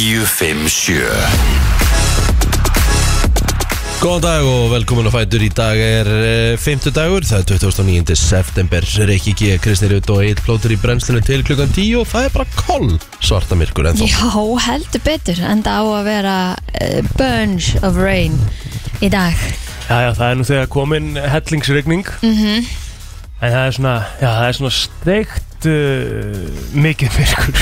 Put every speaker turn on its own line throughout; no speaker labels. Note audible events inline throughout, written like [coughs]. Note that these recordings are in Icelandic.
957
Góðan dag og velkomin að fætur í dag er uh, 50 dagur, það er 2009. september Reykjavík, G, Kristi Rut og Eitt plótur í brennslunum til klukkan 10 og það er bara koll svarta myrkur ennþá
Já, heldur betur en það á að vera uh, Bunch of Rain í dag
Já, já, það er nú þegar komin hellingsregning
mm
Mhm.
-hmm.
En það er svona, já, það er svona steikt uh, mikið myrkur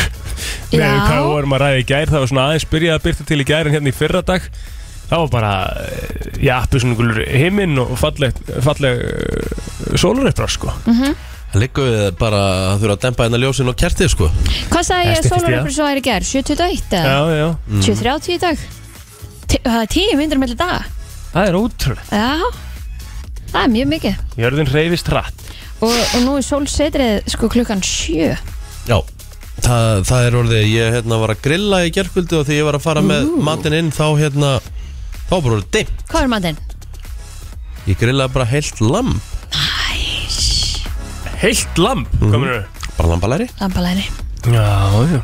Með
Já.
hvað við vorum að ræða í gær Það var svona aðeins byrjað að byrta til í gær en hérna í fyrra dag Það var bara, eh, já, appi svona gulur himinn og falleg, falleg uh, sólurreipra, sko
Mhm.
Liggu við bara að þurfa að dempa hérna ljósin og kertið sko
Hvað sagði ég
Það
að
styttist í
sólaröfnir
það.
svo er í gerð? 7.21 eða?
já Mm.
7.30 í dag T Það er 10 myndir mellir dag
Það er ótrúlega
Já, það er mjög mikið
Jörðin reyfist hratt
og, og nú er sólsetrið sko klukkan 7
Já, það, það er orðið, ég hérna var að grilla í gerkvöldu og þegar ég var að fara með matinn inn þá hérna, þá var bara orðið dimmt
Hvað er matinn?
Ég grillaði bara heilt lamb
Heilt lamb, mm. kominu
Mhm. Bara lambalæri
Lambalæri
Já, já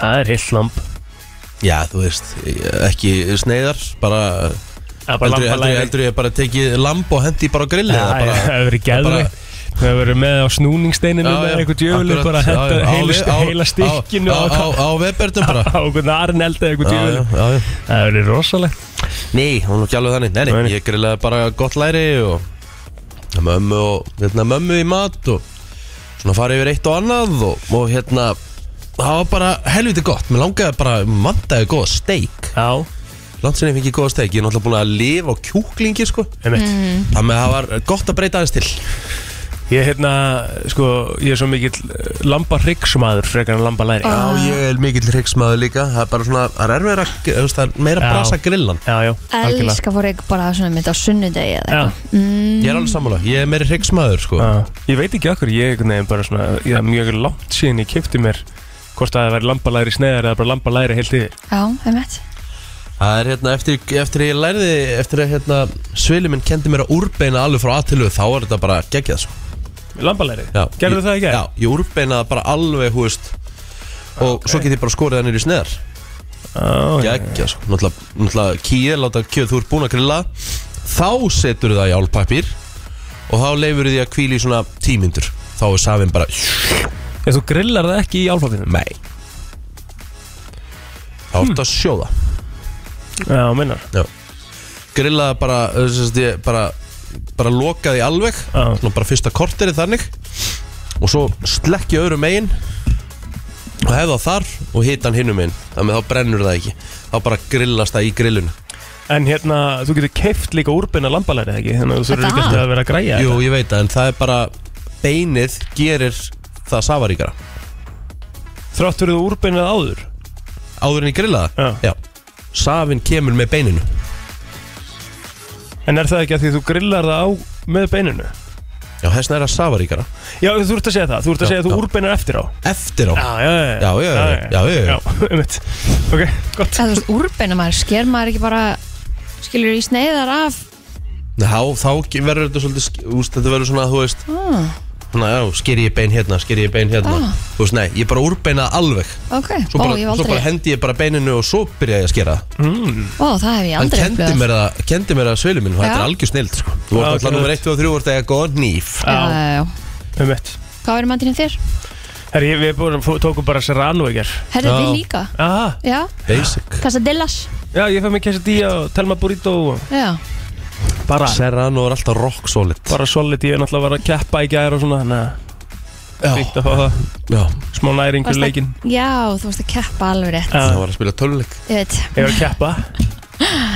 Það er heilt lamb
Já, þú veist, ekki sneiðar bara
Ja, bara
heldur, heldur,
lambalæri.
heldur ég bara tekið lamb og hendi bara á grillið
Já,
bara,
já, það hefur verið geðveikt. Það hefur verið með á snúningsteininu með einhver djöflu bara að henda heila, heila stikkinu
á, á, á, á vefberdum bara
[laughs] á einhvern arn elda einhver djöflu Það hefur verið rosalegt
Nei, hún er nú ekki alveg þannig Nei, nei, ég grillaði bara gott læri og mömmu og hérna, mömmu í mat og svona farið yfir eitt og annað og, og hérna það var bara helviti gott mér langaði bara, mandaði góða steik
Já
Landsinni fengi góða steik, ég er náttúrulega búin að lifa á kjúklingi sko
Einmitt. Mhm.
Þannig að það var gott að breyta aðeins til
Ég hérna, sko, ég er svo mikill lamba hryggsmaður frekar en lamba læri
Já, ég er mikill hryggsmaður líka Það er bara svona, það er meira, það er meira
Já.
brasa grillan
Já, já,
Elskar fór ekki bara svona mitt á sunnudegi eða
Já.
eitthvað. mm.
Ég er alveg sammála, ég er meiri hryggsmaður sko
Ah. Ég veit ekki okkur, ég einhvern veginn bara svona Ég er mjög langt síðan ég kipti mér hvort að það væri lambalæri sneiðar eða bara lambalæri heilt yfir
Já, einmitt
Það er hérna, eftir, eftir að ég lærði, eftir að hérna, svili minn kendi mér að úrbeina alveg frá aðtilu, þá er þetta bara geggjað, sko.
Lambalæri?
Já.
Gerðu
Ég-
það ekki?
Já, ég úrbeinaði bara alveg, hú veist, og svo get ég bara skorið það niður í sneðar.
Oh,
geggjað, sko. Náttúrulega, náttúrulega kýið, láta kjöð, þú ert búin að grilla, þá setur það í álpapír og þá leifur því að kvíli í svona tímyndur. Þá er safinn bara...
En þú grillar það ekki í álpapinu?
Nei. Þá ertu að sjóða.
Já, minnar
Já. grillaði bara, uh, sem sagt, ég bara bara lokaði alveg svona bara fyrsta korterið þannig og svo slekki öðrum megin og hefða þar og hita hann hinnum megin þannig að þá brennur það ekki þá bara grillast það í grillun
En hérna, þú getur keift líka úrbeina lambalæri ekki? Þannig að þú þurfur ekki alltaf að vera að græja
Jú, ég veit það, en það er bara beinið gerir það safaríkara
Þrátt fyrir þú úrbeinað áður?
Áður en ég grillaða? Já, Já. Safin kemur með beininu
En er það ekki að því þú grillar það á með beininu?
Já, þess vegna er það safaríkara
Já, þú ert að segja það, þú ert að
Já,
segja að þú
já.
úrbeinar eftir á
Eftir á?
Já, já, já
Já, já, já, já, já, já.
[laughs] um eitt Ok, gott
Það þú veist, úrbeina maður, sker maður ekki bara skilur í sneiðar af
Þá, þá verður þetta svolítið, sk- úst, þetta verður svona, þú veist
ah,
Þannig að já, sker ég bein hérna, sker ég bein hérna
Ah.
Þú veist, nei, ég bara úrbeinaði alveg
Ok,
Svo bara,
ó, ég hef
svo bara
aldrei
hendi ég bara beininu og svo byrjaði ég að skera það mm.
Ó, það hef ég
Hann
aldrei
kendi mér það, kendi mér það svili minn
Já.
og Þetta er algjör snild, sko Þú
Já,
vart alltaf
geðveikt.
nummer 1 og 3 vart eitthvað góðan nýf
Já, já, já.
Um eitt
Hvað verður matinn í þér?
Herri, ég- við búin, tókum bara serrano í ger
Herðu við líka
Aha,
Já,
basic
Casadillas
Já, ég fæ mig quesadilla og telma burrito og
Já,
bara
Serrano er alltaf rock solid
Bara solid, ég er náttúrulega að vera að keppa í gær og svona Þannig
að
fínt að fá það
Já
Smá næringur
Varstu að-
leikin
já, þú varst að keppa alveg rétt
Það var að spila tölvleik
Ég veit
Ég var að keppa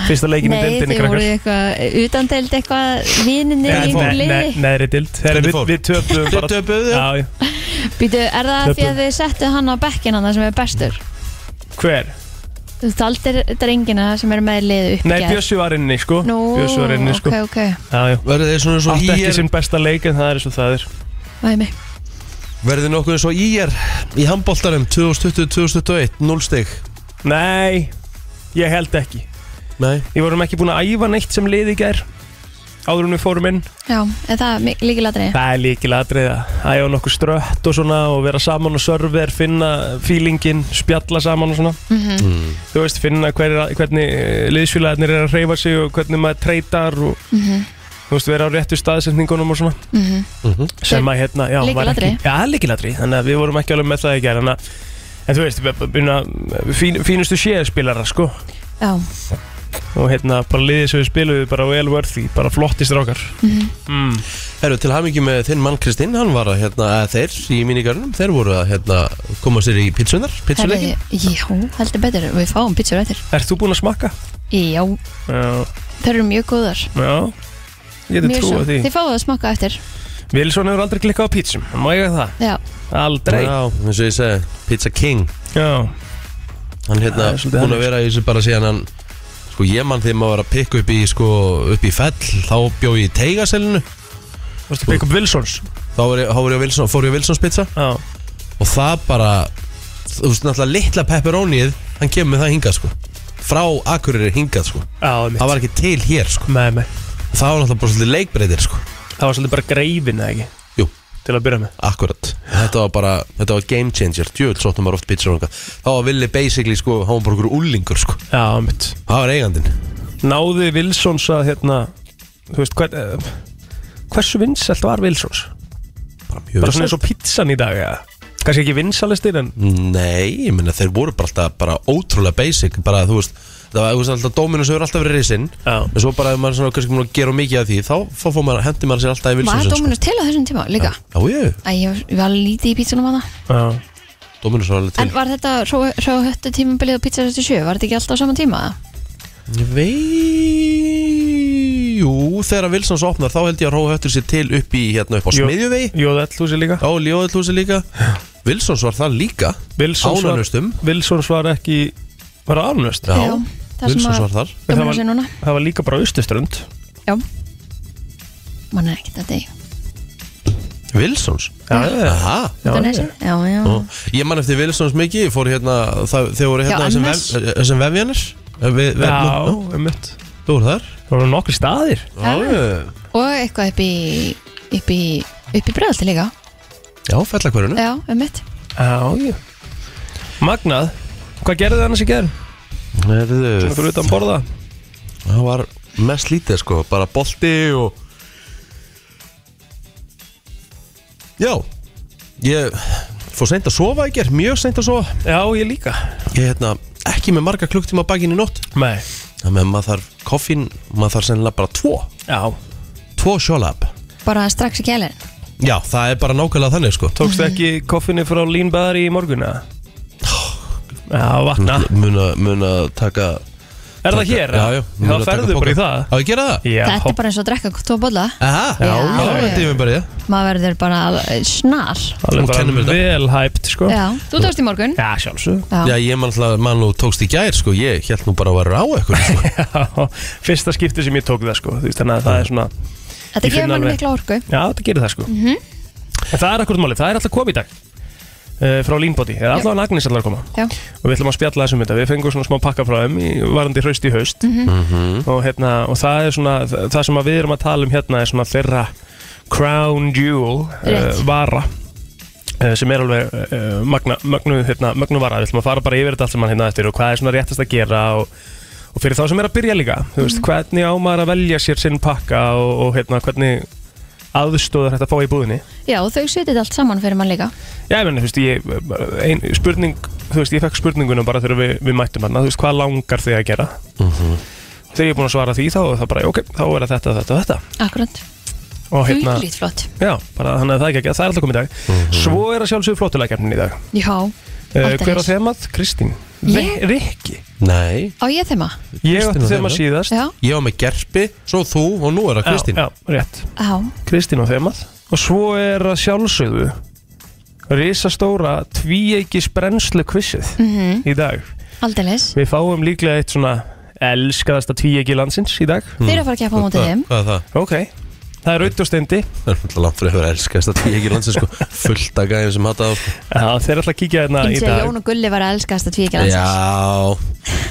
Fyrsta leikin í
Nei,
deildinni
þið
krakkar.
voru eitthvað utandeld eitthvað vininni í
Nei,
einhverju
nei, nei,
liði
Neðri dild Herri,
Hvernig
Við,
fór?
við töpuðum bara
Þið töpuðu, já.
já, já.
Býtu, er það því
Töpuðu.
að þið settu hann á bekkinn hann sem er bestur?
Hver?
Þú taldir drengina sem eru með liðu upp í
Nei,
gær.
Bjössi var inni sko
Nú,
Bjössi var inni sko
ok, ok,
Já, já
Verður þið svona svo
Átti
IR?
ekki sinn besta leik en það er eins og það er
væmi
Verður þið nokkuð eins og IR í handbóltanum 2020-2021, 0 stig
Nei, ég held ekki
Nei
Ég vorum ekki búin að æfa neitt sem liði í gær áður en við fórum inn
Já, en það er líkilatri
Það er líkilatrið að æfa nokkuð strött og svona og vera saman og server, finna feelingin, spjalla saman og svona
Mhm.
Þú veist, finna hver, er- hvernig eh, liðsfélagarnir er að reyfa sig og hvernig maður treytar og
Mhm.
þú veist, vera á réttu staðsetningunum og svona
Mhm.
sem að hérna, já, var ekki
Lykilatriði.
Já, líkilatri, þannig að við vorum ekki alveg með það í gerð en, að- en þú veist, við- við- við- fín, fínustu séðspilara, sko
Já,
og hérna, bara liðið sem við spilum við bara vel worthy, bara flottist rákar
Mhm.
mm.
Herru, til hamingi með þinn mann Kristinn, hann var að, hérna, að þeir í mínigörnum, þeir voru að hérna, koma sér í pítsunar,
Herri,
pítsuleikin.
Já, heldur betur, við fáum pítsur eftir
Ert þú búin að smakka?
Já,
Já,
þau eru mjög góðar
já Ég geti
Mjög
trúið
svo.
því
Þið fáum að smaka eftir
Vilsson hefur aldrei klikkað á pítsum, má ég að það?
Já,
Aldrei
Já, eins og ég segi, Pizza King.
Já,
Hann hérna,
Það er svolítið
búin
hann.
að vera í þessu bara síðan hann, sko ég mann þegar maður var að pikka upp í, sko, upp í fell, þá bjó ég í teigaselinu,
varstu að byggja upp Vilssons
þá var ég, þá var ég á Wilson, fór ég á Wilsons pizza
Já,
og það bara, þú veist, náttúrulega litla pepperonið, hann kemur með það hingað, sko. Frá Akureyri hingað, sko.
já, mitt
Það var ekki til hér, sko.
Með mig
Það var náttúrulega bara svolítið leikbreytir, sko.
Það var svolítið bara greifin, eða ekki?
Jú.
Til að byrja með
Akkurat, þetta var bara, þetta var game changer Djöld sóttum maður oft pítsur og eitthvað Þá var Willi basically, sko, hann var bara okkur úlingur, sko
Já, mitt
Það var eigandinn
Náði Vilssons að, hérna Þú veist, hvern, eh, hversu vinsælt var Vilssons?
Bara mjög
Bara svona
vinsæll.
eins og pizzan í dag, eða? Kanski ekki vinsælistir, en
Nei, ég meina, þeir voru bara alltaf bara ótrúlega basic Bara, þú veist, það var, þú veist, alltaf Dominus hefur alltaf verið risinn
Já.
En svo bara, ef maður svona, kannski múin að gera of mikið af því Þá, þá fór maður, hendi maður sér alltaf í
var
Wilsons
sko.
Dominus til á þessum tíma líka?
Já, ég,
Æ, ég var- ég var lítið í pítsunum að það
Já,
Dominus var alveg
En
til
var þetta hróhöttu tímabilið og pizza 67? Var þetta ekki alltaf á sama tíma? eða?
Ég vei Jú, þegar Wilsons opnar, þá held ég að Róa höttur sér til upp í, hérna, upp á
Jú.
smiðjuvegi
Jóðallhúsi líka
Já, Ljóðallúsi líka Wilsons var það líka
Wilsons var-
Ánanustum
Vilsons var ekki Var það ánust?
Já,
það sem
Wilsons var
að
þar
Það var-
Dominus er núna
Það var líka bara austuströnd
Já Man er ekkert að degi
Wilsons?
Já, já, já
Aha
Þetta er
já.
næsinn? Já, já
Ó, Ég man eftir Wilsons mikið Ég fór hérna það, Þegar voru
Já,
hérna sem,
annars.
vef, eh, sem vefjanir Við, við,
Já, einmitt
Þú voru þar
Það voru nokkri staðir
Já.
Já,
Og eitthvað upp í upp í, upp í bregðalti líka
já
Hm?
fellakverjunum
Já, um mitt
Já, já Magnað Hvað gerði þið annars í gerð? Svona fyrir utan borða
Það var mest lítið sko Bara bolti og Já Ég fór seint að sofa í gerð Mjög seint að sofa
Já, ég líka
Ég hérna ekki með marga klukktíma bakinn í nótt
Nei
Þannig að maður þarf koffín, maður þarf sennilega bara tvo,
Já
tvo sjólab.
Bara strax í kælin
Já, það er bara nákvæmlega þannig sko.
Tókstu ekki koffinni frá Lean Bar í morguna? Já, vakna
Mm. Muna, muna taka...
Er það hér?
Já, já. muna
Það
taka
ferðu
poka.
bara í það
Já, ég gera það.
Já,
Þetta er bara eins og að drekka tvo bolla
Aha,
Já,
já,
já.
þetta er mér bara í það.
Maður verður bara al- snar
Hún
alveg
kennir mér
bara
þetta.
vel hæpt, sko
Já, þú tókst í morgun
Já, sjálfsög
Já, ég man alltaf, mann nú tókst í gær sko, ég held nú bara að vera á eitthvað sko.
[laughs] Já, fyrsta skipti sem ég tók það, sko Þú veist, þannig að það er svona
Þetta
Ég finn
gefur mann
alveg.
mikla orku Mhm.
Já, þetta gerir það sko En það er akkurat málið, það er alltaf komið í dag uh, frá Línbóti, eða allavega Agnes allar að koma
Já,
og við ætlum að spjalla þessum þetta, við fengum svona smá pakka frá þeim í varandi hraust í haust
Mhm.
og, hérna, og það er svona, það það sem að við erum að tala um hérna er svona þeirra Crown Jewel uh,
Rétt.
vara uh, sem er alveg uh, magna, magnu, hérna, magnu vara, við ætlum að fara bara yfir þetta allt sem mann hérna eftir og hvað er svona réttast að gera og, og fyrir þá sem er að byrja líka þú
Mhm.
veist, hvernig á maður að velja sér sinn pakka og, og hérna, hvernig aðstóðar þetta að fá í búðinni
já þau setið allt saman fyrir mann líka
Já, ég menn, þú veist, ég, ein, spurning, þú veist, ég fekk spurningunum bara þegar við, við mættum hann, þú veist, hvað langar þig að gera? Þegar ég er búin að svara því þá, er það bara, ok, þá er það þetta, þetta, þetta.
Akkurat,
Og hérna,
huglít flott
já, bara þannig að það er ekki að það er alltaf komið í dag. Svo er að sjálfsögðu flottulegjafnin í dag.
Já,
Uh,
Alltaf
hver á
eins.
þemað? Kristín.
Ég?
Ri- Rikki.
Nei,
á ég þeima
Ég
Kristín
átti
á
þemað
þemað.
síðast.
Já,
ég var með gerpi, svo þú og nú er það Kristín.
Já, já, rétt.
já,
Kristín á þemað. Og svo er að sjálfsögðu risastóra tvíegis brennslu kvissið
Mhm.
í dag.
aldeilis
Við fáum líklega eitt svona elskaðasta tvíegi landsins í dag Mm. Eh,
Þeir eru að fara að keppa á móti
Hvað-
þeim
Hvað er það?
Ok það er auðvitað steindi
Það er alltaf langt fyrir að höfra elskast að ég ekki landsins sko
[laughs]
fullt að gæðin sem hata það sko.
Já, þeir ætla að kíkja hérna í
Eins og
dag
Jón og Gulli var að elskast að tvíkja
Já Já,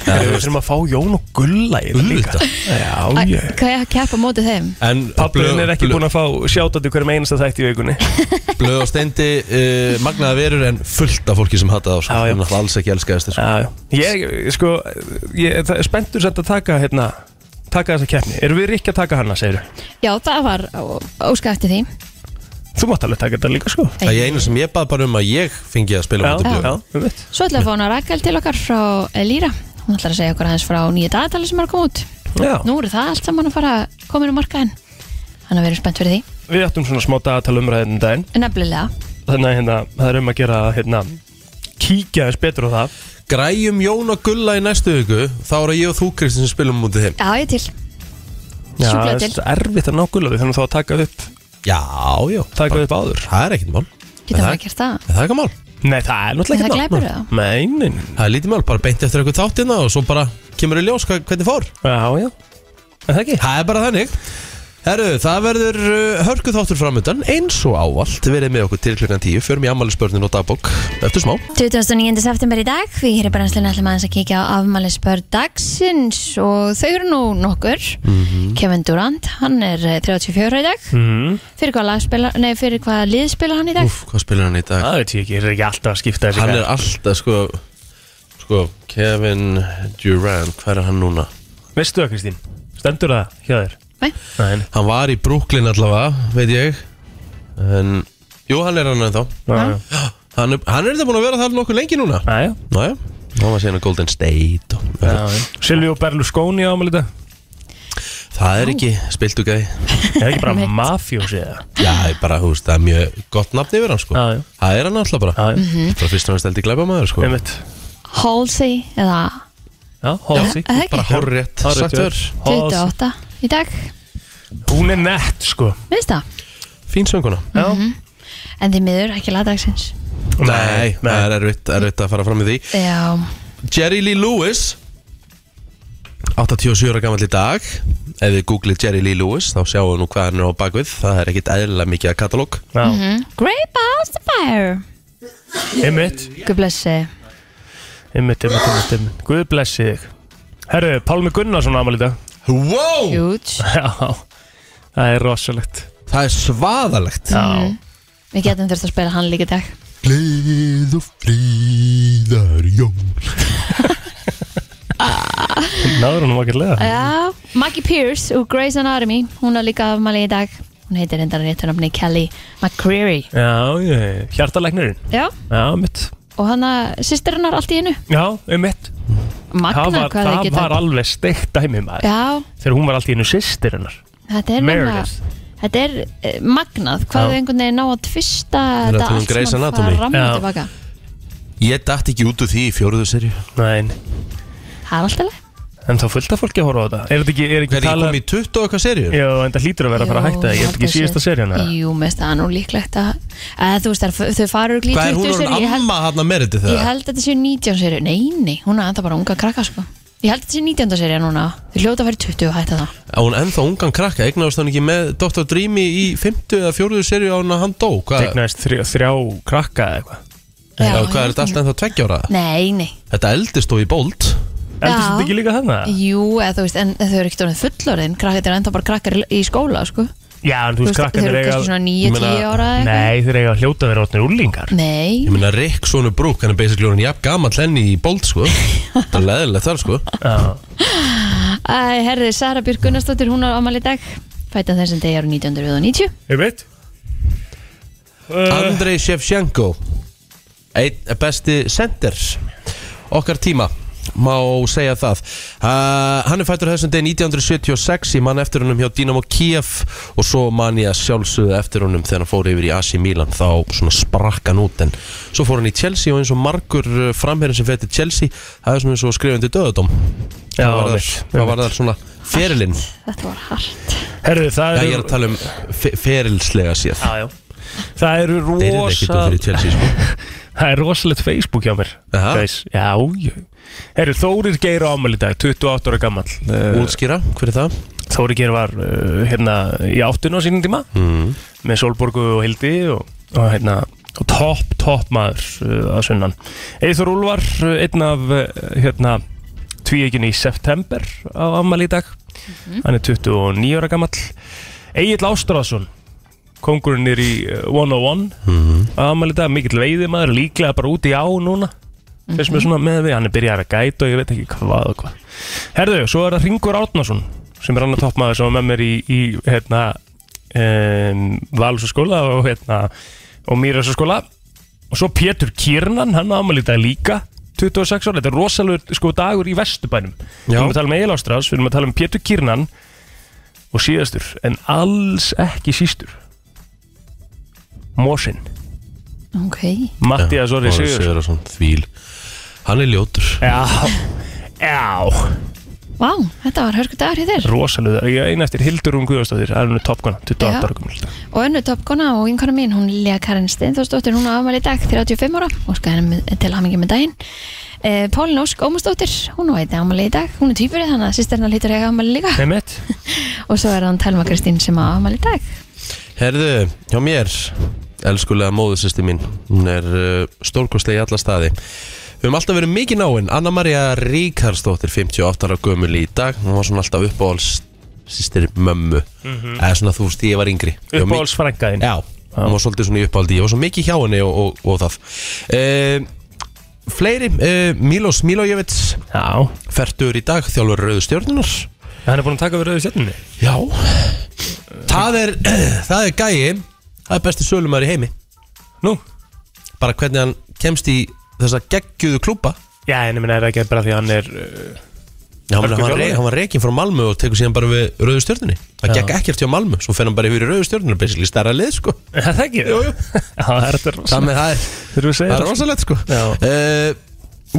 Þegar
þú
við
veist,
þurfum að fá Jón og Gulla í þetta líka
Auðvitað.
Já,
Hvað
ég
er að keppa á móti þeim?
En
Pappurinn er ekki
blöð-
búinn að fá sjátat í hverjum einasta þætti í vikunni
Blöð og steindi uh, magnaða verur en fullt af fólki sem hata það
Já,
sko.
já.
Það er náttúrulega alls ekki elskast sko.
Já, já. Ég, sko, ég það er spenntur sett að taka hérna taka þessa keppni, erum við ekki að taka hana, segir
Já, það var óska eftir því
þú mátt alveg taka þetta líka, sko
Það er einu sem ég bað bara um að ég fengi að spila á móti blöð
já, við veit
Svo ætlaði að fá hana Rakel til okkar frá Elíra Hún ætlar að segja okkur aðeins frá nýja dagatali sem er að koma út
Já.
Nú eru það allt saman að fara komin á markaðin Þannig að við erum spennt fyrir því
Við áttum svona smá dagatal umræðin daginn
Nefnilega
þannig að hérna, það er um að gera hérna, kíkja þess betur á það
Græjum Jón og Gulla í næstu viku Þá eru ég og þú Kristinn sem spilum á móti þeim
Já, ég er til
Já,
Sjúklega
það er
til.
svolítið erfitt að ná gullaði þannig að þá að taka upp,
Já, já
taka upp áður
Það er ekkert mál
Getum
það-
við að gera það
Það er ekki mál
Nei, það er
Nei,
náttúrulega
það glæpir
það
það.
Nei, nei, nei.
Það er lítið mál, bara beint eftir eitthvað þáttina og svo bara kemur í ljós hvað- hvernig fór
Já, já, en það ekki
Það er bara þannig Herru, það verður uh, hörkuð þáttur framöndan eins og ávallt verið með okkur til klukkan 10 förum í ammælisbörnin og dagbók eftir smá
29. september í dag Við hér í brennslunni ætlum aðeins að kíkja á afmælisbörn dagsins og þau eru nú nokkur
Mhm.
Kevin Durant, hann er eh, 34 í dag
mm.
Fyrir hvað, lagspila, nei, fyrir hvað liðspila hann í dag?
Úf, hvað spilar hann í dag?
Það veit ég ekki, það er ekki alltaf að skipta þessi
Hann er alltaf sko sko, Kevin Durant hvað er hann núna?
Veistu það Kristín? Stendur það hjá þér?
Nei,
Nei,
Hann var í Brooklyn allavega, veit ég en, jú, hann er hann ennþá
já,
Hann er, hann er þetta búin að vera það nokkuð lengi núna
já, já.
Næja, hann var síðan að Golden State og,
Silvíu Berlusconi ámæli þetta
Það er ekki spilt og gæði
Er ekki bara
[laughs] Einmitt.
mafjós eða?
Já, það er bara, þú veist, það er mjög gott nafn yfir hann sko
Já, já.
Það er hann alltaf bara
Já, já,
Mhm.
Bara fyrst og næst eldi glæpa maður sko
einmitt
Halsey eða
Já, Halsey
Já, er það ekki?
Bara horrétt
Hárrétt hjá
sagt þér
þér. Halsey.
28 í dag
Hún er nett sko
Veist það? Mhm.
Fín sönguna
Já,
En því miður ekki lagdagsins
Nei, það er erfitt, erfitt að fara fram í því
Já,
Jerry Lee Lewis 87 ára gammal í dag Ef við googlið Jerry Lee Lewis þá sjáum við nú hvað hann er á bakvið Það er ekkit eðlilega mikið að katalóg
Já,
Mhm. Great Balls to Fire
einmitt
Guð blessi
Einmitt, einmitt, einmitt, einmitt Guð blessi þig Herru, Pálmi Gunnarsson ámæli þetta
Wow!
Huge
[laughs] Já, það er rosalegt
Það er svaðalegt
Já,
Mhm. Við getum þurft að spila hann líka í dag
Gleð og fríðar jól
[laughs] náður hún ágætlega
Já, Maggie Pierce úr Grey's Anatomy Hún er líka afmæli í dag Hún heitir endar réttunafni Kelly McCreary
Já, já, hjartalegnirinn
Já,
Já, mitt
og hann að sýstir hennar allt í hennu
Já, einmitt
Magna
Það var,
hvað þau
það
geta
var alveg steikt dæmi maður
Já,
Þegar hún var allt í einu systir hennar
þetta er
Meredith.
nefnilega- Þetta er eh, magnað, hvað
Já.
þau einhvern veginn ná að tvista
að
þetta
tala um Grey's
allt saman
Anatomy.
fara ramm og
Já.
tilbaka
Ég dætt ekki út úr því í fjóruðu serju
Nein.
Það er alltaf leið
En þá fullt af fólki að horfa á þetta Er þetta ekki, er ekki
Hvernig ég
talað
kom í 20 og eitthvað serju?
Já, en það hlýtur að vera að fara
Jú,
að hætta það Ég held ekki
held að
síðasta
sé-
seríun eða?
Jú, mest það er nú líklegt að eða, Þú veist, þær- þau farur glýt
Hvað er hún orðin
ég, held-
amma hann að meriti
ég
þegar?
held að þetta séu 19 serið Nei, nei, hún er enda bara unga krakka sko Ég held að þetta séu 19 serið núna Þau hljóta að vera í 20 og hætta það
Að hún ennþá ungan krakka, eignaðast hann ekki með Dr. Dreamy í 50 eða 40 serju á hann að hann dó? Hvað,
Tegnaðist þrjá, þrjá krakka eða eitthvað
já,
Já, ég-
hvað er þetta alltaf ennþá tveggja ára?
Nei, nei,
Þetta eldist þó í bólt
Eldur sem ekki líka
Hérna.
þarna?
jú, eða þú veist En þau eru ekkert orðin fullorðin Krakkar eru enda bara krakkar í skóla sko
Já, en þú veist
Þau
krakkan er
eru
eiga
kannski svona 9-10
ég meina-
ára eða eitthvað.
Nei, þeir eiga að hljóta að vera orðnir úrlingar
Ég
Nei,
meina Rick Sónu Brúk, hann er basically orðin jafn gamall henni í bólt
[laughs]
sko Þetta er leðilegt þar sko
Já,
Æ, herði, Sara Björk Gunnarsdóttir, hún á amal í dag Fæta þessum degi ára 1990
ég veit uh,
Andrei Shevchenko Einn besti sender Okkar tíma Má segja það uh, Hann er fættur þessum degi 1976 Ég man eftir honum hjá Dynamo Kiev Og svo man ég að sjálfsögðu eftir honum Þegar hann fór yfir í AC Milan Þá svona sprakk hann út En svo fór hann í Chelsea Og eins og margur framherrin sem fætti Chelsea Það er svona eins og skrifandi döðadóm
Já,
Það var
einmitt,
það var þar svona ferilinn
Þetta var hart
Herðu, það
Já,
er
ég er að tala um fe- ferilslega séð
Já, já Það eru
Þeir eru ekkert
rosa
of fyrir Chelsea sko.
[laughs] Það er rosalegt Facebook hjá mér
Aha.
Guys, Já, já Herru, Þórir Geir á ámæli í dag, 28 ára gammal
Útskýra, hver er það?
Þórir Geir var uh, hérna í áttun á sínum tíma
Mm.
með Solborgu og Hildi og, og hérna og topp, topp maður uh, að sunnan Eithor Úlfar, uh, einn af uh, hérna tvíeginu í september á afmæli í dag hann er 29 ára gammal Egil Ástrásson kongurinn er í uh, 101
Mm.
á afmæli í dag, mikill veiði maður líklega bara út í á núna þess með svona með við, hann er byrjar að gæta og ég veit ekki hvað og hvað Herðu, svo er það Ringur Árnason sem er annar toppmaður sem var með mér í, í hérna um, Valsaskóla og hérna og Mýrasaskóla og svo Pétur Kiernan, hann á afmæli í dag líka 26 ára, þetta er rosalegur sko dagur í Vesturbænum við
Já.
erum að tala um Egil Ástrás, við erum að tala um Pétur Kiernan og síðastur, en alls ekki sístur Mósin,
Ok,
Mattias Orri
Orri
Sigur
Sigurðarsson, Þvíl Hann er ljótur
Já, já
vá, þetta var hörku dagur í þér
rosalega, ég eina eftir Hildur um Guðastóttir það er henni toppkona, 28
Já.
ára gömul
Og önnu toppkona og vinkona mín, hún Lea Karin Steinþórsdóttir, hún á afmæli í dag, 35 ára, óskar henni með- til hamingi með daginn. Uh, Pólin Ósk Ómusdóttir, hún á einni afmæli í dag, hún er týpurinn þannig að sýsterna hlýtur að eiga afmæli líka.
Nei mitt,
[laughs] Og svo er hann Telma Kristín sem á afmæli í dag.
Herðu, hjá mér Elskulega móðusisti mín Hún er uh, stórkostlega í alla staði Við höfum alltaf verið mikið náinn Anna-Maria Ríkarsdóttir, 58 ára gömul í dag Hún var svona alltaf uppáhalds Sýstir mömmu
Mhm.
Eða svona þú veist, ég var yngri Ég var mikið-
uppáhaldsfrængaðin
Já, hún var svolítið svona í uppáhaldi Ég var svo mikið hjá henni og, og, og það uh, Fleiri, uh, Milos Milojevits
Já,
Fertur í dag, þjálfur Rauðu stjórnunar
hann er búin að taka við rauðu stjörnunni
Já Það er, [clears throat] það er gæi Það er besti sölumæður í heimi
Nú,
Bara hvernig hann kemst í þessa geggjuðu klúpa
já en ég minna er það ekki bara því að hann er uh,
Já,
Hörku
hann, hann,
þjálfari.
re, hann var reikin frá Malmö og tekur síðan bara við Rauðu stjórnunni Það
Já.
gekk ekkert hjá Malmö, svo fer hann bara yfir í Rauðu stjórnunni Basically stærra lið,
[laughs]
sko
er Það ekki
Jú, jú.
Já, það er þetta
Það með
rosalega Þurfum
það er
við að segja
Það er rosalegt sko
Já.
Eh,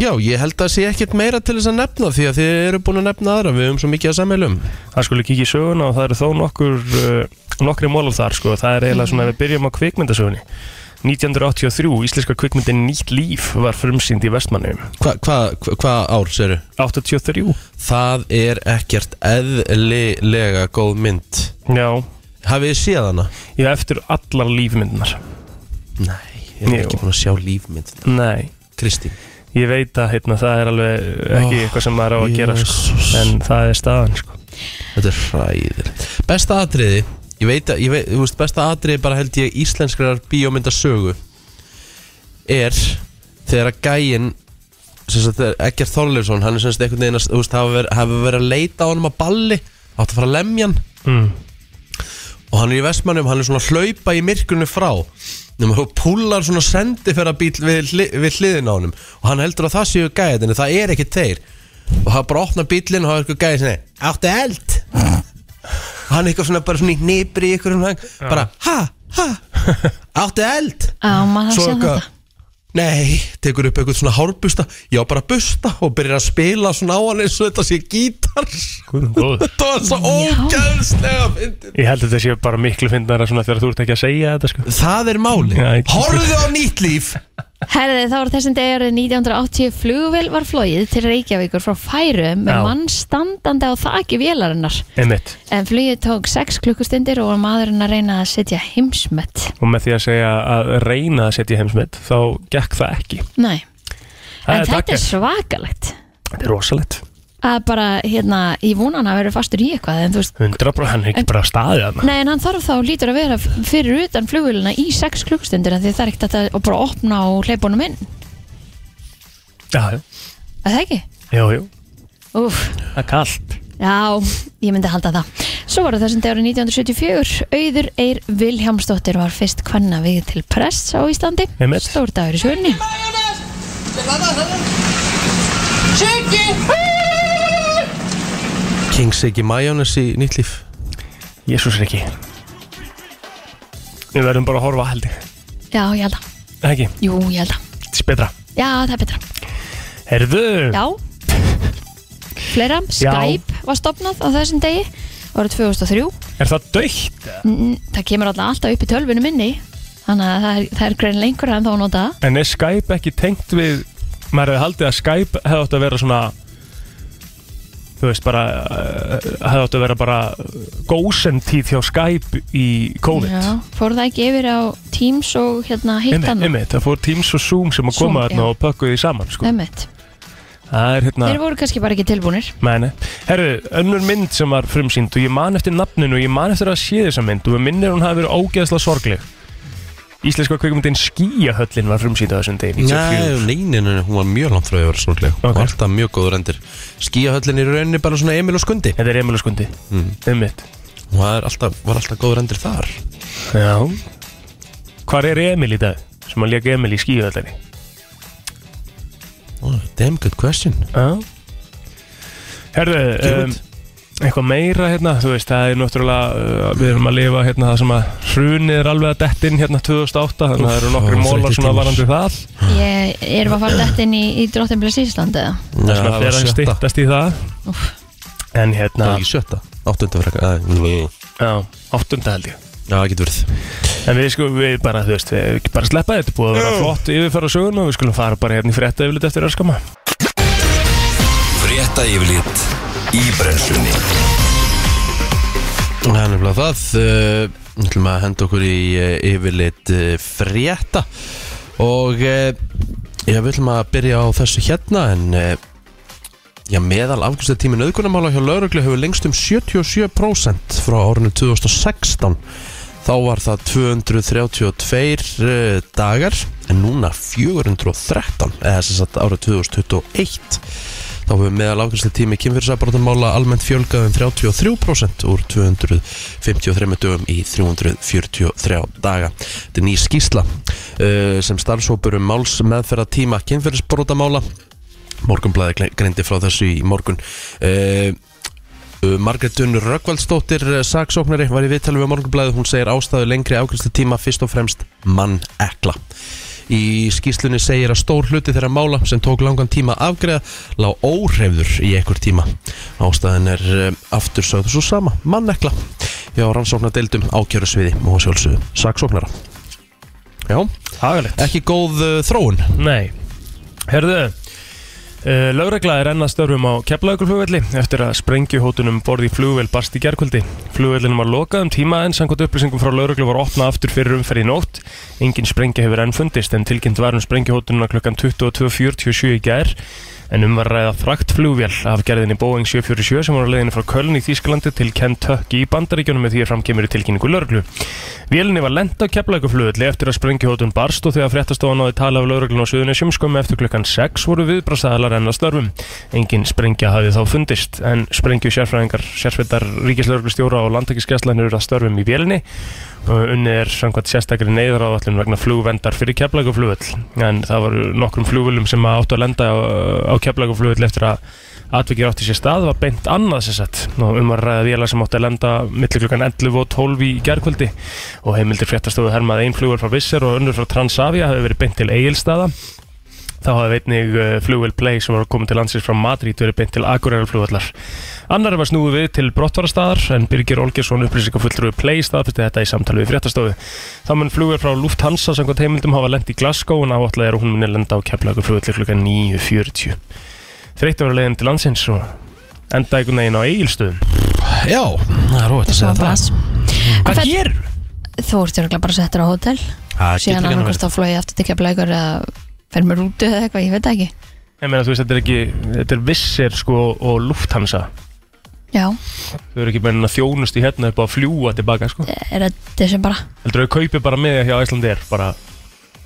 já, ég held að sé ekkert meira til þess að nefna Því að þið eru búin að nefna aðra Við höfum svo mikið að sammeilum
Það skulle kíkja í söguna og það eru þó nokkur uh, nokkri mólum þar sko það er eiginlega svona að við byrjum á kvikmyndasögunni 1983, íslenska kvikmyndin Nýtt líf var frumsýnd í vestmannum
Hvað hva, hva, hva ár, segirðu?
83
Það er ekkert eðlilega góð mynd
Já,
Hafið þið séð hana?
ég eftir allar lífmyndinar
Nei, ég er
Jú.
ekki búin að sjá lífmynd
Nei,
Kristín
Ég veit að heitna, það er alveg ekki
Oh,
eitthvað sem maður á að gera sko.
Jesus.
en það er staðan sko.
Þetta er hræðilegt Besta atriði Ég veit að, ég veit, þú veist, besta atriði bara held ég íslenskrar bíómyndasögu er þegar að gæinn sem sagt er Egger Þorleifsson hann er sem sagt einhvern veginn að, þú veist, hafa verið, hafa verið að leita á honum að balli átt að fara að lemja hann
mm.
og hann er í Vestmannum, hann er svona að hlaupa í myrkunni frá nema þú púlar svona sendiferðabíl við, hli- við hliðin á honum og hann heldur að það séu gæðin en það er ekki þeir og það bara opna bílinn og það er eitthvað gæði sinni áttu eld og hann er eitthvað svona bara svona í nýbri í ykkur um hang, bara ha, ha áttu eld
Á, maður þarf að sjá þetta.
Nei, tekur upp eitthvað svona hárbusta Já, bara busta og byrjar að spila svona á hann eins og þetta sé gítar
Guð minn góður.
[laughs] Þetta var svo ógæðslega fyndið
Ég held að þetta sé bara miklu fyndnara svona þegar þú ert ekki að segja þetta sko.
Það er máli
Já, ekki.
Horfðu á nýtt líf
Herði þá var þessum degi árið 1980 flugvél var flóið til Reykjavíkur frá Færum með
Já.
mann standandi á þaki vélarinnar.
Einmitt.
En flugið tók 6 klukkustundir og var maðurinn að reyna að setja heimsmet.
og með því að segja að reyna að setja heimsmynd þá gekk það ekki
Nei,
Það
en þetta
dagger.
er svakalegt.
Þetta er rosalegt
Að bara, hérna, í vonan að vera fastur í eitthvað, en þú veist,
100% hann er ekki bara að staði þarna
Nei, en hann þarf þá lítur að vera fyrir utan flugvélina í 6 klukkstundir en því það er ekkert hægt að og bara opna og hleypa honum inn
Já,
að það ekki?
já, já, já
Úf,
Það er kallt
já, ég myndi halda það Svo var það þessum dagur 1974 Auður Eir Vilhjámsdóttir var fyrst kvanna við til press á Íslandi
Einmitt.
Stór dagur í sjöunni
Mayonnaise. Vil han ha den? Chicken.
King Siggy Majónis í nýtt líf
Jésús er ekki Við verðum bara að horfa held ég
Já, ég held að,
Það ekki,
jú, ég held að
þetta er betra
Já, það er betra
Herðu
Já Fleira, Skype var stopnað á þessum degi árið 2003
Er það dögt?
Mm, Það kemur alltaf alltaf upp í tölvinu minni Þannig að það er, það er grein lengur en þá að nota það.
En er Skype ekki tengt við maður hefði haldið að Skype hefði átt að vera svona þú veist bara eh, hefði átt að vera bara gósentíð hjá Skype í COVID
Já, fór það ekki yfir á Teams og hérna hitt
Einmitt,
hann
einmitt, það fór Teams og Zoom sem að
Zoom,
koma
já.
þarna og pökkuði því saman sko.
Emmett,
Það er hérna
þeir voru kannski bara ekki tilbúnir
Mæni. Herru, önnur mynd sem var frumsýnd og ég man eftir nafninu og ég man eftir að sé þessa mynd og við minnir hún hafi verið ógeðslega sorgleg Íslenska kvikmyndin Skíahöllin var frumsýnd á þessum degi 94.
Nei, nei, nei, nei, hún var mjög langt frá yfir sorgleg okay. og alltaf mjög góður endir skíahöllin er í rauninni bara svona Emil og Skundi
Þetta er Emil og Skundi,
mm.
ummitt
og það er alltaf, var alltaf góður endir þar
Já Hvar er Emil í dag? Sem að léka Emil í Skíahöllinni
oh, damn good question
Já Herðu, um,
Kjöld.
eitthvað meira hérna, þú veist, það er náttúrulega uh, við erum að lifa hérna það sem að hrunið er alveg að detta inn hérna 2008 þannig að það eru
Úff,
nokkri
það var
mólar
þreyttir
svona
tímar.
varandi það
Ég erum að fara dætt inn í, í Drottinblis Ísland eða
það er svona
það
fyrir að
sjötta
stýttast í það
Úff.
en hérna
Það er ekki sjötta, áttunda frekar að, nei.
já, áttunda held ég
Já, það getur verið
en við sko, við bara, þú veist, við ekki bara sleppa þetta búið að vera flott yfirfæra sögun og við skulum fara bara hérna í frétta yfirleitt eftir öskama
Frétta yfirlit í brennslunni
Það er nefnilega það Eh, Við ætlum að henda okkur í eh, yfirlit eh, frétta Og eh, já, við ætlum að byrja á þessu hérna En eh, já, meðal afgjörsta tími nöðkunamála hjá lauruglu hefur lengst um 77% frá árinu 2016 Þá var það 232 eh, dagar En núna 413 Eða sem sagt árið 2021 Þá hefur meðal afgjörslega tími kynfyrirsabrátamála almennt fjölgað um 33% úr 253 dögum í 343 daga. Þetta er ný skýsla uh, sem starfshópur um máls meðferðatíma kynfyrirsbrótamála. Morgunblæði greindi frá þessu í morgun. Uh, Margrét Dunn Röggvaldsdóttir saksóknari var í viðtali við morgunblæði hún segir ástæðu lengri afgjörslega tíma fyrst og fremst mann ekla. Í skýslunni segir að stór hluti þeirra mála sem tók langan tíma að afgreða lág óhreyfður í einhver tíma. Ástæðan er um, aftur sögðu svo sama, mannekla. Já, rannsóknadeildum ákjöru sviði og sjálfsögðu saksóknara. Já,
hagalegt
ekki góð uh, þróun.
Nei, herðu Uh, Lögregla er enn að störfum á Keflavíkurflugvelli eftir að sprengjuhótunum borði í flugvél barst í gerkvöldi. Flugvellin var lokað um tíma en samkvæmt upplýsingum frá lögreglu var opnað aftur fyrir umferð í nótt. Engin sprengja hefur enn fundist en tilkynnt var um sprengjuhótununa klukkan 22.47 í gær en um var að ræða frakt flugvél af gerðinni Boeing 747 sem var á leiðinni frá Köln í Þýskalandi til Kentucky í Bandaríkjunum með því að framkemur í tilkynningu lögreglu. Vélinni var lent á keflækuflugulli eftir að sprengjuhótun barst og þegar fréttastofan áði tala af lauruglun á Suðunisjum skömmu eftir klukkan 6 voru viðbrasaðalar enn að störfum. Engin sprengja hafi þá fundist en sprengju sérfræðingar, sérsveitar ríkislauruglustjóra og landtækiskeslanir eru að störfum í vélinni og unni er samkvæmt sérstakri neyðaráðallin vegna flugvendar fyrir keflækuflugull en það voru nokkrum flugvillum sem áttu að lenda á, á keflækuflugull eftir að atvikið átti sér stað var beint annað sér sett og um að ræða vélar sem átti að lenda millir klukkan 11 og 12 í gerkvöldi og heimildir fréttastofu hermað einn flugur frá Visser og önnur frá Transavia hafi verið beint til Egilstaða Þá hafði einnig uh, flugvél Play sem var komið til landsins frá Madrid verið beint til Akureyrar flugvallar. Annar var snúið við til brottvarastadar en Birgir Olgersson upplýsingafulltrúi Play staðfesti þetta í samtali við fréttastofu. Þá mun flugvél frá Lufthansa samkvæmt heimildum hafa lent í Glasgow en áallega er að hún muni lenda á Keflagur flugvalli klukkan 9.40. Þreytt að vera leiðin til landsins og enda einhvern veginn á Egilstöðum.
Já, það er róið að segja það.
Hvað
Hvað
hér?
Þú ert örgulega bara settur á hótel
Það
síðan
getur ekki
annarkvist á flói aftur til keflaugur eða fer með rútu eða eitthvað, ég veit það ekki
Ég meina þú veist þetta er ekki, þetta er Visser sko og Lufthansa.
Já,
Þau eru ekki meina þjónustu hérna upp á að fljúa tilbaka sko.
er þetta sem bara
Heldur þau kaupi bara með hjá Íslandir bara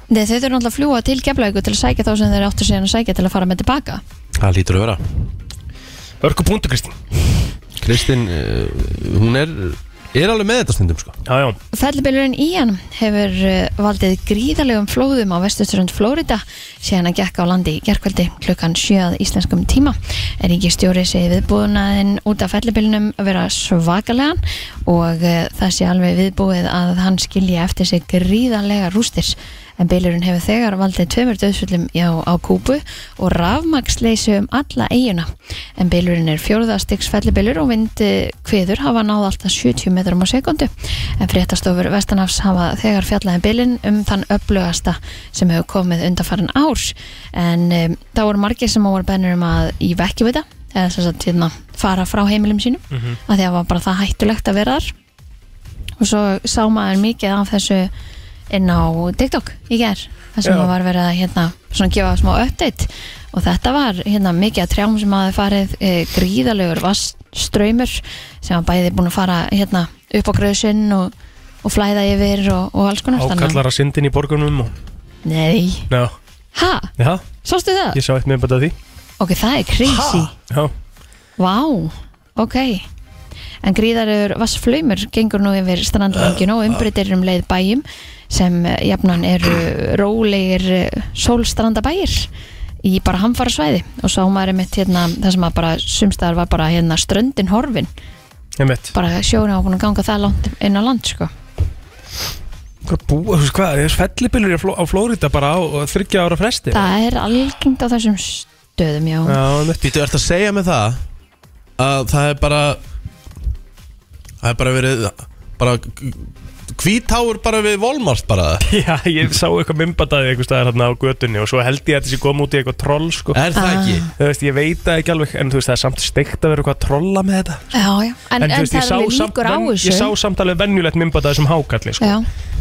Nei, þau þurfum alltaf að fljúa til keflaugur til að sækja þá sem þeir áttu síðan að sækja til að fara með tilbaka
verið. Það lítur að vera.
Örku punktu Kristín
Kristinn, uh, hún er, er alveg með þetta stundum sko.
Já, já,
Fellibylurinn Ian hefur eh, valdið gríðarlegum flóðum á vestuströnd Flórida síðan að gekk á landi í gerkvöldi klukkan 7 að íslenskum tíma. Er ekki stjóri segi viðbúðunaðin út af fellibylunum að vera svakalegan og eh, það sé alveg viðbúið að hann skilja eftir sig gríðarlega rústir en bylurinn hefur þegar valdið tveimur döðsvöldum á, á Kúbu og rafmagsleysi um alla eiguna. En bylurinn er fjóruðastiks fellibylur og vindi kviður hafa náð alltaf 70 metrum á sekundu. En fréttastofur Vestanafs hafa þegar fjallaði bylinn um þann upplögasta sem hefur komið undanfarin árs. En um, þá voru margir sem voru bennur um að í vekki við það, eða sem sagt hérna fara frá heimilum sínum, mm
Mhm.
að því að það var bara það hættulegt að vera þar og svo sá maður mikið af þessu inn á TikTok í ger þar sem
Já.
það var verið að hérna, svona gefa smá update og þetta var hérna, mikið að trjám sem hafði farið e, gríðalegur vastströymur sem var bæði búin að fara hérna, upp á gröðsinn og, og flæða yfir og, og alls konar þannig að-
Ákallar að syndin í borgunum og...
Nei,
Já,
ha?
já,
Sástu það?
ég sá eitt með bara því
Ok, það er crazy
Já,
Vá, ok En gríðarur vassflöymur gengur nú yfir strandlengjun og umbreytir um leið bæjum sem eh, jafnan eru rólegir eh, sólstrandabæir í bara hamfara svæði og sá maður einmitt hérna það sem að bara sumstaðar var bara hérna ströndin horfin
ég mitt
bara sjóna og búin að ganga það langt inn á land sko
Hvað búa, þú veist hvað, þessu fellibillur á, Fló á Flórida bara á á þriggja ára fresti
það er algengt á þessum stöðum já,
Býtu, ert að segja mig það að það er bara það er bara verið bara hvítáur bara við Volmart bara
[laughs] Já, ég sá eitthvað mymbataði einhvers staðar hérna á götunni og svo held ég að þessi kom út í eitthvað troll sko.
Er það Ah. ekki?
Þú veist, ég veit það ekki alveg en þú veist, það er samt steikt að vera eitthvað að trolla með þetta
já, já. En, en,
þú veist, ég
það er
sá
alveg
samt
líkur á
ven-
þessu
Ég sá samt alveg venjulegt mymbataði sem hákalli sko.
já,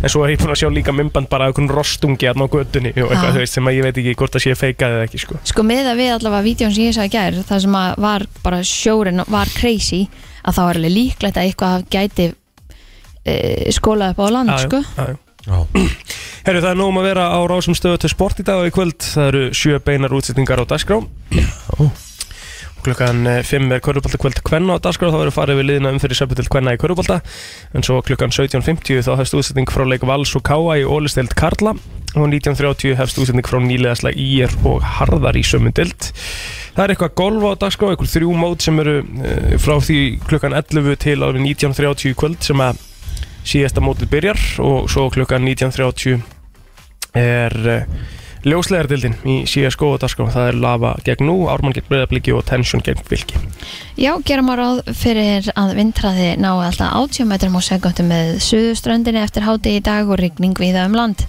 En svo er ég búin að sjá líka mymband bara af einhvern rostungi hérna á götunni og
Já.
eitthvað, þú veist, sem að ég veit ekki hvort það sé feikað eða ekki sko.
Sko með að við allavega vídjón sem ég sagði gær það sem að var bara sjórin var crazy að þá er alveg líklegt að eitthvað gæti e, skólað upp á land
Já, já,
sko
já, já. Herru, það er nóg um að vera á rásum stöðu til sport í dag og í kvöld Það eru sjö beinar útsetningar á dagskrá Og Klukkan 5 er Körubalda kvöld kvenna á dagskrá Þá eru farið við liðina um fyrir söpju til kvenna í Körubalda En svo klukkan 17.50 þá hefst útsetning frá leik Vals og Káa í Ólisteild Karla Og 19.30 hefst útsetning frá nýleðasla Ír og Harðar í sömundild Það er eitthvað golf á dagskrá, eitthvað þrjú mót sem eru eh, frá því klukkan 11 til árið 19.30 í kvöld sem að síðasta mótið byrjar og svo klukkan 19.30 er uh, ljósleðardildin í CSGO og Daskó það er Lava gegn nú, Ármann gegn Breiðabliki og Tension gegn Vilki
Já, gera maður ráð fyrir að vindraði ná alltaf 80 metrum á sekundu með suðuströndinni eftir háti í dag og rigning viða um land.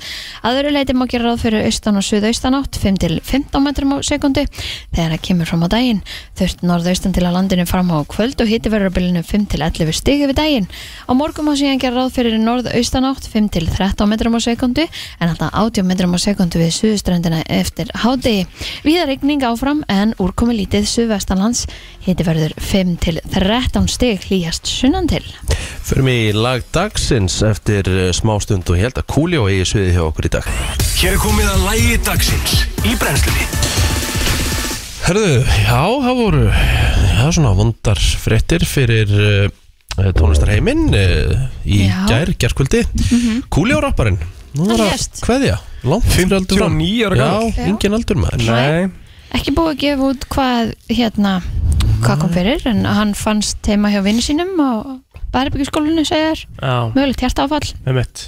Að öru leiti má gera ráð fyrir austan og suðaustan átt 5 til 15 metrum á sekundu þegar það kemur fram á daginn. Þurft norðaustan til að landinu fram á kvöld og hitti verður á bylunu 5 til 11 stig yfir daginn. Á morgum má síðan gera ráð fyrir norðaustan átt 5 til 13 metrum á sekundu en alltaf 80 metrum á sekundu við suðuströndina eftir háti. Viða rigning áfram en úrkomi lítið suðvestanlands Hiti verður 5 til 13 stig hlýjast sunnan til.
Fyrir mig í lag dagsins eftir eh, smástund og ég held að Kúli og eigi sviði hjá okkur í dag
Hér er komið að lægi dagsins í brennslunni
Herðu, já, það voru já, svona vondar fréttir fyrir uh, tónlistarheiminn uh, í
Já. Mhm.
gær, gærkvöldi Kúli og rapparinn Nú
Hann
var að
lést.
Kveðja, langt fyrir aldur fram
59 ára gamall.
Já, engin aldur maður
Nei,
Ekki búið að gefa út hvað hérna, hvað kom fyrir en hann fannst teima hjá vinnu sínum og bæribyggjaskólinu segjar
á,
mögulegt hjartaáfall.
með mitt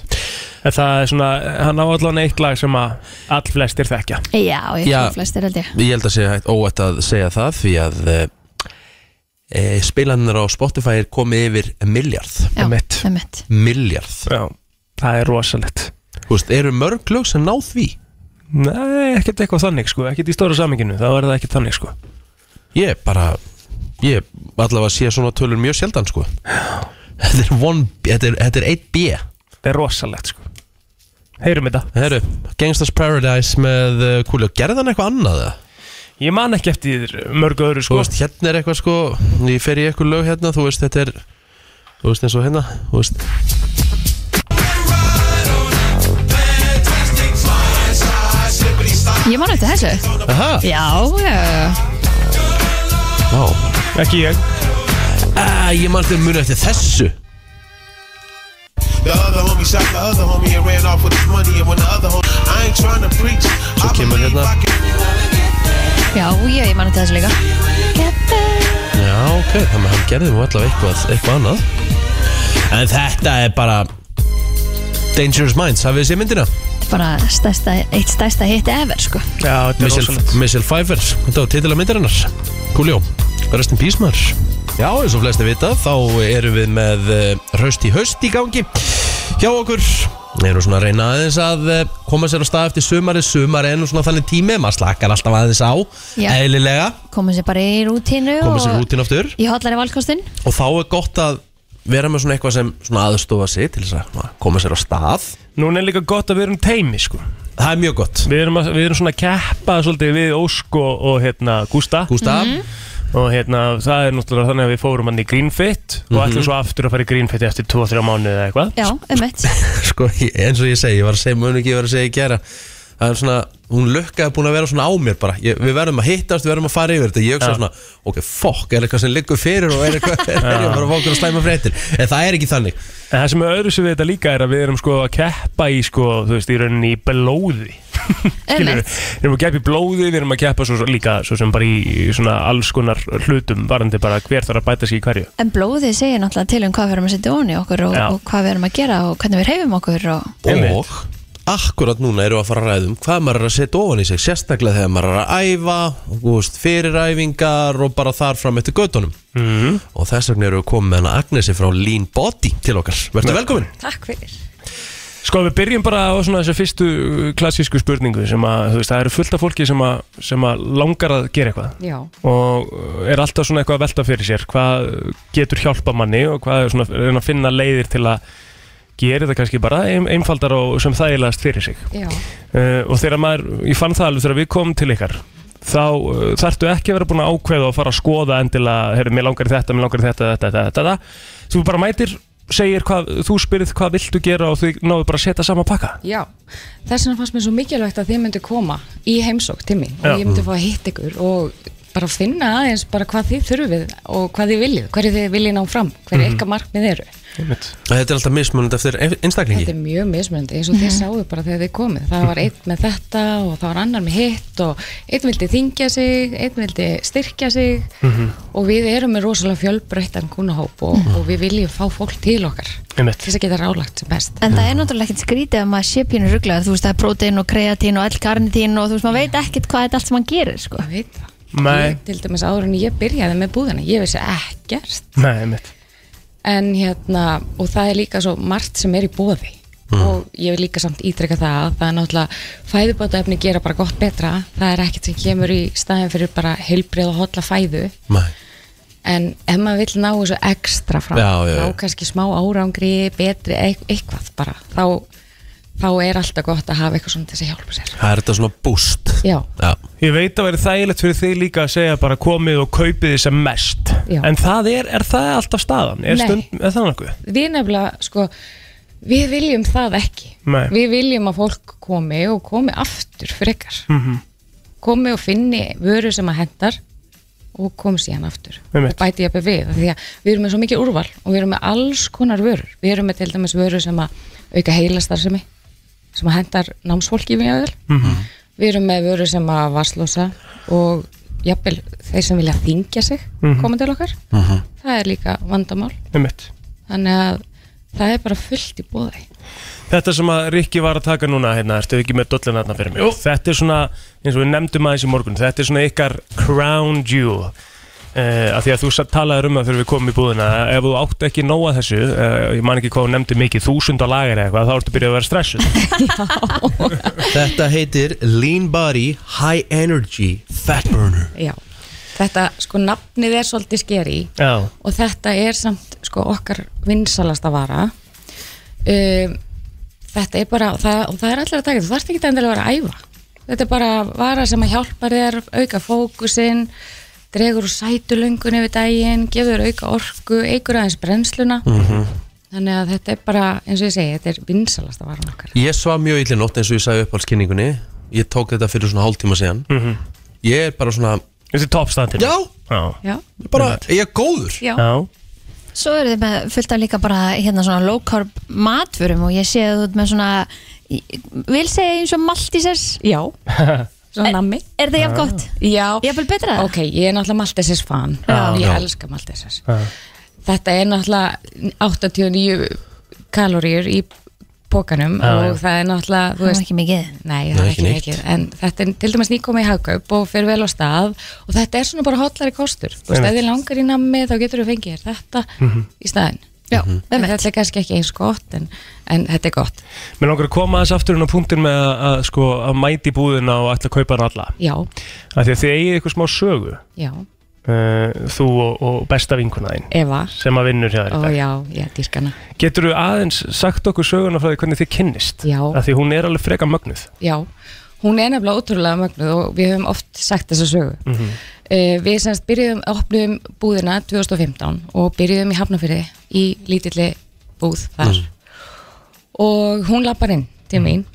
En það er svona, hann á allan eitt lag sem að all flestir þekkja
Já, ég
Já.
fyrir flestir held ég.
Ég held að segja hægt óætt að segja það því að uh, e, spilanir á Spotify er komið yfir miljard
Já,
mitt.
með mitt.
miljard
Já, það er rosalegt
Þú veist, eru mörg lög sem ná því?
Nei, ekkert eitthvað þannig sko, ekkert í stóra saminginu, þá er það ekkert þannig sko
Ég bara Ég allavega sé svona tölur mjög sjaldan sko Þetta er, one, þetta er, þetta er 1B
Það er rosalegt sko Heyrum þetta
Herru, Gangsta's Paradise með uh, Kúli og gerði hann eitthvað annað eða?
Ég man ekki eftir mörgu öðru
Þú
sko
veist, hérna er eitthvað sko Ég fer í eitthvað lög hérna, þú veist, þetta er Þú veist, eins og hérna, þú veist
Ég man eftir þessu.
Aha,
Já, já, já.
vá
Ekki ég
Æ, ég mann eftir muni eftir þessu
The other homie shot the other homie and ran off with his money. And when the other homie, I ain't trying to preach.
Svo
I
kemur
believe
hérna.
I can
Já, já, ég man eftir þessu líka. Get there.
Já, ok, þannig að hann gerði mú allavega eitthvað, eitthvað annað En þetta er bara Dangerous Minds, hafið þið séð myndina?
bara stærsta, eitt stærsta hitti ever sko.
Já, þetta er
Michelle,
rosalegt
Michelle Pfeiffer, þetta var titila myndarinnar Kúljó, rest in peace maður Já, eins og flesti vita, þá erum við með eh, Hraust í haust í gangi Hjá okkur erum svona að reyna aðeins að eh, koma sér á stað eftir sumari, sumari en svona þannig tími maður slakar alltaf aðeins á,
Já.
eðlilega
komið sér bara í rútínu
koma sér
og
rútin aftur
í hotlari valkostin
og þá er gott að vera með svona eitthvað sem svona aðstofa sig til þess að svona koma sér á stað
Núna er líka gott að við erum teimi sko
Það er mjög gott
Við erum, að, við erum svona að keppa svolítið við Ósk og, og hérna Gústa
Gústaf,
Og hérna það er náttúrulega þannig að við fórum hann í Greenfit
Mhm.
Og ætlum svo aftur að fara í Greenfit eftir 2-3 mánuði eða eitthvað
já, emmitt
sko, ég- eins og ég segi, ég var að segja mjög ekki, ég var að segja í gera það er svona, hún lukkaði búin að vera svona á mér bara, ég, við verðum að hittast, við verðum að fara yfir þetta ég hugsa
Já.
svona, ok, fokk, er eitthvað sem liggur fyrir og er eitthvað, er ég bara að fá okkur að slæma fréttir en það er ekki þannig,
En það sem er öðru sem við þetta líka er að við erum sko að keppa í sko, þú veist, í rauninni í blóði Skilurðu?
emmitt,
Við erum að keppa í blóði, við erum að keppa svo, svo líka svo sem bara í svona alls konar hlutum varandi bara hver þarf að bæta sig í hverju
en blóðið segir náttúrulega til um hvað við erum að setja onni okkur og,
Já.
og hvað við erum að gera og hvernig við reyfum okkur og
og akkurat núna erum við að fara að ræðum hvað maður er að setja ofan í sig, sérstaklega þegar maður er að æfa og þú veist, fyriræfingar og bara þar fram eftir göttunum mm. og þess vegna erum við komið með hana Agnesi frá Lean Body til okkar, verður velkomin
Takk fyrir
Sko við byrjum bara á svona þessu fyrstu uh, klassísku spurningu sem að þú veist það eru fullt af fólki sem að, sem að langar að gera eitthvað
Já,
og uh, er alltaf svona eitthvað að velta fyrir sér hvað getur hjálpa manni og hvað er svona reyna að finna leiðir til að gera þetta kannski bara ein, einfaldar og sem þægilegast fyrir sig
já,
uh, og þegar maður, ég fann það alveg þegar við komum til ykkar þá uh, þarftu ekki að vera búin að ákveða og fara að skoða endilega, heyrðu, mér langar í þetta, mér langar í þetta, þetta, þetta, þetta, þetta þú bara mætir, segir hvað, þú spyrir hvað viltu gera og þú náðu bara að setja saman pakka
já. Þess vegna fannst mér svo mikilvægt að þið myndu koma í heimsók til mín
Já.
og ég myndi fá að hitta ykkur og bara finna aðeins bara hvað þið þurfið og hvað þið viljið, hverju þið viljið ná fram, hverju ykkar markmið eru.
þetta er alltaf mismunandi eftir einstaklingi
Þetta er mjög mismunandi eins og þið sáðu bara þegar þið komið. Það var einn með þetta og það var annar með hitt og einn vildi þingja sig, einn vildi styrkja sig
Mhm.
og við erum með rosalega fjölbreyttan kúnahóp og, og við viljum fá fólk til okkar til
Einmitt.
þess að geta rálagt sem best.
En það er náttúrulega ekkert skrítið að maður sé pínur rugglaður, þú veist það er prótein og kreatín og allkarnitín og þú veist maður veit ekkert hvað þetta allt sem hann gerir sko.
Ég veit það.
Nei.
Ég, til dæmis áður en ég byrjaði með búðina, ég vissi ekkert.
Nei, mitt
En hérna, og það er líka svo margt sem er í bóði.
Mm.
Og ég vil líka samt ítreka það að það er náttúrulega fæðubótaefni gera bara gott betra. Það er ekkert sem kemur í staðin fyrir bara heilbrið og hotla fæðu.
Nei.
En ef maður vill ná þessu ekstra fram,
Já, já, já.
ná kannski smá árangri, betri, eit- eitthvað bara, þá, þá er alltaf gott að hafa eitthvað svona til þess að hjálpa sér.
Það er þetta svona boost [laughs]
Já.
Já,
Ég veit að verið þægilegt fyrir þig líka að segja bara komið og kaupið þið sem mest
Já.
en það er, er það alltaf staðan? Er,
Nei.
stund, er það nokkuð?
við nefnilega sko, við viljum það ekki
Nei.
við viljum að fólk komi og komi aftur frekar mm -hmm. komi og finni vöru sem að hendar og komi síðan aftur
Einmitt.
og bæti jafnveg við af því að við erum með svo mikið úrval og við erum með alls konar vörur við erum með til dæmis vörur sem að auka heilastarfsemi sem að hendar námsfólki mjög vel -hmm.
Mhm.
við erum með vörur sem að vaslosa og jafnvel þeir sem vilja þingja sig koma til okkar -hmm. það er líka vandamál
Mhm. Einmitt.
þannig að það er bara fullt í bóði
Þetta sem að Rikki var að taka núna hérna, ertu ekki með dollin hérna fyrir mig? Þetta er svona, eins og við nefndum aðeins í morgun, þetta er svona ykkar crown jewel uh, af því að þú satt talaður um það þegar við komum í búðina ef þú átt ekki nóga þessu uh, ég man ekki hvað þú nefndi mikið, þúsund á lagar eða eitthvað þá ertu byrjað að vera stressuð
Þetta heitir Lean Body High Energy Fat Burner
Já. þetta sko nafnið er svolítið skeri
Já,
og þetta er samt sko okkar vinsalasta vara um, þetta er bara það, og það er allir að taka, þú þarft ekki endilega að vera að æfa þetta er bara vara sem að hjálpa þér auka fókusinn dregur úr sætulöngun yfir daginn gefur þér auka orku, eigur aðeins brennsluna
Mhm.
þannig að þetta er bara eins og ég segi, þetta er vinsalasta varan okkar
Ég svaf mjög illi nótt eins og ég sagði upp alls kynningunni Ég tók þetta fyrir svona hálftíma síðan
Mhm.
-hmm. Ég er bara svona
þetta er toppstandin
Já,
Já,
Já,
bara, ég er góður
já,
já,
Svo eru þið með fullt af líka bara hérna svona low carb matfurum og ég sé að þú ert með svona ég vil segja eins og maltisers
já. svona nammi
Er það jafn gott?
Já,
Ég vil betra það
ok, ég er náttúrulega Maltesers fan
Já.
Ég
Já.
elska Maltesers Þetta er náttúrulega 89 kaloríur í pókanum
Já, já.
og það er náttúrulega, þú
Það var
veist
ekki mikið
Nei,
Nei,
það er
ekki
ekki
neitt.
mikið, en þetta er til dæmis nýkomið í hagkaup og fer vel á stað og þetta er svona bara hotlari kostur þú veist,
Einmitt.
ef þið langar í nammi þá getur við fengið þér þetta í staðinn
Já,
Mhm.
en
einmitt.
þetta er kannski ekki eins gott en, en þetta er gott,
Mér langar að koma aðeins aftur inn á punktin með að, að, sko, að mæti búðina og ætla að kaupa hann alla
já,
af því að þið eigið eitthvað smá sögu
já
uh, þú og, og besta vinkuna þín
Eva,
sem að vinnur hjá þér
og
í dag.
já, já, dýrkana
Getur þú aðeins sagt okkur söguna frá því hvernig þið kynnist?
Já.
Af því hún er alveg freka mögnuð.
Já, hún er nefnilega ótrúlega mögnuð og við höfum oft sagt þessa sögu. Mm við semst byrjuðum, opnuðum búðina 2015 og byrjuðum í Hafnafyrði í lítilli búð þar. Og hún lappar inn til mín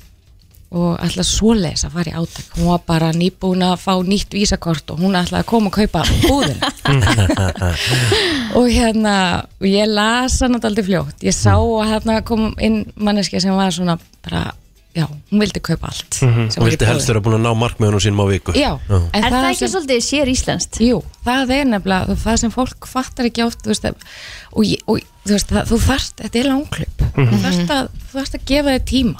og ætlaði svoleiðis að fara í átak. Hún var bara nýbúin að fá nýtt vísakort og hún ætlaði að koma og kaupa búðina. og hérna, og ég las hann alltaf fljótt. Ég sá að hérna kom inn manneski sem var svona bara, já, hún vildi kaupa allt. Mm -hmm.
Hún vildi Mhm. helst vera búin að ná markmiðunum sínum á viku
Já, en
Er það ekki
sem-
svolítið sér íslenskt?
Jú, það er nefnilega það sem fólk fattar ekki oft þú veist, að- og, ég- og þú veist, það, þú þarft þetta er langklip, þú þarft að þú þarft að gefa þig tíma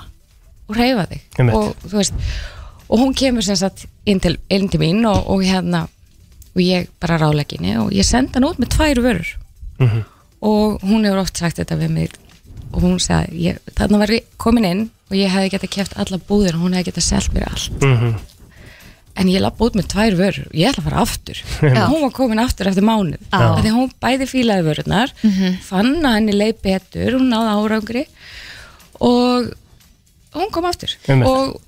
og reyfa þig
Einmitt.
og þú veist og hún kemur sem sagt inn til, inn til mín og, og hérna og ég bara rálegginni og ég senda hann út með tvær vörur og hún hefur oft sagt þetta við mig og hún sagði, ég, þarna var ég komin inn og ég hefði getað keft alla búðir og hún hefði getað selt mér allt en ég lappa út með tvær vörur og ég ætla að fara
[laughs]
aftur og hún var komin aftur eftir mánuð
Já.
af því að hún bæði fílaði vörurnar fann að henni leið betur, hún náði árangri og hún kom aftur
Einmitt.
og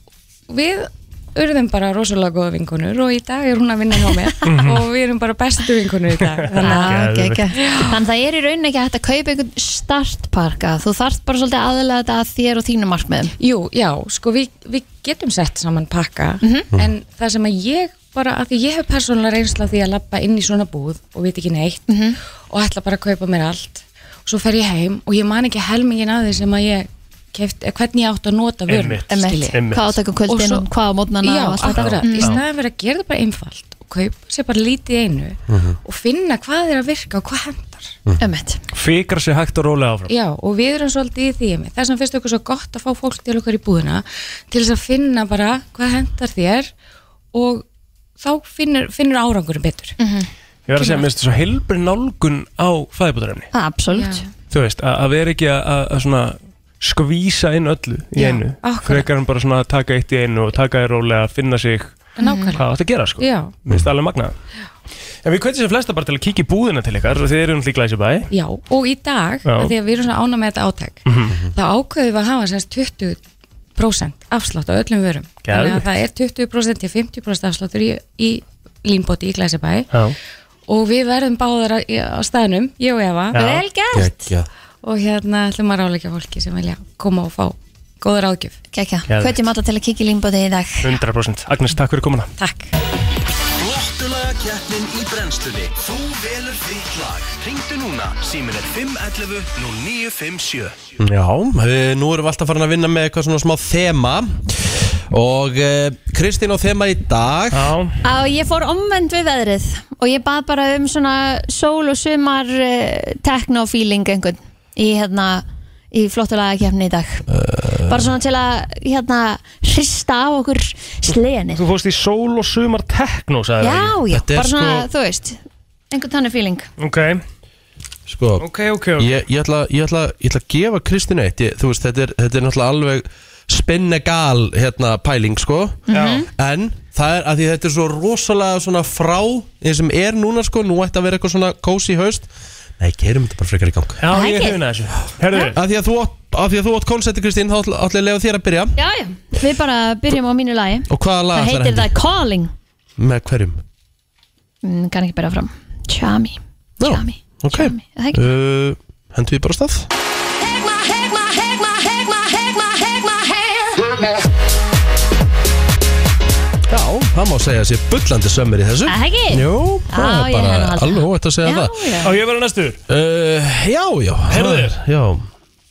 við urðum bara rosalega góða vinkonur og í dag er hún að vinna hjá
[laughs]
mér og við erum bara bestu vinkonur í dag þannig að
Ah,
Mhm. Geðveikt.
okay, okay. Þannig að það er í rauninni ekki hægt að kaupa einhvern startparka Þú þarft bara svolítið aðlega þetta að þér og þínum markmiðum
Jú, já, sko við, við getum sett saman pakka
Mhm.
Mhm.
en það sem að ég bara, að því ég hef persónulega reynsla af því að lappa inn í svona búð og veit ekki neitt
Mhm.
og ætla bara að kaupa mér allt og svo fer ég heim og ég man ekki helmingin að því sem að ég keft, hvernig ég átt að nota vörn
Einmitt.
Emmett,
Einmitt.
hvað átökum
Og
kvöldin,
svo-
hvað á mótnana
Já,
og allt þetta Mm.
akkurat, í staðan verið að gera það bara einfalt og kaupa sér bara lítið í einu og finna hvað er að virka og hvað hendar
Emmett
Fikar sér hægt og rólega áfram.
Já, og við erum svolítið í því einmitt. þess vegna finnst okkur svo gott að fá fólk til okkar í búðina til þess að finna bara hvað hendar þér og þá finnur, finnur árangurum betur
Mhm.
Ég verð að segja, mér finnst þetta svo heilbrið nálgun á fæðibútarefni.
Absolutt,
Já.
Þú veist, að, að vera ekki að, að, að svona skvísa inn öllu í
Já,
einu.
akkurat.
Frekar hann bara svona að taka eitt í einu og taka þér rólega, finna sig
Nákvæmlega
hvað átt að gera, sko.
Já,
Mér finnst það alveg magnað. En við kveitum sér flesta bara til að kíkja í búðina til ykkar og þið eru náttúrulega í Glæsibæ.
já, og í dag
Já.
að því að við erum svona ána með þetta átæk
Mhm.
þá ákveðum við að hafa semst 20% afslátt á öllum vörum þannig
Geðveikt.
að það er 20% til 50% afsláttur í, í línbóti í Glæsibæ
Já.
og við verðum báðar á, á staðnum, ég og Eva
Já.
vel gert
Gekja
og hérna ætlum að ráleika fólki sem vilja koma og fá góða ráðgjöf.
Kekja,
Geðveikt.
hvetjum alla til að kikið límbóti í dag
100%. Agnes, takk fyrir komuna.
Takk.
Flottulaga keppnin í brennslunni Þú velur þitt lag Ringdu núna, símin er 511 0957
Já, við, nú erum við alltaf farin að vinna með eitthvað svona smá þema Og eh, Kristín á þema í dag
Já.
Á, ég fór omvend við veðrið og ég bað bara um svona sól og sumar uh, techno-feeling einhvern í hérna í flottulega kefni í dag
Eh.
bara svona til að hérna hrista á okkur sleginni
Þú fórst í sól og sumar tekno,
já,
sagði
já,
Þetta er
bara svona,
sko-
þú veist einhvern tannig feeling
Ok,
Sko,
ok, ok. ok.
ég, ég, ætla, ég, ætla, ég ætla að gefa Kristín eitt ég, Þú veist, þetta er, þetta er náttúrulega alveg spinnegal hérna pæling, sko
Já.
En það er að því þetta er svo rosalega svona frá Því sem er núna, sko, nú ætti að vera eitthvað svona cozy haust Nei, gerum þetta bara frekar í gang
Já,
Það
ég er
ekki.
hrifin að þessu. Herðu,
Af því að þú átt, af því að þú átt koncepti, Kristín, þá ætla ætla ég að lefa þér að byrja
já, já, við bara byrjum á mínu lagi
Og hvaða lag
það
ætlarðu að
heitir
henda?
það Calling
Með hverjum?
mm, kann ekki byrja fram Chami,
Já,
Chami,
ok.
Chami er það ekki?
Uh, hendu við bara af stað Já, það má segja að sé bullandi sömmur í þessu
Er það ekki?
Jú, það
Já,
er
ég hefði
bara
haldið
alveg
það.
óvægt að segja
já,
það
já.
á ég að vera næstur.
uh, Já, já
Heyrðu
það er- Já,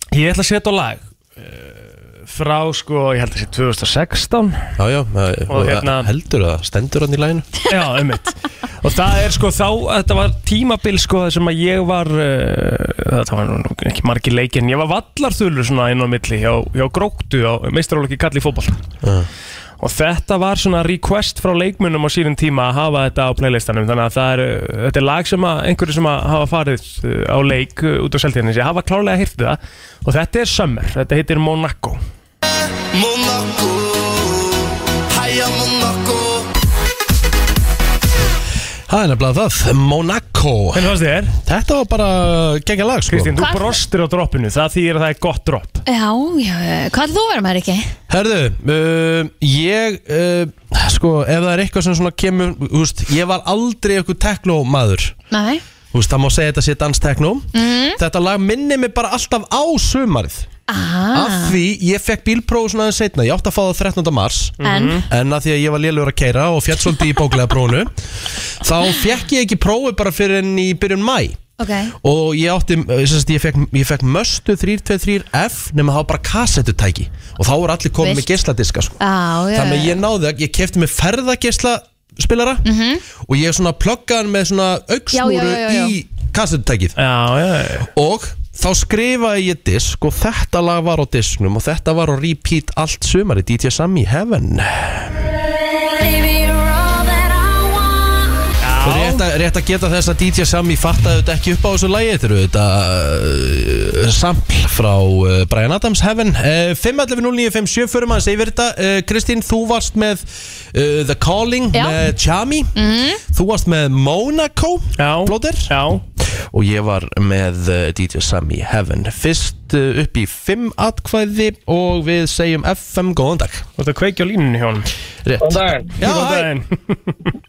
Ég ætla að setja á lag eh, frá, sko, ég held að sé 2016.
já, já,
Og
og,
hérna-
heldur það, stendur hann í læginu
Já, einmitt. Og það er sko þá, þetta var tímabil sko þar sem að ég var, uh, það var nú ekki margi leikir, en ég var vallarþulur svona inn á milli hjá, hjá Gróktu á meistaróleiki kalli fótball. Og þetta var svona request frá leikmunum á sínum tíma að hafa þetta á playlistanum, þannig að það er, uh, þetta er lag sem að einhverju sem að hafa farið uh, á leik uh, út á seltíðaninsi, hafa klárlega hýrt það og þetta er Summer, þetta heitir Monaco.
Monaco Hæja Monaco
Það er nefnilega það, Monaco
Hvernig fannst þér?
Þetta var bara gegja lag sko
Kristín, þú
Hvað-
brostir á droppinu, það þýðir að það er gott dropp.
Já, já, já. hvað þú verður maður ekki?
Herðu, uh, ég uh, sko, ef það er eitthvað sem svona kemur þú veist, ég var aldrei eitthvað tekno maður
Nei, Mm,
Þú veist, það má segja þetta sé danstekno
Mhm.
Þetta lag minni mig bara alltaf á sumarið Af
aha,
því ég fekk bílpróf svona aðeins setna Ég átti að fá það 13. mars Mhm.
en
En að því að ég var lélugur að keira og fjall svolítið í bóklega prófunu Þá fekk ég ekki prófi bara fyrir enn í byrjun mæ
Ok,
Og ég átti, eh, sem sagt, ég fekk, ég fekk möstu 323F Nefn að það var bara kassettutæki Og þá voru allir komið
Vilt.
með geisladiska sko.
á, já, Mhm.
Þannig að ég náði að ég kefti með ferðagesla spilara og ég svona pluggaði hann með svona
Já,
auksnúru
já, já, já, já.
í kassetutækið
Já, já, já.
og þá skrifaði ég disk og þetta lag var á disknum og þetta var á repeat allt sumari DJ Sammy Heaven Og rétt, að, rétt að geta þess að DJ Sammy fattaði þetta ekki upp á þessu lagi Þetta eru þetta uh, sampl frá uh, Brian Adams Heaven uh, 5.11.09.57 fyrir maður segir þetta uh, Kristín, þú varst með uh, The Calling
Já.
með Chami mm. Þú varst með Monaco
Já.
Blóðir
Já,
og ég var með uh, DJ Sammy Heaven fyrst uh, upp í 5 atkvæði og við segjum FM góðan dag
þú ert að kveikja á línunni hjá hann
Rétt.
Góðan daginn,
Já, hæ,
[laughs]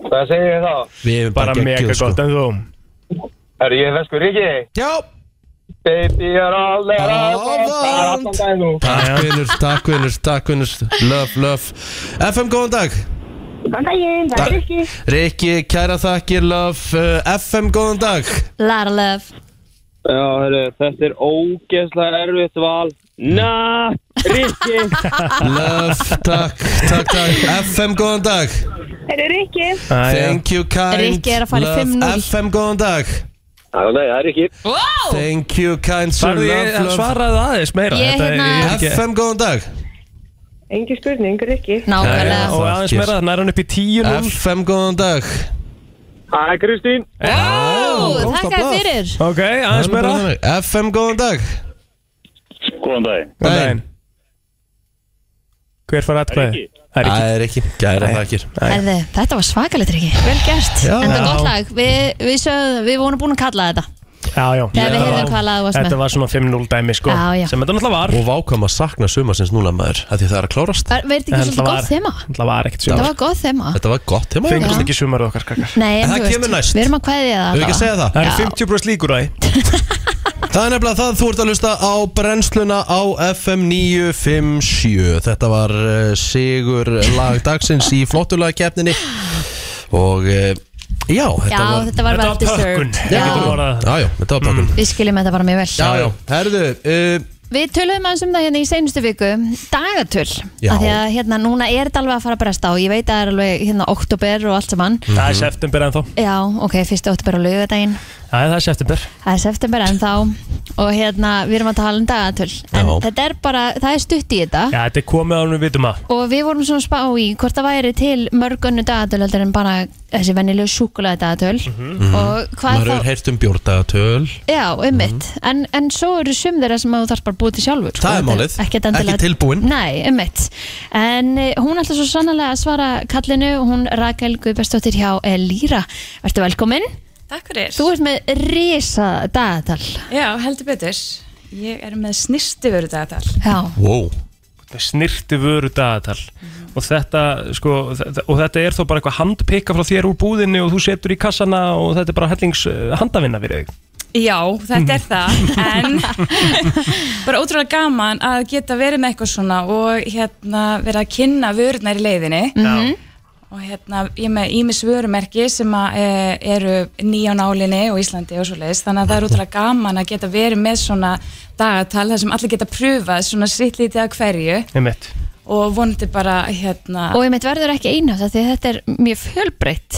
hvað segir þið þá?
við hefum
Bara
bara
mega
geggjuð sko
gott, en þú
Er ég feskur Ríki?
Já,
Baby, ég er allir
Alvand.
daginn nú
takk vinnur, takk vinnur, takk vinnur Löf, löf FM góðan dag
Góðan daginn, það
Takk.
er ekki.
Rikki, kæra þakkir, löf uh, FM góðan dag
lara love
Já, heru, þetta er ógeðslega erfitt val Na, Ríki
Löf, takk, takk, takk FM góðan dag
Það er ekki.
Æja.
Thank you kind
Rikki er að fara í
Love,
5-0.
FM góðan dag
Já, nei, það er Ríki
Wow,
Thank you kind sir,
Farðu ég
love,
að
love
svaraði aðeins meira
Ég
Þetta er-
hérna-
ég er ekki-
FM góðan dag
Engi spurning, það er ekki.
nákvæmlega
Og aðeins
Þakkir.
meira, þannig er hann upp í tíu núl
FM, góðan dag
Hæ, Kristín
Ó,
Ó,
þakka
blað.
þér fyrir
Ok, aðeins meira
FM, góðan dag
Góðan daginn.
Góðan daginn. Hver fara atkvæði? Það er
Það
ekki
er ekki, gæra þakkir
Herði, þetta var svakalegt ekki, vel gert
Já.
Enda
Já.
gott lag, við, við, sögðum- við vorum búin að kalla þetta
Já, já
Þegar við
Þetta
heyrðum
var-
hvað lagið varst með.
Þetta var svona 5-0 dæmi sko
Já, já.
Sem þetta náttúrulega var
Og vákvæm að sakna sumarsins núna maður af Því það er að klárast
Var- Verði
En
ekki svolítið gott þema?
Þetta var ekkert
Það
sumar
var gott þema
Þetta var gott hjá maður
Fengist ekki sumarið okkar krakkar
Nei, en
það
þú veist,
kemur næst.
við erum að kveðja það
Hefur ekki að segja það?
Það er
Já.
50% líkur á því
Það er nefnilega það, þú ert að hlusta á brennsluna á FM 957 Þetta var uh, sigur lag dagsins í flottulega keppninini Og uh, já,
Já,
þetta var
þetta var well
Þetta var pökkun
deserved Mm.
Ég getur
Já,
bara
Já, já, þetta var pakkun
Við skiljum þetta bara mjög vel
Já, já, herðu uh,
Við töluðum aðeins um það hérna í seinustu viku dagatöl,
Já.
af því að hérna núna er þetta alveg að fara að bresta og ég veit að það er alveg hérna oktober og allt saman
Mhm.
Það er september ennþá
Já, ok, fyrstu oktober á laugardaginn
Mhm. Já, það er september
það er september ennþá og hérna við erum að tala um dagatöl en
Já.
þetta er bara, það er stutt í þetta
Já, þetta er komið ánum við vitum að
og við vorum svona að spá í hvort það væri til mörg önnu dagatöl heldur en bara þessi venjulegu súkulega dagatöl Mm.
Mhm.
og hvað
Maður
þá
hefur heyrt um bjórdatöl
Já, ummitt, en, en svo eru sum þeirra sem að þú þarf bara að búa til sjálfur
Það er málið.
Ekki,
Ekki tilbúin.
Nei, ummitt En eh, hún ætla svo sannlega að svara kallinu Hún Rakel Guðbestóttir hjá Elíra Vertu velkomin
Takk fyrir.
Þú ert með risa dagatal
Já, heldur betur. Ég er með snisti veru dagatal.
Já,
Wow
snirti vöru dagatal og, þetta, sko, þetta, og þetta er þó bara eitthvað handpikka frá þér úr búðinni og þú setur í kassana og þetta er bara hellings eh, handavinna fyrir þig
Já, þetta er það, en [laughs] bara ótrúlega gaman að geta verið með eitthvað svona og hérna verið að kynna vörunar í leiðinni
Já,
og hérna ég er með Ímis vörumerki sem að, e, eru nýja á nálinni og Íslandi og svoleiðis, þannig að það er ótrúlega gaman að geta verið með svona dagatal þar sem allir geta pröfað svona sitt lítið að hverju
einmitt
og vonandi bara hérna
og ummitt verður ekki einhátt af Því að þetta er mjög fjölbreytt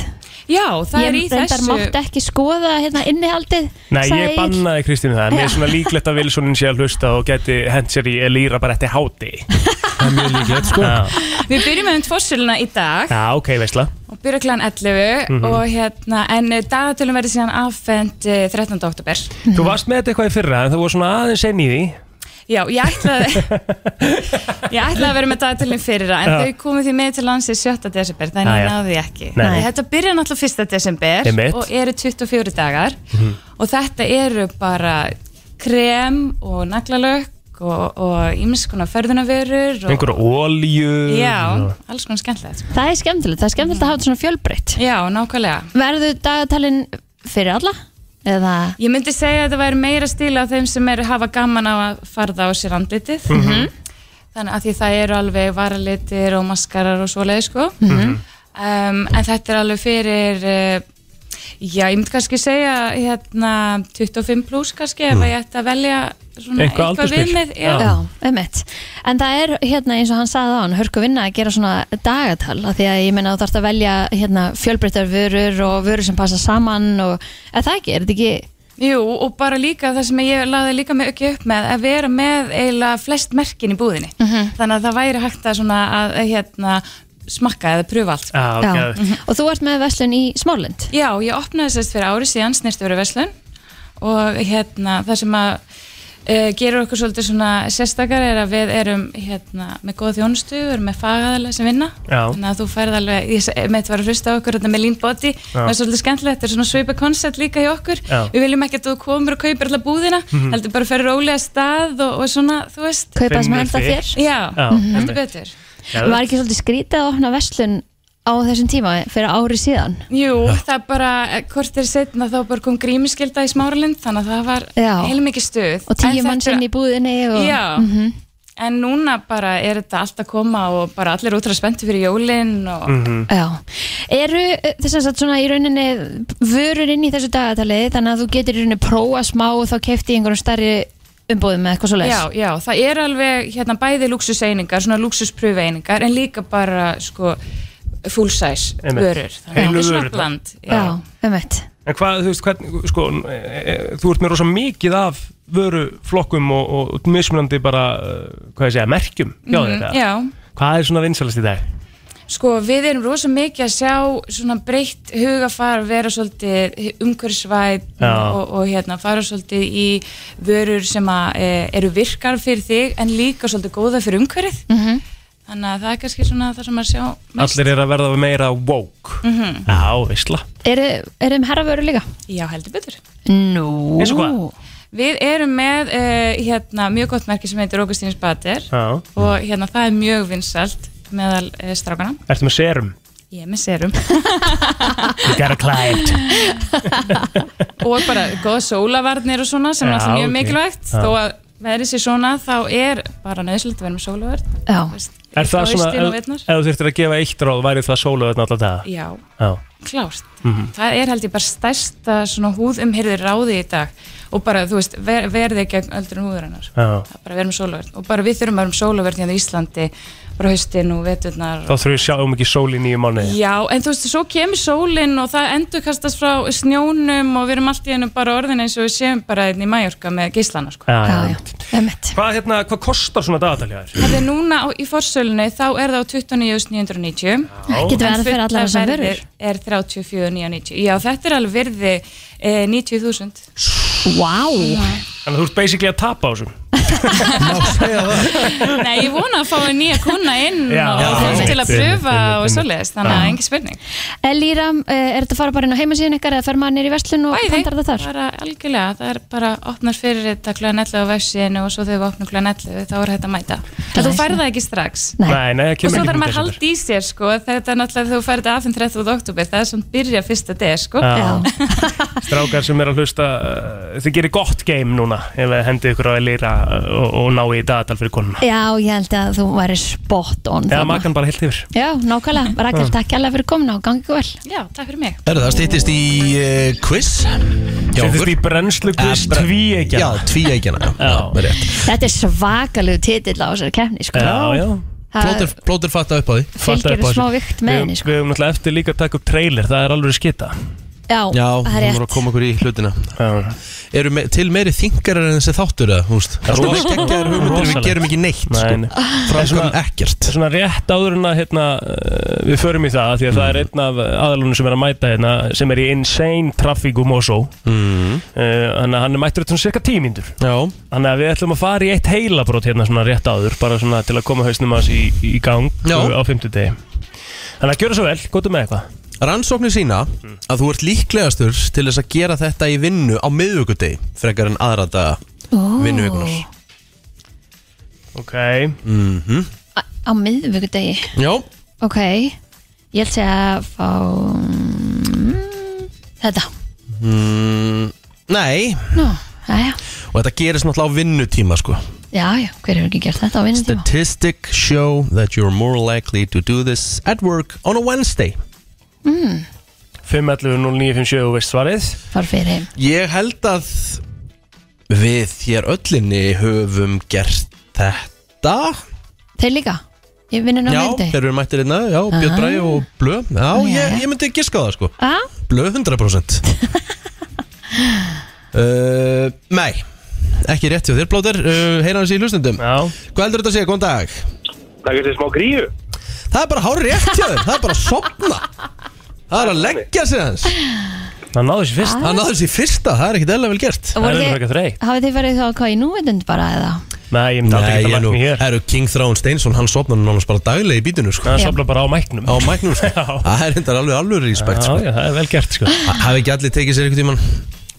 Já, það er í
Ég reyndar
þessu.
mátt ekki skoða hérna innihaldið
Nei, ég
sagði
bannaði Kristínu það, en mér
Já.
er svona líklegt að Wilsonin sé að hlusta og geti hent sér í Elíra bara eftir háti Það er mjög líklegt, sko Já,
Við byrjum með um tvosiluna í dag
Já ok, veistla
og byrja klæðan 11
Mhm.
og hérna, en eh, dagatölum verður síðan affend eh, 13. oktober.
Þú varst með þetta eitthvað í fyrra, en þú voru svona aðeins einn í því
Já, ég ætlaði
[laughs]
ég ætlaði að vera með dagatölum fyrra en
Já.
þau komið því með til landsið 7. desember þannig
Já,
ég
já.
náði því ekki
Nei.
Þetta byrja náttúrulega 1. desember
Einmitt. Mhm.
og eru 24 dagar og þetta eru bara krem og naglalökk og, og ímis konar ferðunarverur og,
Einhverja ólíu
Já, alls konar skemmtilegt sko.
Það er skemmtilegt, það er skemmtilegt að hafa þetta svona fjölbreytt
Já, nákvæmlega
Verður dagatalinn fyrir alla? Eða
Ég myndi segja að það væri meira stíla á þeim sem eru hafa gaman á að farða á sér andlitið þannig að því það eru alveg varalitir og maskarar og svoleið sko um, en þetta er alveg fyrir uh, já, ég myndi kannski segja hérna 25 pluss kannski ef
Mm.
að ég ætti að velja svona
Eitthvað
viðmið
Já, einmitt En það er hérna eins og hann sagði á hann Hörku vinna að gera svona dagatal af Því að ég meina þú þarfst að velja hérna, fjölbreyttar vörur og vörur sem passa saman og, Er það ekki? Er þetta ekki
Jú, og bara líka það sem ég laði líka með ekki upp með að vera með eiginlega flest merkin í búðinni þannig að það væri hægt að, svona, að hérna, smakka eða pröfa allt sko.
Já. Mhm. Og þú ert með verslun í Smárlind
Já, ég opnaði sérst fyrir ári síðan snirtveru verslun og hérna það sem að e, gerur okkur svolítið svona sérstakar er að við erum hérna með góða þjónustu, við erum með fagaðalega sem vinna
Já.
þannig að þú færð alveg, ég meitt var að hlusta á okkur þetta með lean body, það er svolítið skemmtilegt þetta er svona svipa koncept líka hjá okkur
Já.
við viljum ekki að þú komur og kaupir alltaf búðina
Mhm.
heldur bara fyrir rólega stað og, og svona, þú veist
Kaupa það sem Finnur hentar þér. þér.
Já,
Já,
heldur
einmitt.
betur
Var ekki svolítið skrítið að opna verslun á þessum tíma fyrir ári síðan?
Jú, það bara, eh, hvort er setna þá bara kom grímiskylda í smáralind þannig að það var
Já.
heilmikið stuð
Og tíu
En
manns
þetta-
inn í búðinni og,
Já.
Mhm.
En núna bara er þetta allt að koma og bara allir útra spennti fyrir jólinn og
Mhm.
Já. Eru eh, þess að svona í rauninni vörur inn í þessu dagatali þannig að þú getur í rauninni prófa smá og þá kefti í einhverjum starri umbúðum með eitthvað svo
Já, já, það er alveg hérna bæði luxuseiningar, svona luxuspröfeiningar en líka bara sko full size
Einmitt.
vörur þannig að
Heilu
þetta er svona
vörurnar.
bland
Já. Já,
einmitt
En hvað, þú veist, hvernig, sko, e, e, þú ert með rosa mikið af vöruflokkum og, og, og mismunandi bara, eh, hvað ég segja, merkjum hjá
Mhm,
þetta
já.
Hvað er svona vinsalast í dag?
Sko, við erum rosa mikið að sjá svona breytt hugafar vera svolítið umhverfisvæð
Já.
og, og hérna fara svolítið í vörur sem að, e, eru virkar fyrir þig en líka svolítið góða fyrir umhverfið
-hmm.
þannig að það er kannski svona það sem að sjá
Allir eru að verða meira woke
mm
Já, veistla
Er, er þeim herravöru líka?
Já, heldur betur
Nú
Eins og hvað?
Við erum með uh, hérna, mjög gott merki sem heitir Augustínus Bater
Já
og hérna, það er mjög vinsalt meðal uh, strákana
Ertu með serum?
Ég er með serum
You got a client
[laughs] og bara góða sólavarnir og svona sem
Já,
er alltaf mjög
ok.
mikilvægt
Já.
þó að verið sér svona þá er bara nöðslega að vera með sólavarn
Já
Er það svona,
haustin og
ef,
veitnar?
ef þú þurftir að gefa eitt ráð, væri það sólaðurna alltaf það?
Já,
Já
klárt
Mhm.
Það er held ég bara stærsta svona húðumhyrði ráði í dag og bara, þú veist, ver, verði gegn öldrun húður hennar
Já.
Það er bara að vera með sólaverð og bara við þurfum að vera með sólaverð hérna á Íslandi bara haustin og veturnar
Þá þurfum við að sjá um ekki sól í nýju mánuði
Já, en þú veist, svo kemur sólinn og það endurkastast frá snjónum og við erum allt í hennu bara orðin eins og við séum bara einn í Mallorca með geislana, sko.
Já, já.
Emmett.
Hvað, hérna, hvað kostar svona dagatæljar?
Það er núna á, í forsölunni, þá er það á 29.990.
Getur verið að fyrir allar þessar
En fulla
vörur?
verðið er 34.990. Já, þetta er alveg virði eh,
[laughs]
90.000.
Vá! Wow.
Þannig að þú ert basically að tapa á þessum
Nei, ég vona að fá nýja kuna inn
Já,
og
já,
fólk
Ah,
til
einmitt,
að pröfa
einmitt,
og
einmitt. Ah.
svoleiðist, þannig að
Já.
engin spurning.
Elíra, eh, er þetta að fara bara inn á heimasíðin ykkar eða fer maður nýr í verslun og pandar þetta þar?
bara algjörlega, það er bara opnar fyrir þetta klæðan 11 á vefsíðinu og svo þegar við opnum klæðan 11 þá er þetta að mæta. En þú færð það ekki strax.
Nei, nei, það
Og
kemur
svo
ekki
þarf
fyrir
maður að
desember.
halda í sér sko, þetta er náttúrulega þegar þú færði aðfinn 30. oktober, það er sem byrja fyrsta deg sko. [laughs]
Já. Strákar sem er að hlusta uh, Þið gerir gott game núna Ef þið hendið ykkur á að lýra og, og ná í dagatal fyrir konuna
Já, ég held að þú væri spot on
Eða
þarna.
makan bara heilt yfir
Já, nákvæmlega, Rakel,
Já.
takk alveg fyrir komna og gangi ykkur vel
Já, takk fyrir mig
Herðu, það stýttist í uh, quiz Eh,
Styttist í brennslu quiz tvíeykjanna.
Já, tvíeikjana Já, já.
Þetta er svakalegu titill á þessari kemni sko.
já.
Það-
Plóter, plóter fatta upp á því
Fylgir
Fattaði bara
smá
þessu.
vigt með
Við-
henni, sko.
Við höfum náttúrulega eftir líka að taka upp trailer Það er alveg skita
Já, það er
voru
rétt
að koma okkur í hlutina
Já.
Eru me til meiri þingarar en þessi þáttur eða, þú veist Það er svona
Rosa-
skeggjaðar hugmyndir, við
rosalegt.
gerum ekki neitt sko.
Nei, nei. En
Framkvæmum
svona-
ekkert
Svona rétt áður en að hérna, uh, við förum í það Því að það er
Mm.
einn af aðalunum sem er að mæta hérna, Sem er í Insane Traffic um Oso mm. Þannig að hann er mættur þetta svona cirka tímindur Þannig að við ætlum að fara í eitt heilabrót hérna svona rétt áður Bara svona til að koma hausnum hans í, í gang
Já.
uh, á fimmtudegi Þannig að gjöra svo vel, góttu með eitthvað
Rannsóknir sína að þú ert líklegastur til þess að gera þetta í vinnu á miðvíkudegi frekar en aðra daga
Ó.
vinnuvíkunar
Ok
mm -hmm.
Á- Á miðvíkudegi
Já,
Ok, ég held sé að fá mm, Þetta
mm, nei
Nú, aðja,
og þetta gerist náttúrulega á vinnutíma sko
já, já, hver hefur ekki gert þetta á vinnutíma
Statistic show that you're more likely to do this at work on a Wednesday
mm,
5.11.09.57 og veist svarið
Far fyrir heim
Ég held að við hér öllinni höfum gert þetta
Þeir líka, ég vinnur á
Já,
miðvíkudegi
þeir eru mættir hérna, já, Björn
Ah.
Bræði og Blö Já,
Já,
ég,
já.
ég myndi giska á það sko
Já,
Blö
[laughs]
100% uh, Nei, ekki rétt hjá þér Blóter uh, Heyra hans í hlustundum
Já.
Hvað heldur þetta að segja, góðan dag
Það er smá gríu
Það er bara hár rétt hjá þér, það er bara að sopna Það er að leggja sig hans
Hann náður sér fyrst
Hann náður sér fyrsta, það er ekkit eða vel gert
Og voruð þið- Hafið þið verið þá hvað í núvitund bara eða?
Nei, ég myndi aldrei
Nei,
geta
ég
lagt
nú,
mig hér
herru, King Þráin Steinsson, hann sopnar nánast bara daglega í bítinu, sko.
Hann sofnar bara á mæknum
Á mæknum,
[laughs]
sko. Það er hendar alveg alveg respekt,
Já,
sko.
já, það er vel gert sko
Ha- Hafi ekki allir tekið sér einhvern tíman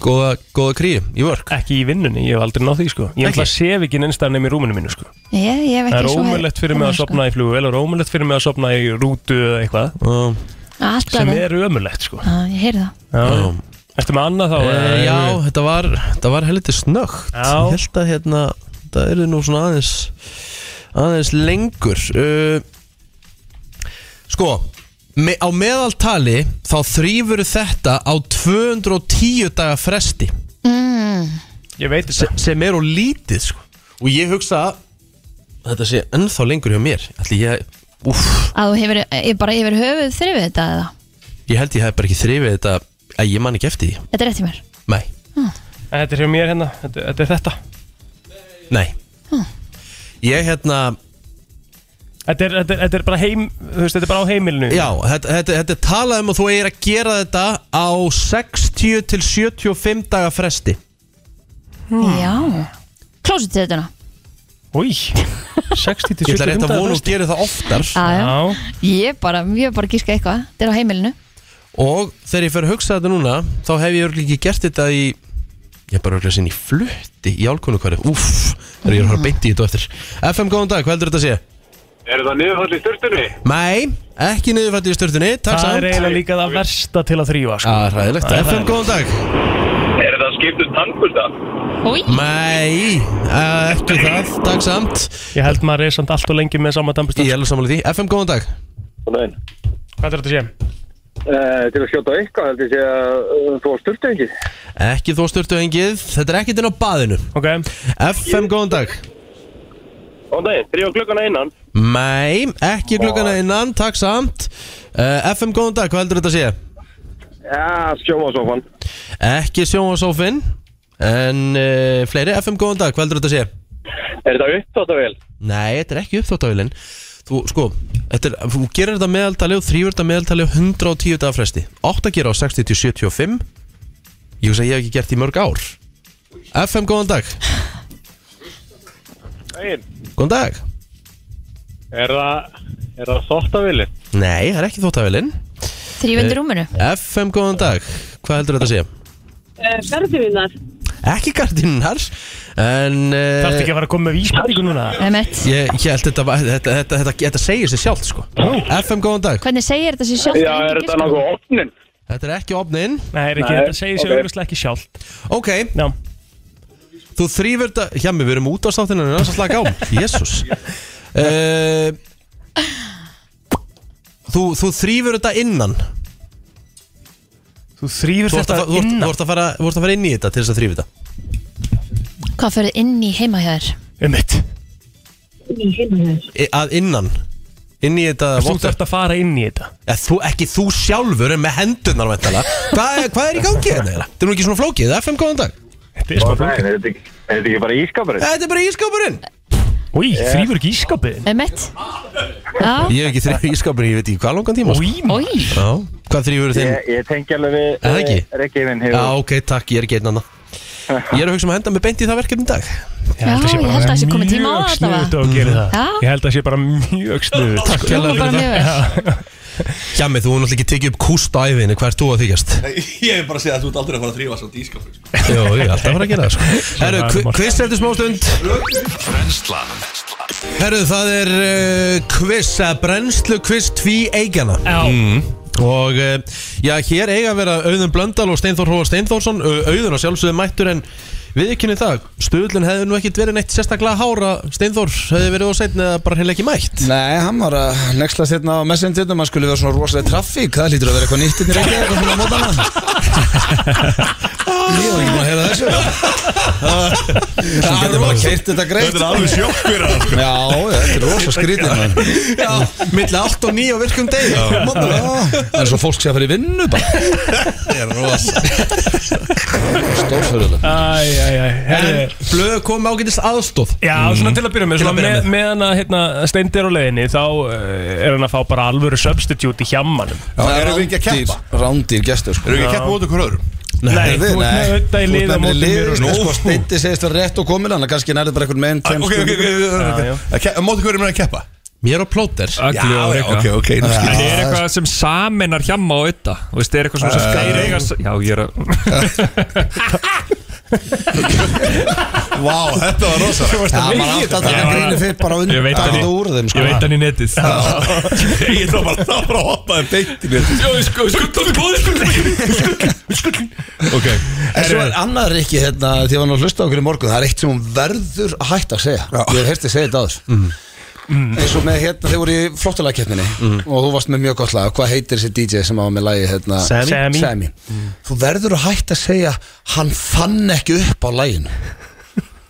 góða, góða kríu í vörk?
Ekki í vinnunni, ég hef aldrei náð því sko Ég ætla að sef ekki neinstar nefn í rúminu mínu sko
Ég, ég hef
Það
ekki
er
svo sko.
ómulett fyrir mig að sopna í flugu Það er ómulett fyrir mig að sopna í rútu eða eitthvað
Alltaf
Sem er ömulett sko
Já, Ah, ég heyri það
Já. Ertu með annað þá?
Uh,
eða-
já, þetta var, þetta var helviti snögt.
Já.
Ég held að hérna, þetta eru nú svona aðeins, aðeins lengur. Uh, sko, me, á meðaltali þá þrýfur þetta á 210 daga fresti.
mm,
Ég veit
þetta. Sem er á lítið, sko. Og ég hugsa að þetta sé ennþá lengur hjá mér. Ætli ég, úff.
Að þú hefur ég bara yfir höfuð þrifið þetta eða?
Ég held ég hef bara ekki þrifið þetta að ég man ekki eftir því
Þetta er rétt í mér
Nei,
En Þetta er hjá mér hérna, þetta, þetta er þetta
nei Ég hérna
Þetta er, þetta, er, þetta er bara heim, þú veist, þetta er bara á heimilinu
Já, þetta, þetta, þetta er talað um að þú eigir að gera þetta á 60 til 75 daga fresti Hmm.
Já Klósut þetta hana
Úi, 60 til
Ég ætla rétt
70
að vona og gera það oftar
Já, Ég bara, ég bara gíska eitthvað Þetta er á heimilinu
Og þegar ég fer að hugsa þetta núna þá hef ég örgulega ekki gert þetta í Ég er bara örgulega sinni í flutti í álkonukværi Úff, þegar ég er að fara beint í þetta á eftir FM, góðan dag, hvað heldur þetta að sé?
Er það niðurfall í störtunni?
Nei, ekki niðurfætti í störtunni, takk
Það
samt
er eiginlega líka það versta til að þrýfa sko.
Já, hræðilegt.
Það er
FM, góðan dag
Er það skiptum tannbústa?
Nei, eh, ekki það, takk samt
Ég held maður er samt allt og lengi með sama dampist
Ég held samanlega því, FM góðan dag
Góðan
Hvað er þetta að sé?
Uh, til að skjóta eitthvað held ég sé að uh, þú var störtengið
Ekki þó störtu hengið, þetta er ekkert inn á baðinu
Ok
FM góðan dag
Góðan daginn, þrjá klukkana innan
Nei, ekki klukkana innan, takk samt uh, FM góðan dag, hvað heldur þetta að sé?
Já, sjómasofan
Ekki sjónvarsófin En uh, fleiri, FM góðan dag, hvað heldur þetta að sé?
Er það upptáttavél?
Nei, þetta er ekki uppþóttavillin Þú, sko, þetta er, þú gerir þetta meðaltali og þrýfur þetta meðaltali á 110 dagar fresti 8 að gera á 60 til 75 Ég hugsa að ég hef ekki gert í mörg ár FM, góðan dag
Daginn
Góðan dag
Er það, er það þóttavéli?
Nei, það er ekki þóttavillin
Þrýfundir rúminu
FM, góðan dag Hvað heldur þetta að sé?
Eh,
Garðunar
Ekki gardinnar En uh,
Þarftu ekki að fara að koma með vísbendingu núna?
Emmett
Ég, ég held þetta, var- þetta, þetta, þetta, þetta segir sér sjálft sko FM, góðan dag
Hvernig segir þetta sér sjálf? sko.
opnin?
Þetta er ekki opnin
Nei, er ekki,
Nei,
þetta segir sér
ok.
okay. auðvitað ekki sjálft
Ok,
Já,
þú þrýfur þetta Hjá mig, við erum út á státtinu Það er að slaka á Jésús
[laughs]
uh, Þú, þú þrýfur þetta innan
þú þrýfur
Þú ert
þetta
að, fa- þú ert, þú
innan
ert að, fara, þú ert að fara inn í þetta til þess að þrýfa þetta
Hvað fyrir inn í heima hjá þér?
Um mitt
Í- að innan inn í þetta
Þú þarft að fara inn í þetta
ja, þú, ekki þú sjálfur en með hendurnar væntanlega. Hvað hva er í gangi hérna eiginlega? þetta er nú ekki svona flókið, FM góðan dag
þetta
er þetta ekki- er þetta ekki bara ískapurinn?
Eh, þetta er bara ískapurinn
Új,
Já.
þrýfur ekki ískapurinn
Emmett Eh, Já,
ég hef ekki þrjá ískapurinn, ég veit ekki hvað langan tíma
Új,
Új.
Já, hvað þrýfur þinn?
Ég, ég tengi alveg við
Er það ekki?
eh, Rikki minn hefur
Já, ok, takk, ég er ekki einn annað Ég er að hugsa um að henda mig beint í það verkefni í dag
Já, ég held að það sé komið tíma á þetta, va?
mjög sniðut að gera
Já.
það Ég held að það sé bara mjög sniðut
Takk
Hljómar
hérlega
bara
fyrir
mjög vel.
það Hjami, þú hefur náttúrulega ekki tekið upp kúst á æfinni Hvað er þú að
[laughs]
þykjast?
Ég hef bara að segja að þú ert aldrei að fara að þrýfa svo dískafri sko.
Jó, ég er alltaf að fara að gera það sko. Herru, quiz eftir smástund
Brennslan
Herru, það er uh, quiz að brennslu quiz tví eigana
Já.
Mm.
Og uh, já, hér eiga að vera Auðun Blöndal og Steinþór Hóa Steinþórsson Ö- Auðun og sjálfsögðu mættur en við ekki það Stöðlun hefði nú ekkit verið neitt sérstaklega hára Steinþór hefði verið á seinni eða bara heil ekki mætt
Nei, hann var að nexla hérna á messendunum að skulle vera svona rosalega traffík Það lítur að vera eitthvað nýtt inn í Reykjavík og svona á mótana Ég var ekki búin að heyra þessu Svo getur bara keirt þetta greitt
Þetta er alveg sjokkverð,
sko. Já, þetta er rosa skrítið mann
[laughs] Já, milli 8 og 9 á virkum degi
Já. Það er svo fólk sé að fara í vinnu bara
Það er rosa
Stórfjörðulega
Æj, æj, æj Herðu,
Blöð kom ágætist aðstóð
Já, svona til að byrja með,
Mm. Til
svona
að byrja
með, meðan að hérna, steindir á leiðinni þá eh, er hann að fá bara alvöru substitute í hjammanum
Það
erum við ekki að keppa?
Rándýr gestur sko
Erum við ekki að keppa út okkur öðrum?
Nei, þú ert með auðvitað í liða móti mér og
liður
nú.
sko, Steindi segist að rétt og komin Þannig að kannski nærið bara einhvern meginn
Ok,
tveim
ok, ok,
spurningum.
ok, ok Að ke- Móti hverjum er að keppa?
Mér og plóter
Já, já, ok, ok nú skil
En
ég.
er eitthvað sem samennar hjamma og ötta Þú veist, er eitthvað svona sem þeir eiga s- Já, ég er að
Vá, þetta var rosa
Já, maður átti að taka grínu fyrir bara undan
Ég veit hann
þetta úr þeim
í-
sko
ég veit hann í netið
[laughs] Ég þá bara þá bara að hoppa þeim beint í mér
Já, ég sko, sko, sko,
Ok
En svo er annar ekki hérna Því að hann að hlusta á okkur í morgun Það er eitt sem hún verður að hætta að segja Ég hef heyrst þið segja þetta áður
Mm.
eins og með hérna þeir voru í flottalagkeppninni og þú varst með mjög gott lag hvað heitir þessi DJ sem á með lagi hérna,
Sammy. Sammy.
þú verður að hætta að segja hann fann ekki upp á laginu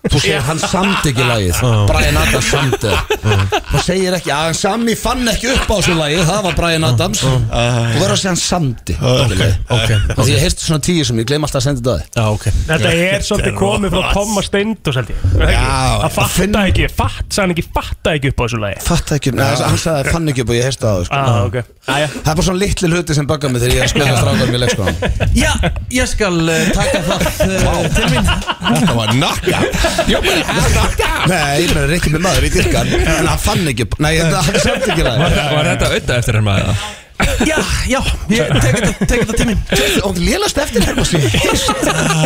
þú segir hann samt ekki lagið Brian Adams samt þú segir ekki að hann Sammy fann ekki upp á þessu lagi það var Brian Adams þú verður að segja hann samti okay.
okay.
því ég heyrst svona tíu sem ég gleym alltaf að senda þetta á þig
Já, ok
Þetta er svolítið komið frá Thomas Steindos held ég Er það ekki?
Já,
Að fatta ekki, fatt, sagði hann ekki fatta ekki upp á þessu lagi
fatta ekki, neða, hann sagði fann ekki upp og ég heyrst það á þig sko.
Ah, ok Æja
það er bara svona litli hluti sem baggar mig þegar ég er að spila strákar með leikskóðan
Já, ég skal uh, taka það uh, til mín
Þetta var nakka
Já, meni, Nei, ég meina Rikki með maður í dyrkan En hann fann ekki upp Nei, þetta hann samt ekki
Var
ræði
var þetta ötta eftir hann maður?
Já, já, ég tek þetta- tek þetta til mín
Og lélast eftir hérna sér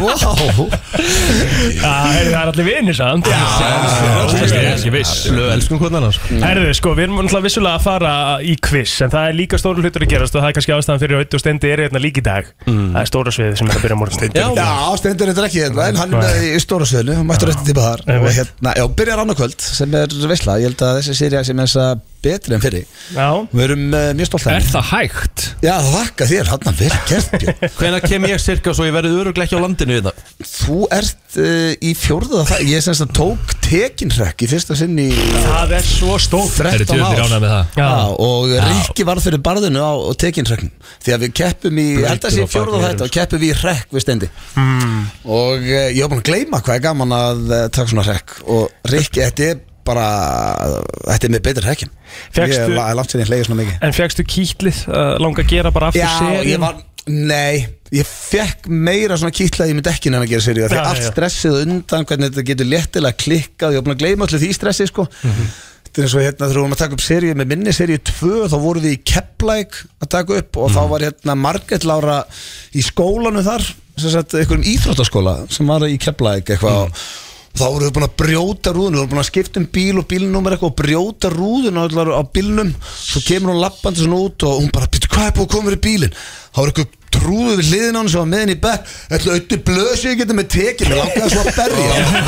Wow
Það er allir vinir samt
Ég er ekki viss
Blöð, elskum hvernig annars
Herðu, sko, við erum náttúrulega vissulega að fara í quiz En það er líka stóru hlutur að gerast Og það er kannski ástæðan fyrir að Ötti og Steindi eru hérna líka í dag
Mm.
Það er stóra sviðið sem er að byrja á morgun
Já,
Já, stendur þetta ekki hérna En hann er með í stóra sölu Hann mættur eftir tíma þar Og hérna, já, byrjar annarkvöld Sem er veisla Ég held að þessi sérija sem er þessa betri en fyrir
Já
Við erum eh, mjög stolt af
Er
henni.
það hægt?
Já, þakka þér, hann að vera kertbjörn
Hvenær kem ég cirka svo ég verði öruglega ekki á landinu hérna? í það
Þú ert uh, í fjórða það Ég semst að tók tekinhrekk í fyrsta sinn í
Það er svo stórt
13
djöfull
ár
ánægð með það.
Já.
Já.
og Rikki varð fyrir barðinu á tekinhrekknum því að við keppum í, ég held að sé
á
fjórða
bakinu
þetta og keppum við í hrekk við stendi
Hmm.
og eh, ég var búin að gleyma hvað er gaman að eh, taka svona hrekk og Rikki, þetta er bara þetta er með betur hrekkin
Fékkstu-
ég er langt sér ég hlegi svona mikið
En fegstu kýtlið uh, langa að gera bara aftur
já,
seríum?
ég var, nei ég fekk meira svona kýtlaði með dekkinu en að gera seríu, því
Já,
allt
já, já.
stressið á undan, hvernig þetta getur léttilega klikkað, ég var búin að gleyma allir því stressi sko. þetta er eins og hérna þegar við vorum að taka upp seríu með minni seríu 2, þá vorum við í Keplæk að taka upp og þá var hérna Margrét Lára í skólanu þar sem sagt einhverjum íþróttaskóla sem var í Keplæk eitthvað mm. Þá voru við búin að brjóta rúðun, við vorum búin að skipta um bíl og bílnúmer eitthvað og brjóta rúðun á, á bílnum, svo kemur hún lappandi svona út og hún bara, "Bíddu, hvað er búin að koma fyrir bílinn? Það var eitthvað trúðu við hliðin á hann sem var með henni í bekk ætla auðvitað blöðs ég geta með tekið mér langaði svo að berja hann.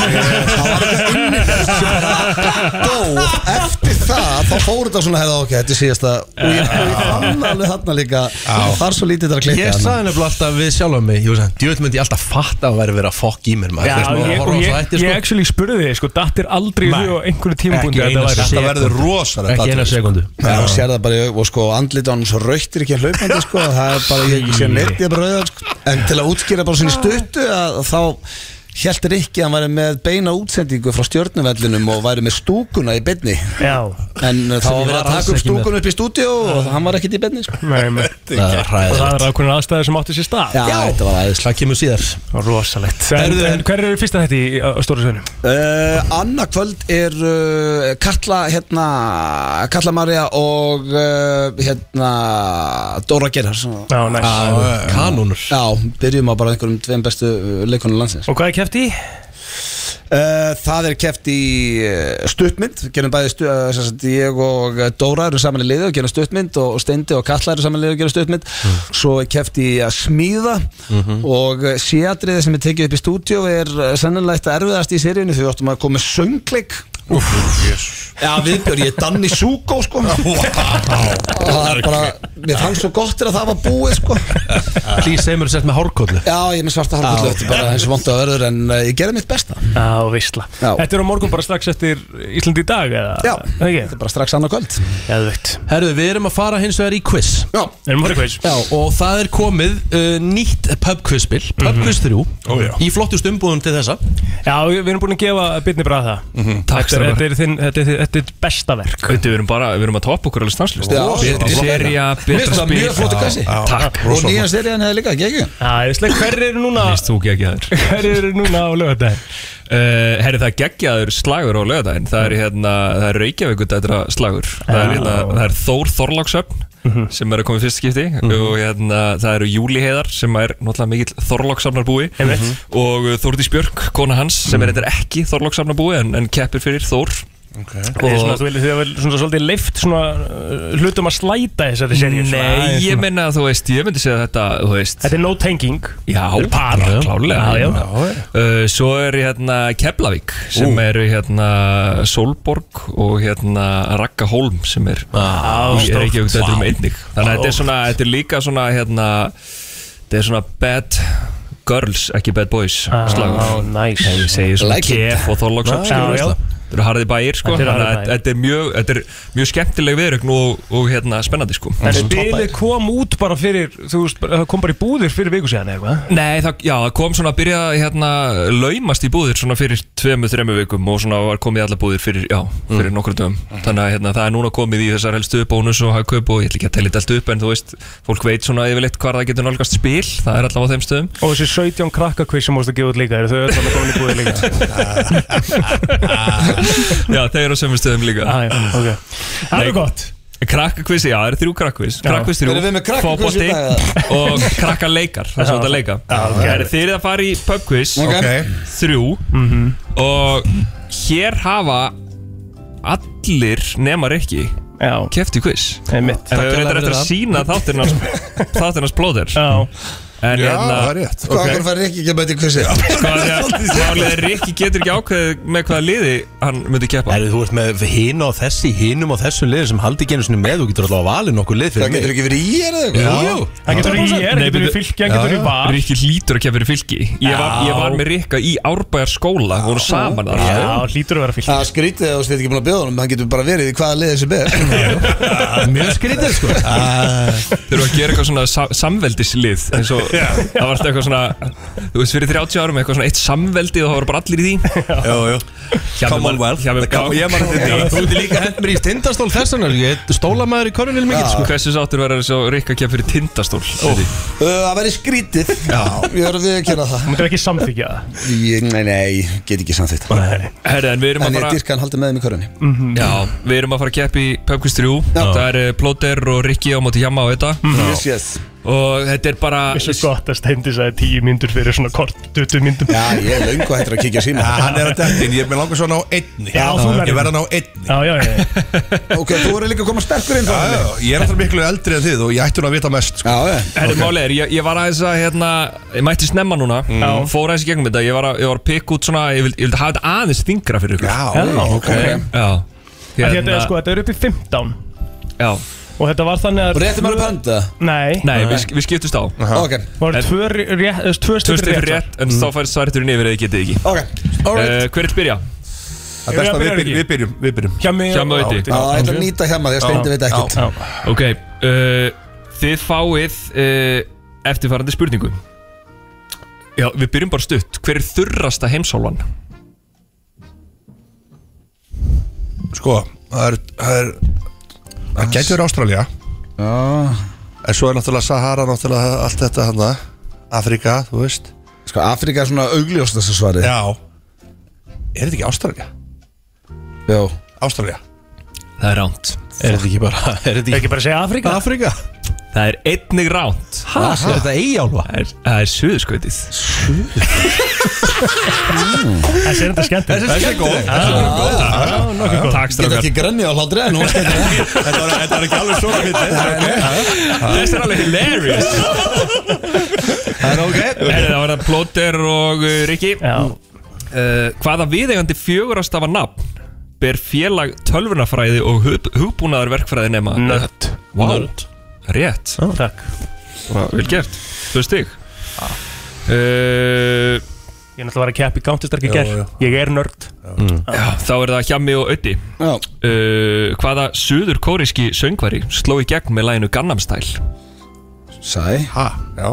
það var eitthvað inni sem bara dó eftir það þá fór þetta svona hefða ok, þetta er síðasta og ég, og ég fann alveg þarna líka það er svo lítið að klikka
hérna.
Ég sagði nefnilega alltaf við sjálfum mig Ég sagði, djöð myndi ég alltaf fatta að vera að vera fokk í mér maður
Já,
Þú veist, maður
ég,
horfir á
og ég,
það eftir,
ég
sko.
actually spurði þig, sko, dattir aldrei í
Nei.
hug á einhverju tímabundi
Ekki eina sekundu.
Ekki
sko.
sko.
eina sekundu
Já, og sér það bara, í aug- og sko andlita hann svo rauktir ekki að hlaupandi sko, og það er bara, ég sé neitt ég er bara rauðan sko. en til að útskýra bara svona í stuttu að þá heldur ekki að hann væri með beina útsendingu frá stjórnuvellinum og væri með stúkuna í beinni
Já.
en uh, þá var
Sem ég
verið
var
að
alls
taka upp
ekki með.
stúkuna upp í stúdíu og hann var ekkert í beinni sko.
Nei, nei.
Það er
Og það
hræðilegt.
er ákveðin aðstæður sem átti sér stað
Já, þetta var aðeins
Það kemur síðar
Rosalegt En,
Herðu,
en hver eru fyrsta þetta í á stóra sveinu?
Uh, Anna kvöld er uh, Katla hérna Katla Marja og uh, hérna Dóra Gerhars
Já, næs.
Já,
Kanúnur
Já, byrjum á bara einhverjum tveim bestu leikonum landsins
Og hvað er keft í?
Uh, það er keft í uh, stuttmynd, við gerum bæði stu, uh, sem sagt, ég og uh, Dóra eru saman í liði og gerum stuttmynd og, og Steindi og Katla eru saman í liði og gerum stuttmynd
Mm.
svo er keft í að smíða og uh, séatriði sem er tekið upp í stúdíu er uh, sennilega eitt erfiðast í seríunni því við áttum að koma með söngleik Já, viðbjör, ég er Danni Súkó sko Það er bara, mér fannst svo gott er að það var búið sko
Please segir mér að setja með hárkóllu
Já, ég er með svarta hálfkullu, þetta er bara eins og vond að verður en uh, ég gerði mitt besta
Já, visla Þetta er á morgun bara strax eftir Íslandi í dag eða?
Já,
okay. þetta
er bara strax annað kvöld
Eðvitt
Herðu, við erum að fara hins vegar í quiz
Já
Við erum að fara í quiz
Já, og það er komið uh, nýtt pubquizspil
Mhm.
Pubquiz 3
Ó, já.
Í flottust umbúðum til þessa
Já, við erum búin að gefa bitni bara það
Mhm.
Takk,
Þetta
strákar.
þetta er þinn- þetta er þinn- þetta er þitt besta verk
Þetta við erum bara, við erum að toppa okkur alveg stanslust
Já,
Betri
svo-
serja,
Mér
betra
finnst það
spil
mjög flottur
Já,
kassi.
já. Takk,
Og nýja serían hefði líka, ekki
ekki Hver eru núna
Vist þú geggjaður
Hver eru núna á lögadaginn?
Uh, herri það er geggjaður slagur á lögadaginn Það er hérna, það er Reykjavíkudætra slagur það er, hérna, það er Þór Þorláksöfn
Mhm.
sem er að koma í fyrst skipti og hérna, það eru Júli Heiðar sem er náttúrulega mikill Þorláksöfnarbúi
Einmitt. Mhm.
og uh, Þórdís Björk, kona hans sem er eitthvað ekki Þorláksöfnarbúi en, en keppir fyrir Þór
Okay. Svona, þú viljið því að vel svona svolítið leift svona uh, hlutum að slæta þessari serið
Nei, ég meina að þú veist, ég myndi segja þetta, þú veist
Þetta er no tenging
Já,
Þetta er par.
klálega
Já, já.
Uh, Svo er hérna Keflavík sem
Ú.
eru hérna Solborg og hérna Ragga Holm sem er
Á,
ég er ekki
stórt.
auðvitað um
Vá.
einnig Þannig að þetta er svona, þetta er líka svona hérna, þetta er svona bad girls, ekki bad boys
Á,
slagur
Ah, nice.
Þegar ég segi svona
Like it.
kef og
Já,
þorlóksöp
já.
Þetta eru harði bæir sko,
Þetta eru harðir
þannig að
bæir.
þetta er mjög, þetta er mjög skemmtileg viðrögn og, og hérna spennandi sko
En spilið kom út bara fyrir, þú veist, bara- það kom bara í búðir fyrir viku síðan eða eitthvað
Nei, það, já, það kom svona að byrja að, hérna, laumast í búðir svona fyrir tveimu, þreimu vikum og svona var komið í alla búðir fyrir, já, fyrir mm. nokkru dögum
Mhm.
þannig að hérna, það er núna komið í þessar helstu bónus og hagkaup og ég ætla ekki að telja þetta allt upp en þú veist, fólk veit svona yfirleitt hvar það getur nálgast spil, það er allavega á þeim stöðum
Og þessi 17 krakka quiz sem mástu að gefa út líka, eru þau öll
[laughs]
að koma í búðir líka
Já, þeir eru á sömu stöðum líka
ah, já, okay. Það er gott
Krakkakviss, já, það eru þrjú krakkakviss
Já.
Krakkakviss þrjú,
Erum við með krakkakviss
fótbolti
í dag,
og krakkaleikar Það er
Já.
svona að leika
Já, ok.
Það eru þeir að fara í pubquiz
Ok. Ok.
Þrjú
Mhm.
Og hér hafa allir nema Rikki Keft í quiz
Einmitt.
En við reyndar eftir að sína þáttirnars
[laughs]
Þáttirnars plóðir
Já
En
Já,
hérna,
það er rétt Hvað okay. fær Rikki ekki að bæta í kvissið?
Sko, af því að Málið er Rikki getur ekki ákveðið með hvaða liði hann myndi keppa
Herðu, þú ert með hinn og þessi, hinnum og þessum liðum sem haldi ekki einu sinni með Þú getur alltaf að valið nokkuð lið fyrir
Það getur ekki verið í er eða
eitthvað?
eitthvað?
Jú,
Það getur verið í er, það getur verið í fylki, það getur verið í var
Rikki hlýtur að keppa fyrir fylki Ég var,
Já.
ég var með Rikka í Árbæjar skóla Við vorum saman þar
Já, hlýtur að vera fylki
Það er skrítið að þú stið ekki búin að bjóða honum, hann getur bara verið í hvaða liðið sem [laughs] ber
Mjög skrítið sko
[laughs] Þeir eru að gera eitthvað svona sa samveldislið eins og það var alltaf eitthvað svona þú veist fyrir 30 árum eitthvað svona eitt samveldi og það voru bara allir í því
Jú, jú
Commonwealth Ég man þetta
Þú ert líka hent mér í tindastól þessan Ég er stólamæður í korunil mikið sko
Hversu sáttur verður þessu Rikka kemur fyrir tindastól Ó,
Uh, Það verið skrítið Já, ég verður við að kjöna það
Máttu ekki samþykja það
Ég- Nei, nei, get ekki samþýtt
Herri, en við erum
En
að
ég
fara
dyrka hann haldið með þeim í körunni
Mm.
Já, við erum að fara að keppi í Pöpkvist 3 Það er eh, Plóter og Rikki á móti Jamma og þetta
Mm.
Yes, yes
Og þetta er bara
Þessu gott að steindi sæði 10 myndur fyrir svona kort 20 myndum
Já, ég er löngu hættur að kíkja á síma
Já, hann er að dettin, ég með langar svo að ná einni
Já, þú verður.
Ég verð að ná einni
Já, já, já
Ok, þú verður líka að koma sterkur inn
Já,
þarna.
já, ég er alltaf miklu eldri en þið og ég ætti hún að vita mest sko.
Já, já
Herri, málið er, ég, ég var aðeins að, hérna, ég mætti snemma núna
Mm. Já.
Fór aðeins í gegnum þetta, ég var að, ég var að pikka út svona Ég vildi, ég vildi hafa þetta aðeins þingra fyrir ykkur
Já, ok.
Eh, Já
Hérna, þetta er sko, þetta er upp í 15
Já
Og þetta var þannig að
Rétti maður upp hönd, eða?
Nei
Nei, við, við skiptust á
Ok.
Voru tvö rétt, þú veist, tvö
Tvö
stykki
stykki
rétt, Mm.
rétt En þá færst svarturinn yfir eða þið getið ekki
Ok,
alright Hver er byrja?
Það er best að við byrjum- við
byrjum, við byrjum
Hjá mig
Hjá mig
og- Já, ég ætla að nýta hjá maður, því að Steindi veit ekkert.
Ok, uh, þið fáið uh, eftirfarandi spurningu Já, við byrjum bara stutt Hver er þurrasta heimsálfan?
Sko, það er Það, er, það getur Ástralja Já En svo er náttúrulega Sahara náttúrulega allt þetta hann Afrika, þú veist
Sko, Afrika er svona augljóst þessu svari
Já Er þetta ekki Ástralja?
Já
Ástralja
Það er ránt
Er þetta ekki bara Er þetta
ekki bara að segja Afrika?
Afrika
Það er einnig ránt
Ha? Er þetta
eigálfa? Það er suðuskautið
Þessi er þetta skemmt
Þessi er góð.
Þessi er góð Já, nokkuð góð
Takk
Get
strákar
ekki grænni á hlátri en hún skemmt
Þetta er ekki alveg svona
Þetta er alveg hilarious Það er ok Það var það Plóter og uh, Rikki uh, Hvaða viðegandi fjögurastafa nafn ber félag tölvunafræði og hug, hugbúnaðarverkfræði nema
Nödd.
wow.
Nödd.
Rétt
Já, Takk
Vel gert, tvö stig uh,
Ég er náttúrulega að vera að keppi gántistarki
Jú,
gerð
jú.
Ég er nörd
Já, þá er það Hjami og Öddi
uh,
Hvaða suður kóriski söngvari sló í gegn með læginu Gangnam Style?
Sæ
Ha, já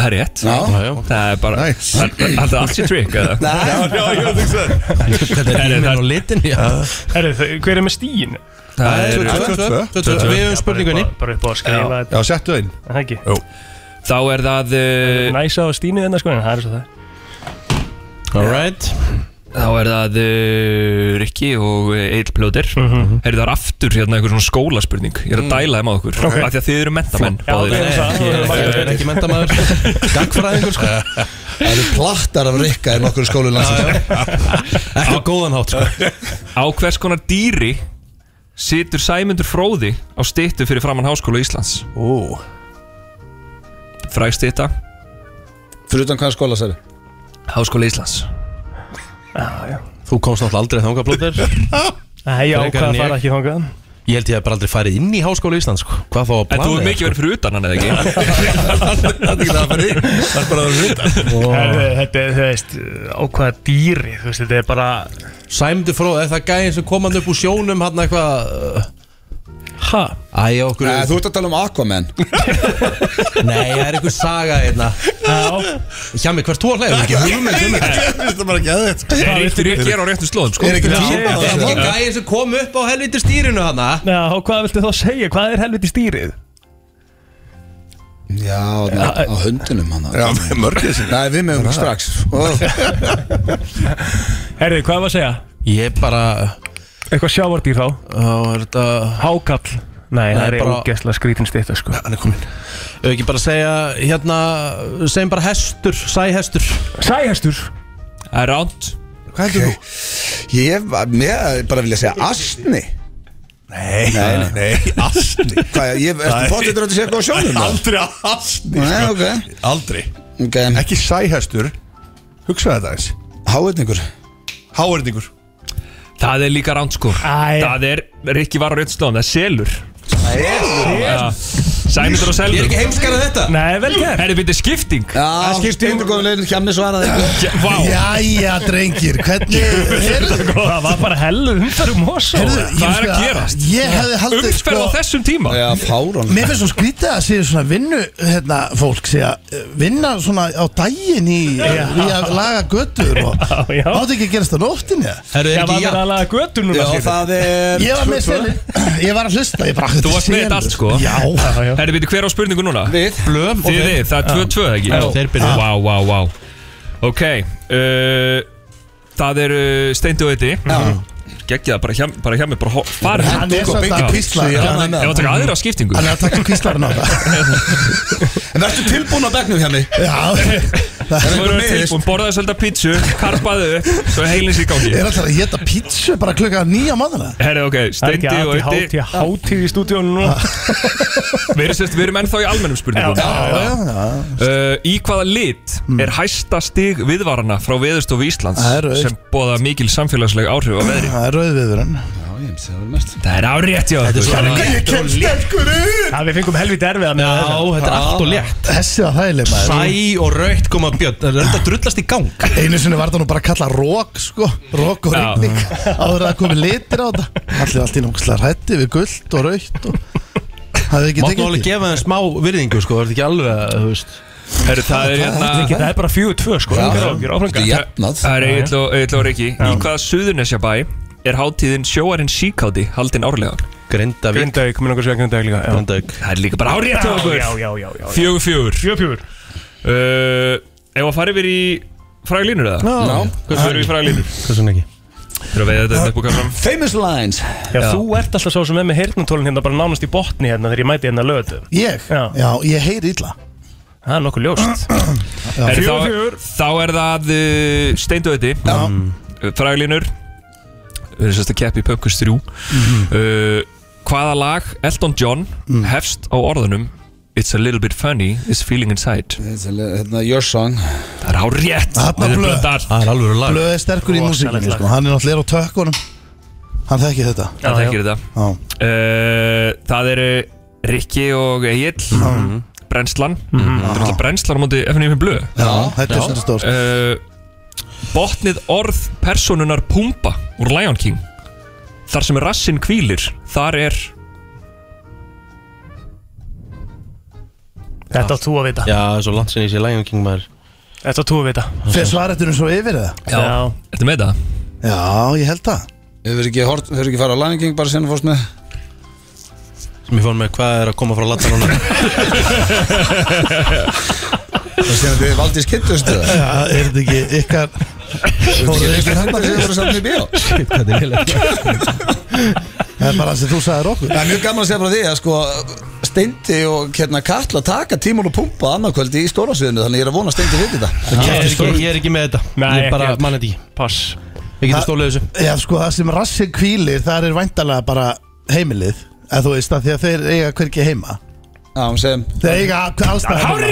Það er rétt
Já. Já,
Það er bara nice. Það er allt sér trikk eða?
Nei.
Já, já, ég veit ekki svo
Þetta er
Herri,
íminn
það-
og litin já.
Herri, þau- hver er með stíin?
Það er- Tvö, tvö, tvö. Tvö, tvö. Við höfum
spurningunni Bara upp á að skrifa
Já.
þetta.
Já, settu það inn.
Er Það ekki
Þá er það uh,
Næsa á stínu þennan sko En það er svo það
Alright Þá er það uh, Rikki og Egil Plóter mm -hmm. Það er aftur hérna einhver svona skólaspurning Ég er að dæla þeim á okkur
Ok.
okay. Því að þið eru mentamenn
Já,
báðir.
við erum það.
Mm. Ég er ekki-
Ég er ekki
[laughs]
mentamaður Gagfræðingur sko
Það eru plattar af Rikka í nokkur skólu landsins
Ekki á góðan hátt sko. [laughs] Á hvers konar dýri situr Sæmundur Fróði á styttu fyrir framann Háskóla Íslands
Ó
Fræg stytta
Fyrir utan hvaða skóla særi?
Háskóla Íslands
Þú komst náttúrulega aldrei þangað blóttir
Nei, já,
Frekar
hvað
en ég.
fara ekki þangað
Ég held ég að bara aldrei farið inn í Háskóla Íslands sko. Hvað þá að
En
plana
þú hefur mikið verið fyrir utan hann eða
[laughs]
ekki? Það er ekki það að fyrir Það er bara að fyrir
Herri, Þetta er, þú veist, á hvaða dýri Þú veist, þetta er bara
Sæmdu fróð, er það gæðin sem kom hann upp úr sjónum hann eitthvað uh,
Ha?
Æ, okkur
Nei, þú ert að tala um Aquaman
Nei, það er einhver saga hérna Hjá mig, hvert þú að hlæða? Þú er ekki hugmynd um þetta.
Þetta er bara ekki aðeins
Það er eftir ég gera á réttum slóðum sko.
Er ekki
Já.
tíma á
Já.
þessu? Ekki gæðin sem kom upp á helviti stýrinu hana
Já, og hvað viltu þá segja? Hvað er helviti stýrið?
Já, á, á hundinum hann
Já, með mörgir sinni.
Nei, við meðum strax
[laughs]
Herri, hvað var að segja?
Ég bara
Eitthvað sjávardýr þá?
Já, er þetta
Hákall Nei, það
Nei,
er
bara-
ógeðslega skrítin stýta sko
Hann er komin Ef ekki bara segja, hérna Segjum bara hestur, sæhestur
Sæhestur?
Það er ránt
Hvað heldur þú?
Ég var- mér bara vilja segja asni
Nei, nei, nei, asni
Hvað, ég,
Nei.
ertu potið að segja eitthvað á sjónum? þá?
Aldrei asni
Nei,
sko.
ok
Aldrei
okay.
Ekki sæhestur Hugsa þetta eins
Háðningur
Háverningur
Það er líka ránt sko Það er, Rikki var á réttum slóðum, það er selur Já. Sæmundur og selur
Ég er ekki heimskar að þetta
Nei, vel gert
Herri, byrja skipting
Já, stundu góðum leiðin Hjami svaraði
Já, Vá
Jæja, drengir, hvernig
Það var bara hellu hundar um hos
Hvað er að gerast?
Ég hefði haldið
Umferð á
sko-
þessum tíma
Já, fárán
Mér finnst svo skrítið að séu svona vinnu hérna, fólk sé að eh, vinna svona á daginn í,
Já.
í að laga göttur og
já.
átti ekki að gerast það nóttinni
Herru,
Já, var
er ekki
það
jafn
að laga götu núna
Já,
skilur?
það er
Ég var með selin Ég var að hlusta, ég bara
Þú varst með þetta allt sko
Já,
Já, já.
Herri, byrja hver á spurningu núna?
Við
Blöm
Þið þið, það er 2-2 eða ekki?
Já, þeir byrja.
Vá, vá, vá Ok uh, Það er uh, Steindi og Eddi Gekkið það bara hjá, bara hjá mig bara ho- farið
Hann er samt að kvísla
Ég
Hann
var að taka aðra skiptingu
er að taka
[laughs]
kvíslarinn á það
En verður tilbúin á begnum hjami?
Já,
Það er
Svo
einhver
erum við
meðist
tilbúin, borðaði svolítið pítsu, karpaði upp, svo er heilins í gangi
er alltaf að geta pítsu bara klukka nýja maðurna
Herri, ok,
Það er
Steindi
ekki
og Ah.
aðti
Eddi
hátíð, hátíð í stúdíónu núna
Við erum, sérst, við erum ennþá í almennum spurningum uh, Í hvaða lit er hæsta stig viðvarana frá Veðurstofu Íslands
Það er rautt. Sko,
sem bóða mikil samfélagsleg áhrif á veðri
Það er rauðviðurinn
James, það var næst
Það er árétt, já
Þetta er svo
Ég kemst sterkur inn
Já, við fengum helvið erfið
Já, þetta er allt og létt
Þessi var þægileg maður
Sæ og raukt koma björn Það er þetta drullast í gang
Einu sinni var það nú bara að kalla rók sko Rók og rigning Áður að það komi litir á þetta Allir allt í náttúrulega hætti við gullt og raukt og... Hafði ekki
Máttu
tekið
alveg
eftir?
gefa þeim smá virðingu sko Það er ekki alveg að, þú veist
Herru, það er
ekki,
hérna
það er bara fjögur tvö sko
Já.
Engar áhyggjur, áfram
Það
gakk.
það er Egil og, Egill og Riki Í hvaða suðurnesjabæ er hátíðin sjóarinn síkáti haldin árlega?
Grindavík
Grindavík, minn okkur segja Grindavík líka já.
Grindavík
Það er líka bara árétt hjá
Já,
okkur
já, já, já, já.
Fjögur fjögur
Fjögur fjögur
uh, Ef að fara yfir í fræglínur eða?
Já. Já.
Hversu verður við í fræglínur?
Hversu ekki?
Þegar að veiða þetta upp úr kassan
Famous Lines
Já, þú ert alltaf svo sem er með heyrnatólin hérna bara nánast í botni hérna þegar ég mæti hérna löðu
Ég?
Já,
Já, ég heyri illa
það er nokkuð ljóst
Herru,
Fjögur,
þá-
fjögur.
Þá er það uh, steindöði Fræglínur Við erum sérst að keppi í Pöpkust 3
Mhm.
uh, Hvaða lag Elton John
Mm.
hefst á orðunum It's a little bit funny, it's feeling inside
Hérna, your song
Það er á rétt
Þarna blöð.
Það er alveg
Blöð er sterkur í músíkinni sko. Hann er náttúrulega á tökkunum Hann þekkir þetta
Það þekkir þetta uh, Það eru Rikki og Egil Brennslan Þetta er alltaf brennslan á móti FNM Blö
Mhm. Já, þetta er svolítið stórt.
uh, Botnið orð personunar Pumba úr Lion King Þar sem rassin hvílir Þar er
Þetta átt þú að vita
Já, það er svo langt sinni í sér Lion King maður
Þetta átt þú að vita
Fyrir svaretunum svo yfir eða?
Já. Þetta með það?
Já, ég held það
Hefur ekki, hort, hefur ekki farið á Lion King bara sinna fórst með
Sem ég fór með hvað er að koma frá latta núna
[laughs] Það sinna þið valdís kittustu
Já, er þetta ekki ykkar
Fóruðu
Fóruðu
ekki
ykkar
hérna þegar þið voru saman í bíó
Hvað er heilagt
Það er bara það sem þú sagðir okkur
Það er mjög gaman að segja frá því að sko Steindi og hérna Katla taka tíman og pumpa annarkvöldi í stórasviðinu Þannig ég er að vona að Steindi veit þetta
Ég er ekki, ég er ekki með þetta
Nei,
Ég er bara
ekki.
mann þetta ekki
Pass
Við getum stólið þessu
Já, sko, það sem rassin kvílir, það er væntalega bara heimilið En þú veist, að því að þeir eiga hvergi heima
Já, um sem
Þeir eiga allstæðar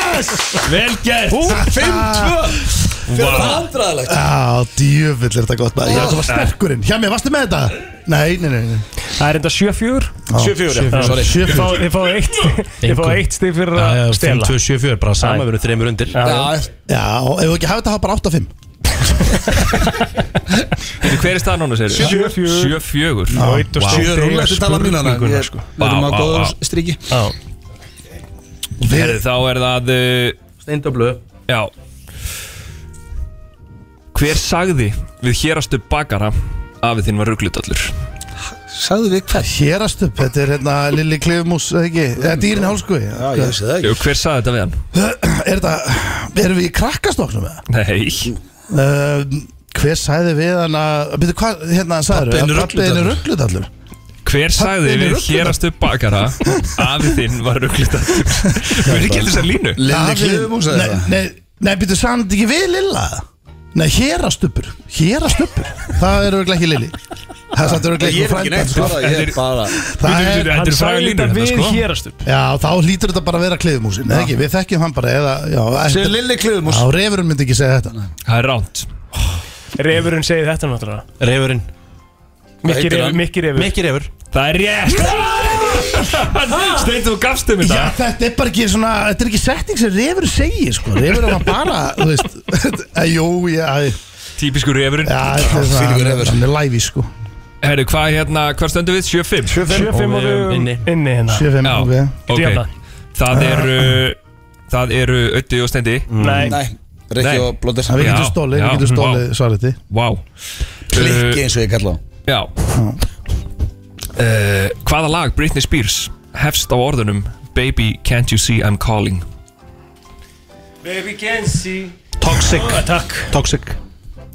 Yes! Vel gert
Hú, 5-2.
Fyrir það andræðilegt
Já, djöfull er þetta gott maður Ég er það var sterkurinn Hjá mér, varstu með þetta? Nei, nei, nei, nei.
Það er enda 7-4
7-4, já. Sorry.
Ég fá- ég fá eitt Ég fá eitt stig fyrir að stela
5-2-7-4, bara sama við erum þreymur undir
Já,
Já, ef þú ekki hafa þetta, hafa bara 8-5
Veitu, Hver er staðan núna, segir
Sjö fjögur.
Sjö fjögur
Já.
Vá,
Naut og
Sjö
stig
rúlega til tala um mínana Við
spurninguna, sko.
erum
Vá,
á
vá,
góðu
vá.
striki
Já.
Herru, Þá er það uh,
Steindablu
Já Hver sagði við hérastu bakara afið þinn var ruglutallur?
Sagðu við hvert
Hérastup, þetta er hérna Lilli Klifmús, eða ekki? Eða dýrin hálskuði
Já, ég sé það ekki
Jú, Hver sagði þetta við hann?
Er þetta, erum við í krakkastoknum eða?
Nei
Uh, hver sagði við hann að Býttu, hvað, hérna hann sagður
Pabbinn er
er
rugludallur.
rugludallur
Hver sagði
Pabbinn er
við
rugludallur.
hérastu bakara afið þinn var
[laughs]
ruglutallur? Við erum ekki allir þessar línu
Lilli
Davíð-
Klifum sagði
Nei,
það
Nei, nei býttu, sagði hann þetta ekki við Lilla Nei, hérastupur Hérastupur, það er auðvitað ekki Lilli Það er samt auðvitað
Ég
ekki
er ekki neitt
frænda
svarað, Ég er bara
Það
Þetta
er,
er- þetta
Hann
er fræga
sagði
línu
þetta
hérna,
við
sko
hérastup
já, þá hlýtur þetta bara að vera klifmúsin Nei, ekki, við þekkjum hann bara eða, já,
Sér
eftir,
Lilli Klifum
á refurinn myndi ekki segja þetta
Það er ránt
Refurinn segir þetta náttúrulega [laughs]
Refurinn
Mikki
heitir
refur,
hann?
Mikki refur
Mikki refur
Það er rétt Steint, þú gafst um
Já,
þetta
þetta er bara ekki svona, þetta er ekki setting sem refur segir, sko Refur er hann bara, þú veist eh, Jú, já, já,
Típisku refurinn
þetta er
þvílíkur
svona
refur.
Hann er læfi, sko
Herru, hvað hérna, hvað stöndum við? 7-5
7-5 og
Og við erum
við
inni.
inni hérna
7-5,
Já.
ok
Ok
hérna.
Djöfla.
Það eru Það eru Ötti og Steindi
Nei,
Mm. Nei, Rikki
Nei.
og Blóttir
Það við
Já,
getum stólið, við
já,
getum stólið svarið því
Vá Uh,
Klikki eins og ég kalla það
Já uh, Hvaða lag Britney Spears hefst á orðunum Baby can't you see I'm calling
Baby can see
Toxic
Takk
Toxic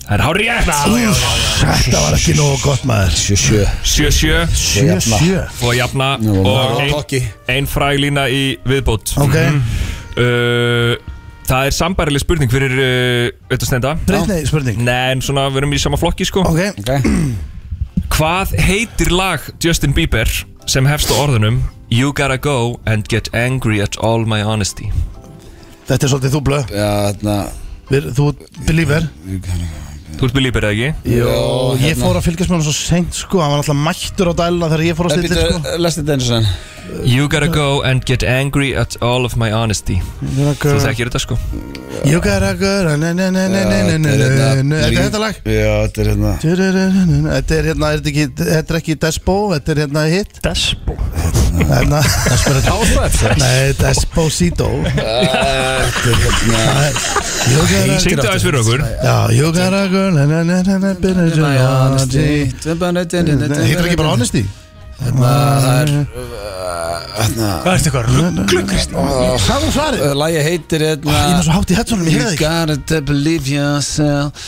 Það er hár rétt
Þetta var ekki nógu gott maður
Sjö, sjö
7-7
Sjö, sjö
og jafna
Nú,
og
ná,
ein,
kokki.
ein fræg lína í viðbót Mhm.
Ok,
uh, Það er sambærileg spurning fyrir uh, auðvitað stenda
breytni spurning
Nei, en svona við erum í sama flokki sko
Ok,
Ok
Hvað heitir lag Justin Bieber sem hefst á orðunum You gotta go and get angry at all my honesty
þetta er svolítið þú blöð
Já, þarna
Við- Þú believer
Þú ert með líbera ekki?
Jó,
hérna.
ég fór að fylgjast með hann svo seint sko Hann var alltaf mættur á dæluna þegar ég fór að stilla sko
Lest þetta eins og sen
You gotta go and get angry at all of my honesty Þú þekkir þetta sko
You gotta go na, na, na, na, na, na, na, na,
hérna
na. Er þetta þetta lag?
Já, þetta er hérna
Du-du-du-du-du. Þetta er hérna, er þetta ekki, þetta er ekki Despo, þetta er hérna hitt Despo Hérna
Desperate Housewives, eða?
Nei, Desposito You gotta-
Syngdu aðeins fyrir okkur.
Já, you gotta go na, na, na, na, na, bit of your honesty Hittar ekki bara honesty?
Það er Hvað
er þetta eitthvað rugglukrist?
Hvað
er svarið?
Lægi heitir hérna
Ég er með svo hátt í hættunum, ég heyrði
You gotta believe yourself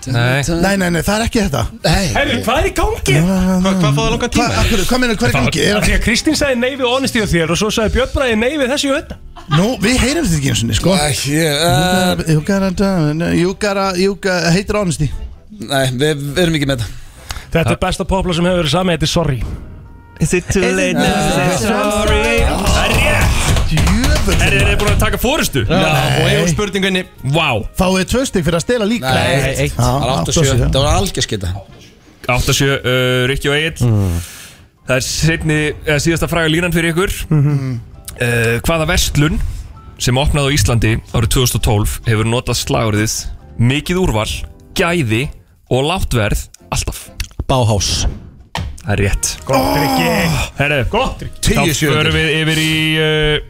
Nei
Nei, nei, nei, það er ekki þetta
Herru, hvað er í gangi? Hvað, hvað fóða langa tíma?
Hvað- af hverju- hvað meinar, hvað er í gangi? Er-
Það því að Kristín sagði nei við honesty og þér og svo sagði Björn Bræði nei við þessi og þetta
Nú, við heyrum þetta ekki eins og niður, sko
Æ, ég-
You gotta, you gotta, you gotta, you gotta, heitir honesty
Nei, við við erum ekki með þetta
Þetta er besta popla sem hefur verið sami, þetta er sorry Is it
too late now to say sorry? Það er rétt Er þið búin að taka fórustu?
Já.
og hefur spurningunni Vá
Fáið þið tvö stig fyrir að stela líka Já, átta og sjö.
var algjörskita
8-7, uh, Rikki og Egil
Mm.
Það er setni, eða, síðasta fræga línan fyrir ykkur
Mhm.
uh, Hvaða verslun sem opnaði á Íslandi árið 2012 hefur notað slagurðið mikið úrval, gæði og láttverð alltaf Báhás Það er rétt
Gott rikki
Herre,
Gott rikki
Þá
Tíu sjöundir.
förum við yfir í uh,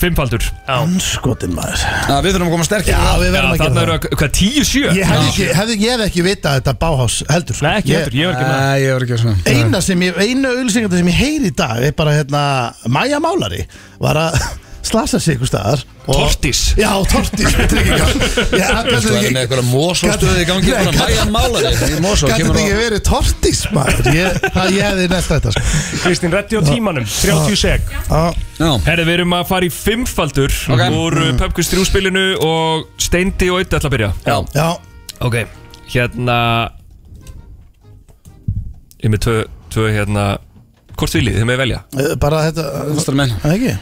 Fimmfaldur
Anskotin maður
Við þurfum að koma sterkir
Já, við verðum að gera
Þarna
það
eru að, hvað, tíu sjö?
Ég hefði ekki, hefði, ég hefði ekki vitað þetta báhás heldur sko. Nei,
Nei, ég var ekki svona
Eina sem ég, eina auðlýsingandi sem ég heyri í dag er bara hérna, Maja Málari var að [laughs] slasa sig ykkur staðar og-
Tortís
Já, tortís með tryggingar Ég
Þú
afgættu
veist,
ekki
með eitthvað mósóstöði í gangi
Nei,
bara
gat-
mæja málari í mósó
Gat
kemur
þetta ekki
á-
verið tortís maður Ég, það- ég hefði næst þetta sko.
Kristín, reddi á tímanum, 30 seg
Herri, við erum að fara í fimmfaldur úr mm. Pöpkvist 3 spilinu og Steindi og Ötti ætla að byrja
Já.
Já.
Ok, hérna Ég er með tvö, tvö hérna Hvort viljið, þið með velja
Eh, Bara þetta
Kostar menn.
Það ekki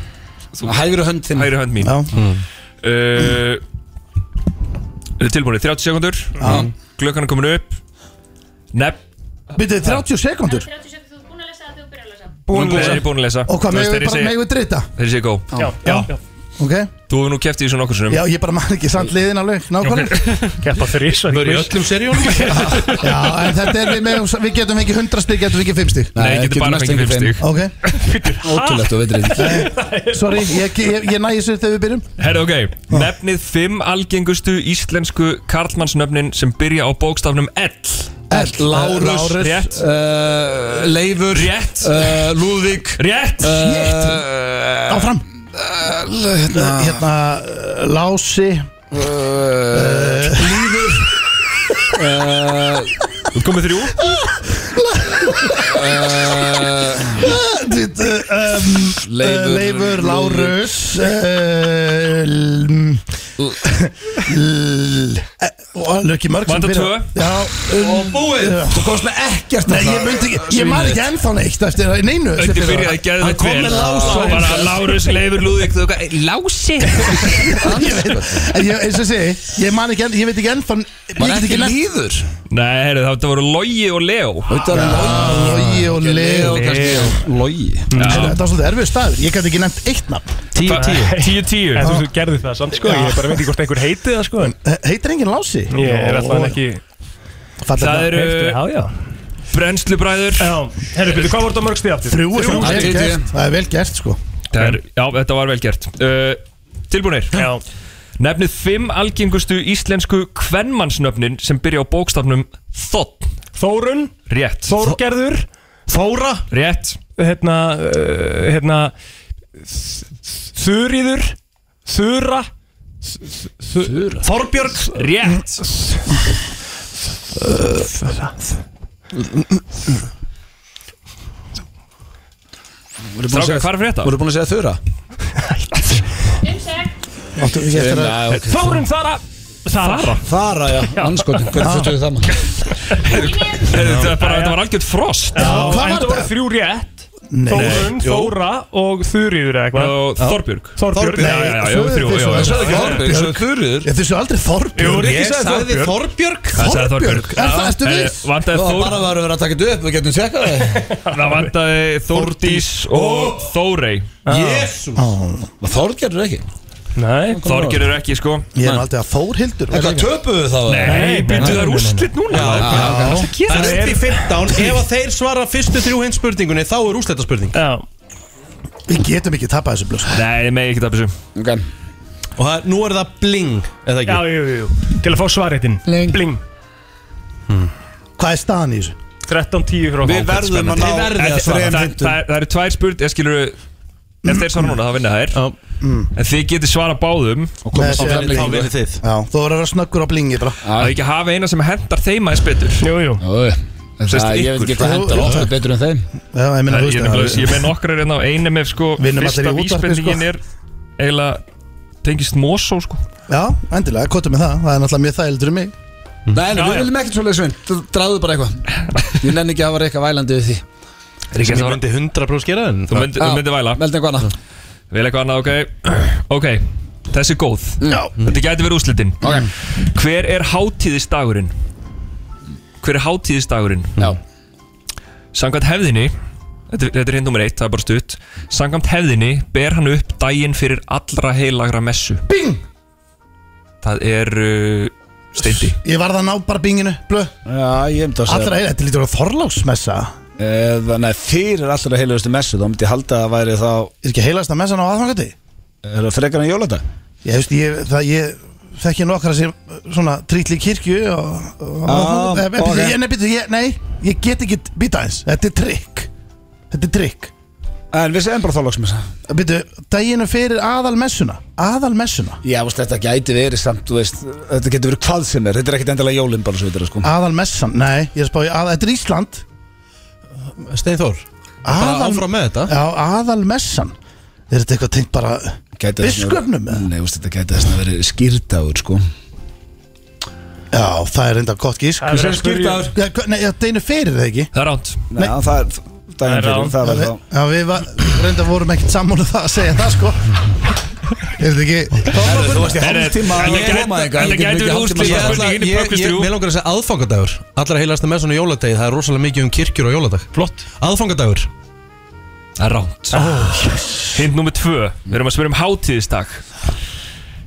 Þú-
Hægri hönd þinn
Hægri hönd mín Mm.
Já.
uh, Eru tilbúinir, 30 sekundur
Já.
Glökkan er komin upp Nefn
Byrjuðu 30 sekundur
Búin að lesa, búin að lesa
Og hvað,
Þú veist,
megum við
þeirri
bara-
segi-
megum við drita?
Þeirri sé góð
Já. Já. Ok
Þú hefur nú keft í þessu nokkur sinnum
Já, ég bara man ekki samt liðin alveg Nákvæmlega
Keppa fyrir Ísvar
Börja í öllum seríunum
[laughs] Já, en þetta er við megum Við getum ekki 100 stík, getum við ekki 5 stík
Nei, getur bara fengið 5 stík
Ok,
[laughs]
Eh,
Ótrúlegt og veitir þetta
sorry, ég, ég, ég næ þessu þegar við byrjum
Herra, ok, nefnið fimm algengustu íslensku karlmannsnöfnin sem byrja á bókstafnum L
L,
Lárus
Rétt.
uh, Leifur
Rétt.
uh, Lúðvík
Rétt
uh,
Áfram
uh, Hérna Eh,
Hérna, eh, Lási Eh,
uh, Lífur uh,
Þú komið þrjú
uh,
Þitt, eh, um,
Leifur,
Leifur,
Lúðvík.
Lárus eh, l- l- eh, og Lucky Mörg sem
Vanda
byrjar-
tvö.
Já, um,
Búið Þú komst með ekkert
Nei, ég myndi ekki, ég man ekki ennþá neitt eftir það, neinu sem
Öndi
fyrir það.
byrjaði gæðið
Hann kom með Lása.
Svo bara Lárus, Leifur, Lúðvík Þú eitthvað, "Ey, Lási
Ég veit- En ég, eins og ég segi, ég man ekki enn, ég veit ekki ennþá Ég
Var
get
ekki
ekki nefnt
líður
Nei, herru, þetta voru Logi og Leo
Þetta er Lógi
Logi og Leo Mm.
Logi
Já.
Þetta var svolítið erfið staður, ég get ekki nefnt eitt nafn
Tíu, tíu
[laughs] Tíu, tíu
En þú veist, þú gerði það samt sko, ég bara veit ekki hvort einhver heiti það sko en
Eh, Heitir enginn Lási?
Ég er alltaf ekki
Það
Fallega-
eru
Hefti, já, já
brennslubræður
Já, herru, byrju, hvað voru það mörgst í aftur?
Þrjú, er
Þrjú,
það er
tíu,
vel
tíu.
gert, það er vel gert sko
Það er- Já, þetta var vel gert Uh, Tilbúinir
Já,
Nefnið fimm algengustu íslensku kvenmannsnöfnin sem byrja á bókstafnum Þotn
Þórun,
Rétt
Þórgerður Þóra
Rétt
Hérna, uh, hérna Þuríður Þura Þura Þorbjörg
Rétt Stráka, hvað er fyrir þetta?
Voru búin að segja þurra?
Áttu ekki eftir að
Nei, ok
Þórun Þara Þara
Fara, já, anskotin, hvernig þurftu við það maður?
Heyrðu, Þetta var bara- þetta var algjört frost
Já,
hvað var
en
þetta?
voru þrjú rétt
Nei.
Þórun,
Jú.
Þóra og Þuríður eða eitthvað
Og Þorbjörg.
Þorbjörg,
Þorbjörg. Já, já, já, já, þrjú, já, já. Sögðu ekki Þorbjörg, sögðu Þuríður.
Ég þessu aldrei Þorbjörg
Jú, Rikki sagði Þorbjörg. Hann sagði Þorbjörg.
Er það,
Já.
ertu við?
Eh, vantaði Þór-
bara var að vera að taka þetta upp, við getum tjekkað það
Það vantaði Þórdís og Þórey
Jesús.
Þórgerður ekki
Nei
Þorgerður ekki sko
Ég er nú aldrei að Þórhildur
Eitthvað
töpuðu þá
Nei, byrjuðu það úrslit núna
Það er upp í 15 Ef að þeir svara fyrstu þrjú hins spurningunni Þá er úrsleta spurning
Já
Við getum ekki tapað þessu blöss
Nei, ég megi ekki það þessu
okay.
Og það, nú er það bling Eða ekki
Já, jú, jú, jú Til að fá svaritinn Bling Bling
Hmm. Hvað er staðan í þessu?
13-10 fyrir
Við verðum að ná
Við verðum að svara
Það það- það eru tvær spurning Ég skilur Ef þeir svara núna þá vinna þær En þið getið svara báðum
komið
Þá
sér að
vinnið-
blingu.
þá vinnið þið
Já, þú verður að vera snöggur á blingi bara
Það er ekki að hafa eina sem hendar þeim aðeins betur
Jú, jú
Þú veist,
Það- ég veit ekki
ykkur.
hvað hendar okkur
betur en þeim
Já, ég meina, þú
Ég
veist
er nefnilega- ég með nokkrar hérna á einum ef sko
Vinnum
Fyrsta
allir í útvarpi,
vísbendingin
sko.
er eiginlega tengist Mosó sko
Já, endilega, kottum með það Það er náttúrulega mjög þældur um mig
Nei, nei,
Já,
við
já.
viljum ekkert svoleiðis vinn Þú dráðu bara eitthvað Ég nenni ekki að hafa eitthvað vælandi við því
Rikki, ég myndi 100% gera það
Þú myndi, þú myndi væla
Veldi eitthvað annað
Vel eitthvað annað, ok Ok, þessi er góð
Já.
Þetta gæti verið úslitin
Mm. Ok.
Hver er hátíðisdagurinn? Hver er hátíðisdagurinn?
Já
Samkvæmt hefðinni Þetta, þetta er hinn nummer eitt, það er bara stutt Samkvæmt hefðinni ber hann upp daginn fyrir allra heilagra messu
Bing!
Það er uh, steindi
Ég varð að ná bara binginu, blöð
Já, ég myndi að segja
Allra heila, þetta lítur að Þorláksmessa
Eða, nei, fyrir allra heilugustu messu Þá myndi ég halda að það væri þá
Er ekki heilast að messan á aðfangati?
Er það frekar en jóladag?
Ég veist, ég, það, ég þekki nokkra sem svona trítli kirkju og, og,
Ah,
og, og
ok.
okay. ég, nei, býtu, ég, nei, ég get ekki býta eins, þetta er trikk Þetta er trikk Eh,
En við segjum bara þorlóksmessa
Býtu, daginu fyrir aðalmessuna Aðalmessuna
Já, veist, þetta gæti verið samt, þú veist Þetta getur verið hvað sem er Þetta er ekkit endilega jólin bara svo við þetta sko
Aðalmessan, nei, ég er að spá í að, Þetta er Ísland
Eh, Steinþór Bara
Aðal-
áfram með þetta
Já, aðalmessan Er þetta eitthvað tengt bara
Gæti þess vegna-
Ah, biskupnum? eða?
Nei, veist, þetta gæti þess að verið skýrdagur sko
Já, það er enda gott gísk
Það er verið að spyrja-
Já, hva- Nei, það er fyrir það ekki
Það er ánt
Nei,
Nei.
það er daginn fyrir Það var þá
Já, við- Já, við var, reynda vorum ekkert sammála um það að segja það
[laughs]
sko Er þetta ekki
Herru, Þú varst í
Herru,
hálftíma
þetta gæti- þetta gæti verið úrslit.
Ég ætla,
Spurningin í
ég,
Pökkvist
ég,
þrjú.
mér langar að segja aðfangadagur Allra heilast með svona jóladegi Það er rosalega mikið um kirkjur og jóladag
Flott
Aðfangadagur
Það er ránt oh, yes. Hint nummer tvö Við erum að spyrja um hátíðistak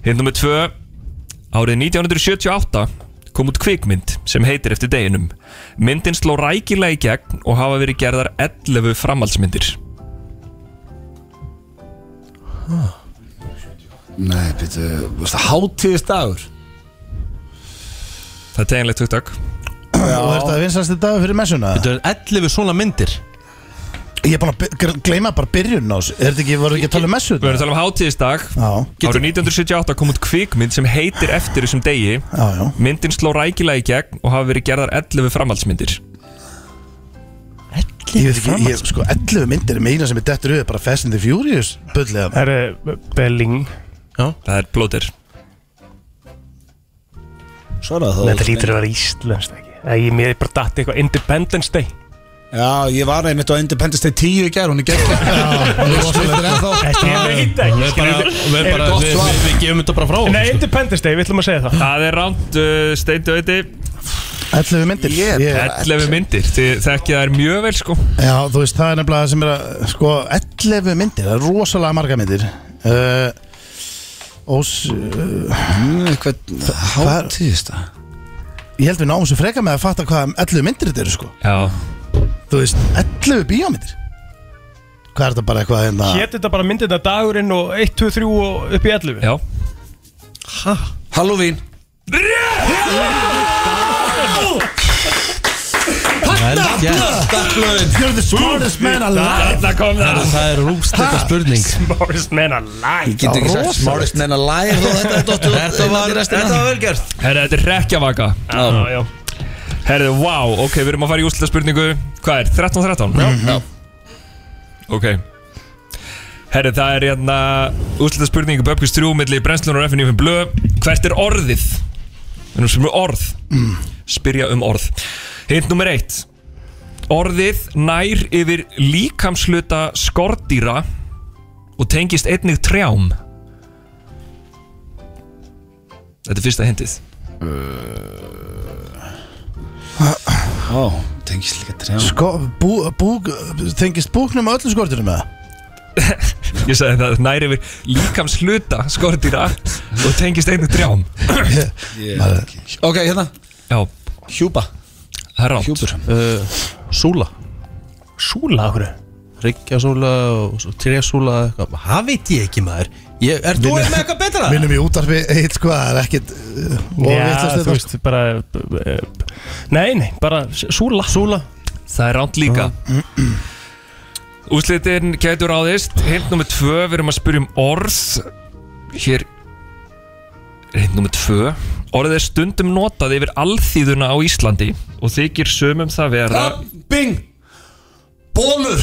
Hint nummer tvö Árið 1978 kom út kvikmynd sem heitir eftir deginum Myndin sló rækilega í gegn og hafa verið gerðar 11 framhaldsmyndir
Nei, býttu, veist það hátíðisdagur
Það er teginlegt hugtak
Og er þetta vinsastu dag fyrir messuna?
Þetta er 11 svona myndir
Ég er búin að by- gleyma bara byrjun á þessu Er þetta ekki, voru ekki að tala um messu?
Við erum að tala um hátíðistak Árið 1978 kom út kvikmynd sem heitir eftir þessum degi
Já, já
Myndin sló rækilega í gegn og hafa verið gerðar 11 framhaldsmyndir
Ég veit ekki, ég, sko, 11 myndir er meina sem er dettur auðvitað bara Fast and the Furious Bullið
Það er Belling
Já
Það er blóðir
Svaraði það
Þetta lítur að vera íslenskt ekki Æ, ég- Mér er bara datt eitthvað Independence Day
Já, ég var einmitt á Independence Day 10 í gær, hún er gegn
Ég veit ekki
Við bara- við
skilurðu.
bara-
Gott
við-
svar.
við- Við gefum þetta bara frá okkur,
Nei,
sko.
Independence Day, við ætlum að segja það
Það er ránt uh, steindi auði
11 myndir Ég-
11 myndir, þið þekkja það er mjög vel sko
Já, þú veist, það er nefnilega það sem er að Sko, 11 myndir, það er rosalega marga myndir uh, Ós uh,
Hvern hátíðist það?
Ég held við náum svo freka með að fatta hvað 11 myndir þetta eru sko
Já
Þú veist, 11 bíómyndir Hvað er þetta bara eitthvað hérna
Hétt þetta bara myndina dagurinn og 1, 2, 3 og upp í 11
Já
Halloween
You're the smartest man alive
Þarna kom það
Það er rústleika spurning
Smartest man alive
Ég get ekki sagt smartest menn að læra
Þetta var, þetta var vel gert
Herra, þetta er rekjavaka
Já, já
Herra, wow, ok, við erum að fara í úsleita spurningu Hvað er, 13-13?
Mhm.
Já
Ok Herra, það er hérna úsleita spurningu Böpkvist 3 milli brennslunar og FNF blö Hvert er orðið? um Við erum sem orð Spyrja um orð Hint nummer 1 Orðið nær yfir líkamsluta skordýra og tengist einnig trjám Þetta er fyrsta hindið
Uh, Ó, tengist líka trjám
Sko, bú, búk, tengist búknum með öllum skorturum með það?
Ég sagði það nær yfir líkamsluta skordýra og tengist einnig trjám
Ok, hérna
Já
Hjúpa
Það er rátt
Hjúpur
uh, Súla
Súla, okkur
Ríkjasúla og trésúla eitthvað. Það veit ég ekki maður ég, Er þú með eitthvað betra?
Minnum í útarfi eitt sko, það er ekkit uh, og
Já,
vitlaust
þú
þetta,
sko.
veist, bara eh, Nei, nei, bara s- súla
Súla
Það er ránt líka Úslitin getur ráðist Hint nummer tvö, við erum að spyrja um orð Hér er Hint nummer tvö Orðið er stundum notað yfir alþýðuna á Íslandi Og þykir sömum það vera
Ah! Bing Bólur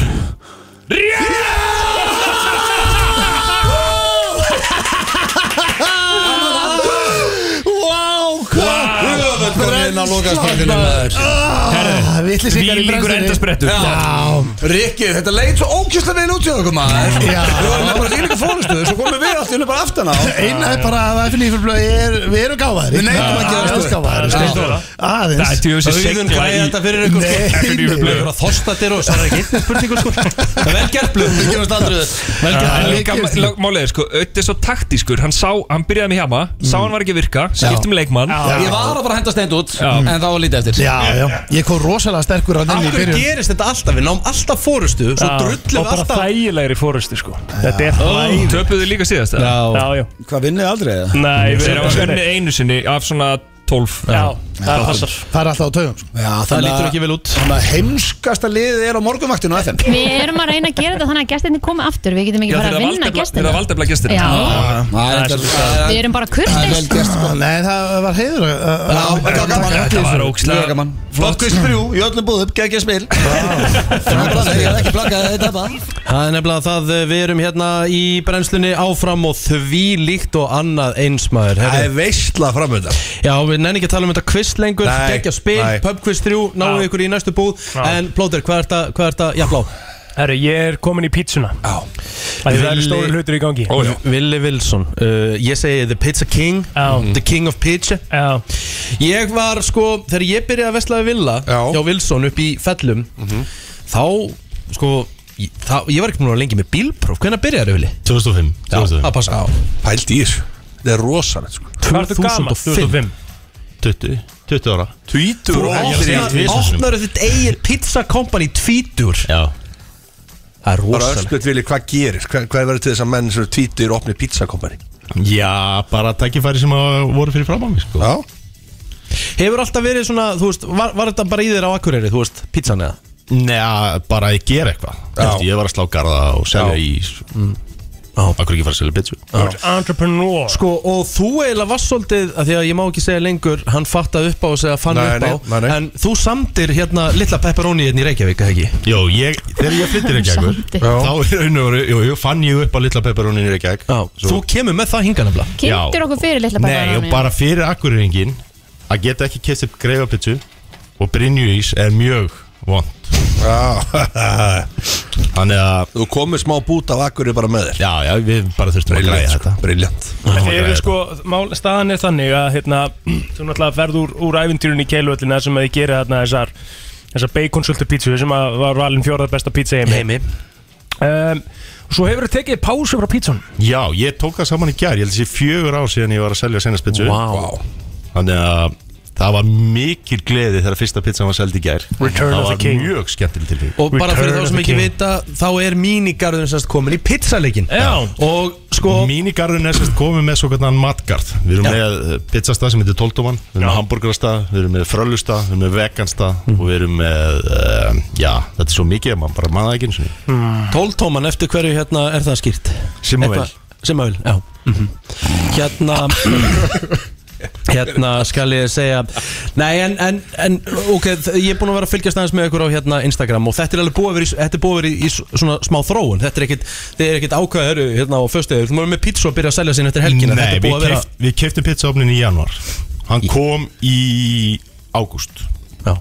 Wow, hvað
Velkomin að loka spökkinu
Ah, Vittlisingar í brennslunni
Rikki, þetta leit svo ókjöslega vel út hjá okkur maður Við varum með bara þínu fórustu Svo komum við allt í hennu bara aftan á
Einna er bara að FNÍ fyrir blöð er, Við erum gáfaðir
Við neitum að gera
stöð Gáfaðir,
Já.
sko. aðeins
Það er tjóðum sér
Auðun
segla
græði
í
þetta fyrir ykkur
Nei,
sko.
nei.
Blöð fyrir að þosta þér og svarar ekki spurningu sko Það er vel gert blöð
Við gefumst aldrei upp.
Vel gert.
En
Vel
líka
gert.
málið er sko, auðvitað svo taktískur Hann sá, hann byrjaði með hjama Sá hann var ekki að virka, skiptum leikmann
Ég var að fara að henda stend út
Já.
En það var lítið eftir
Já, já, ég kom rosalega sterkur að nenni í
Akkur
byrjun
gerist þetta alltaf, við náum alltaf fórustu Svo
Já,
drullum
Og
við
bara
alltaf
þægilegri fórustu sko Þetta er
Ó,
þægilegri
Töpuðu líka síðast eða?
Já, já
Hvað vinnið aldrei eða?
Nei, við
Þeir
erum
hafa
að
unnið einu sinni af svona 12
Já, það passar
Það er alltaf á taugum sko.
Já,
Það lítur ekki vel út
Þannig að heimskasta liðið er á morgunvaktinu á FM
Við erum að reyna að gera þetta þannig að gestinni komi aftur Við getum ekki
Já,
bara
þeir
að
eru valdefla- þeir eru
vinna
að
gestina
valdefla gestina Ah.
Já.
Það er
Við
þetta
erum bara
Það er
kurteis
vel gert sko
Nei, það var heiður að- að-
Já, þetta var gaman
Þetta var ókslega
Mjög gaman Flott kvist frjú Í öllum búðum Gækja spil Ég er ekki blakkað Þetta er bara
Það er nefnilega það eh, við erum hérna í brennslunni áfram og því líkt og annað einsmaður
Það er veistla framöndan
Já, við nenni ekki að tala um þetta quiz lengur
Nei,
Gekja spil,
nei.
pubquiz 3, náum við ykkur í næstu búð En Plóter, hvað er þetta, hvað er þetta, já Pló
Herru, ég er komin í pítsuna Já Það eru
Villi-
stóri hlutur í gangi
já.
Willi Wilson uh, Ég segi The Pizza King
Já.
The King of Pizza
Já,
Ég var sko, þegar ég byrjaði að vesla við Villa
Já.
Hjá Wilson upp í fellum Þá, sko ég- Það, ég var ekki múin að vera lengi með bílpróf Hvernig byrjaði Vili?
2005
Já, það passa
Pælt í þessu Þetta er rosalegt sko
hvað ertu gaman? 2005
20, 20 ára
20
Þú
og
ég- ég-
opnar-
ég-
opnar þitt eigin pizza company tvítur
Já
Það
Bara
er rosalegt
öllspjöld vilji, hvað gerir? Hvað, hvað verður til þess að menn sem eru tvítur opni pizzakompani?
Já, bara tækifæri sem að voru fyrir fram á mig sko.
Já
Hefur alltaf verið svona, þú veist Var, var þetta bara í þér á Akureyri, þú veist, pizzan eða?
Nei, bara að gera eitthvað Þú veist, Ég var að slá garða og selja ís mm. Akkur ekki fara að selja pizza
Þú ert entrepreneur
Sko, og þú eiginlega var svolítið að Því að ég má ekki segja lengur, hann fattaði upp á og segja fann
Nei,
upp á
nei, nei, nei.
En þú samdir hérna litla pepperoni hérna í Reykjavík, eða ekki?
Jó, ég, þegar ég flyttir ekki ekkur
Samdi.
Þá er raun og veru, jú, jú, fann ég upp á litla pepperónin í Reykjavík
Já, þú
Svo-
kemur með það hinga nefnilega
Kynntur
Já.
okkur fyrir litla
Nei, og bara fyrir akkurringin Að geta ekki kist upp greifapitsu Og brinju ís er mjög vond
Já
Eh, Þannig að,
Þú komið smá bút af akkurri bara með þér
já, já, við bara þurftum að græja
Briljant sko
þetta
Briljant
Þetta eru
græja
sko, mál, staðan er þannig að hérna, þú náttúrulega ferð úr, úr æfintýrun í keilvöllina sem að þið gera þarna þessar þessar baconsultu pítsu sem að var valin fjórað besta pítsa heimi
Heimi
um, Svo hefur þið tekið pásu frá pítsun
Já, ég tók það saman í gær, ég held að þessi fjögur ár síðan ég var að selja senastpitsu
Vá.
Þannig að það var mikil gleði þegar fyrsta pizzan var seld í gær
Return
Það
of the
var
king.
mjög skemmtileg tilfík
Og bara fyrir
Return
þá
of
sem
the
ekki
king.
vita Þá er mínigarðun sérst komin í pizzaleikin
Já.
Og sko
Mínigarðun er sérst komið með svo hvernig matgard Við erum
Já.
með eh, pizzastað sem heitir Tóltóman Við erum
Já.
með hamburgerastað, við erum með frölustað Við erum með veganstað
Mhm.
og við erum með uh, Já, þetta er svo mikið að mann bara manna ekki eins og niður
Tóltóman eftir hverju hérna er það skýrt
Simmavél.
Eitthvað- Simmavél, já Mhm. Hérna
[coughs]
Hérna skal ég segja Nei en, en, en ok þ- Ég er búin að vera að fylgjast aðeins með ykkur á hérna Instagram og þetta er alveg búið að vera í, þetta er búið að vera í, í s- svona smá þróun Þetta er ekkit, þið er ekkit ákvæður hérna á föstuðið Þú maður með pizza að byrja að selja sinni eftir helgina
Nei,
Þetta er
við,
búið að vera
keypt, við keiftum pizzaofnin í januar Hann kom í ágúst
Já.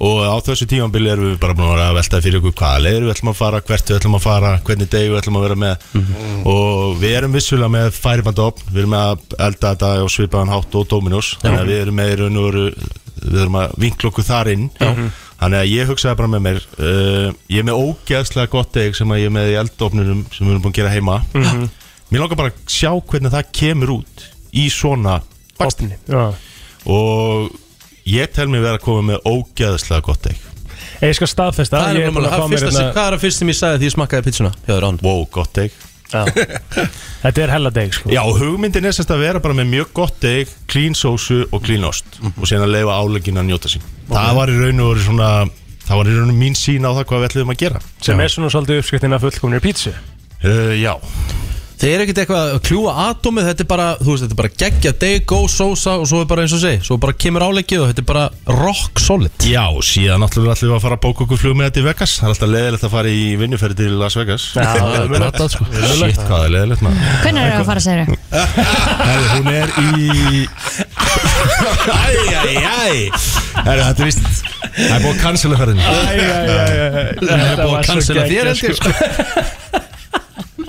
og á þessu tímanbili erum við bara búin að vera að velta fyrir okkur hvaða leiður við ætlum að fara, hvert við ætlum að fara hvernig degi við ætlum að vera með
Mhm.
og við erum vissulega með færibandopn við erum með að elda þetta og svipaðan hátt og Dominos, þannig að við erum með í raun og veru, við erum að vinkla okkur þar inn þannig að ég hugsaði bara með mér uh, ég er með ógeðslega gott deg sem að ég er með í eldopnunum sem við erum búin að gera heima
Mhm.
mér langar bara að sjá hvernig það kemur út í svona bakstinni og ég tel mér vera að koma með ógeðslega gott deg
Ég skal staðfesta
Það
ég
er
búinn að
nefnilega
fá
það
mér
fyrsta sem,
hérna-
hvað er það fyrst sem ég sagði því ég smakkaði pizzuna? Já, það er án
Wow, gott deg
Þetta er hella deg sko
[laughs] Já, hugmyndin er sérst að vera bara með mjög gott deg clean sósu og clean ost
Mhm.
og síðan að leifa álegin að njóta sín Það var í raun og veru svona það var í raun og veru mín sín á það hvað við ætluðum að gera
sem er svona svolítið uppskriftin af fullkomnir pítsu
uh, Já
Þeir eru ekkert eitthvað að kljúa atomið Þetta er bara, þú veist, þetta er bara geggja Day, go, sósa og svo er bara eins og segi Svo bara kemur áleikið og þetta er bara rock solid
Já, síðan náttúrulega ætlum við að fara að bóka okkur flug með þetta í Vegas Það er alltaf leðilegt að fara í vinnuferði til Las Vegas
Já, það er sko.
Shit,
mögulegt.
hvað er leðilegt maður
Hvernig er það að fara, segir þau?
Herri, hún er [laughs] í Æjæjæj Herri, þetta er vist Það er búið að cancela ferðinni Það er búið að cancela þér heldur sko.
[laughs]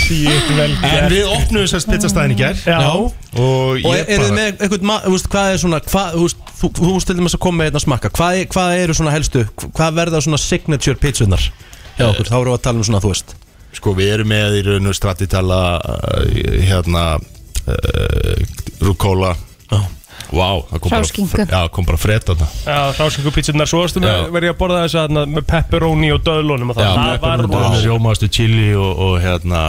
Sýtt vel
En við opnum þessar pizzastæðin í gær
Já.
Og
Og
ég
er þið
bara
með eitthvað, ma- þú veist, hvað er svona hvað, Þú veist, þú- þú veist til dæmis að koma með einn að smakka hvað, er- hvað eru svona helstu, hvað verða svona signature pizzunar hjá okkur Þá erum við að tala um svona, þú veist
Sko, við erum með í raun og stratitala Hérna uh, Rucola Vá, það kom bara
Hráskingu.
Já, kom bara frétt þarna
Já, rásingu pítsunar svo varstu
Já.
með verið að borða þess að með pepperoni og döðlunum og það, það var
wow.
rosa-
Sjómaðastu chili og, og hérna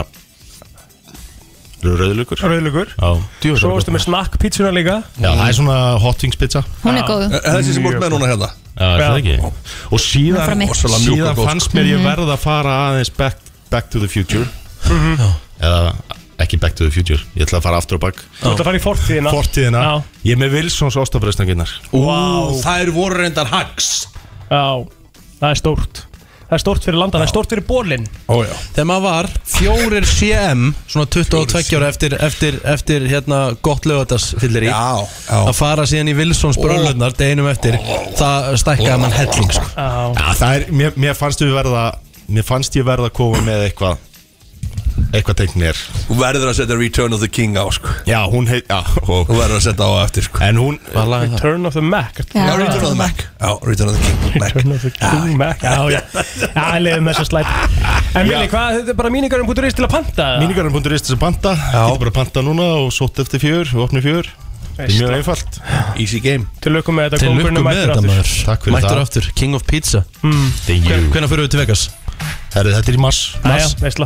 Rauðlugur
Rauðlugur
Já
Svo varstu með snakk pítsuna líka
Já, það er svona hot wings pizza
Hún er Já. góð. Er það þessi sem þú ert með núna hérna?
Já, er það
Já.
ekki Og
Hún er frá
síðan, síðan,
mér. Rosalega mjúk og góð,
fannst
sko.
mér ég
Mhm.
verð að fara aðeins back, back to the future
Mhm.
Eða ekki back to the future Ég ætla að fara aftur og back
Þú ætla að fara í fortíðina
Fortíðina Ég er með Wilsons ástafræðsnanginnar
Vá.
þær voru reyndar hags
Já, það er stórt Það er stórt fyrir landan, það er stórt fyrir bólinn
Ó, Þegar maður var fjórir CM Svona 22 ára eftir, eftir, eftir hérna gott lögadags fyllir í já, já. Að fara síðan í Wilsons bröllunar Deginum eftir Það stækkaði mann helling sko.
Já, það er, mér, mér fannst við verða Mér fannst ég verða að koma með eitthvað Eitthvað tengt mér
sko-
Þú verður að setja Return of the King á sko
Já, hún heit Já, og
Þú verður að setja á á eftir sko
En hún
Return of the Mac ertu-
Já, Return of the Mac Já, Return of the King Mac
Return of the King Mac Já, já, já, leiðum þess að slæp En Vili, hvað, þetta er bara míningarum.is til að panta eða?
Mínigarinn.is til að panta Getur bara að panta núna og sótt eftir fjör Við opnum fjör Þetta er mjög einfalt Easy game
Til lukkum með
Til lukku með þetta maður
Takk fyrir
Mættur
það.
aftur, King of Pizza
mm.
Hvernig fyrir við til Vegas?
Herri, þetta er í mars
Mars.
veistla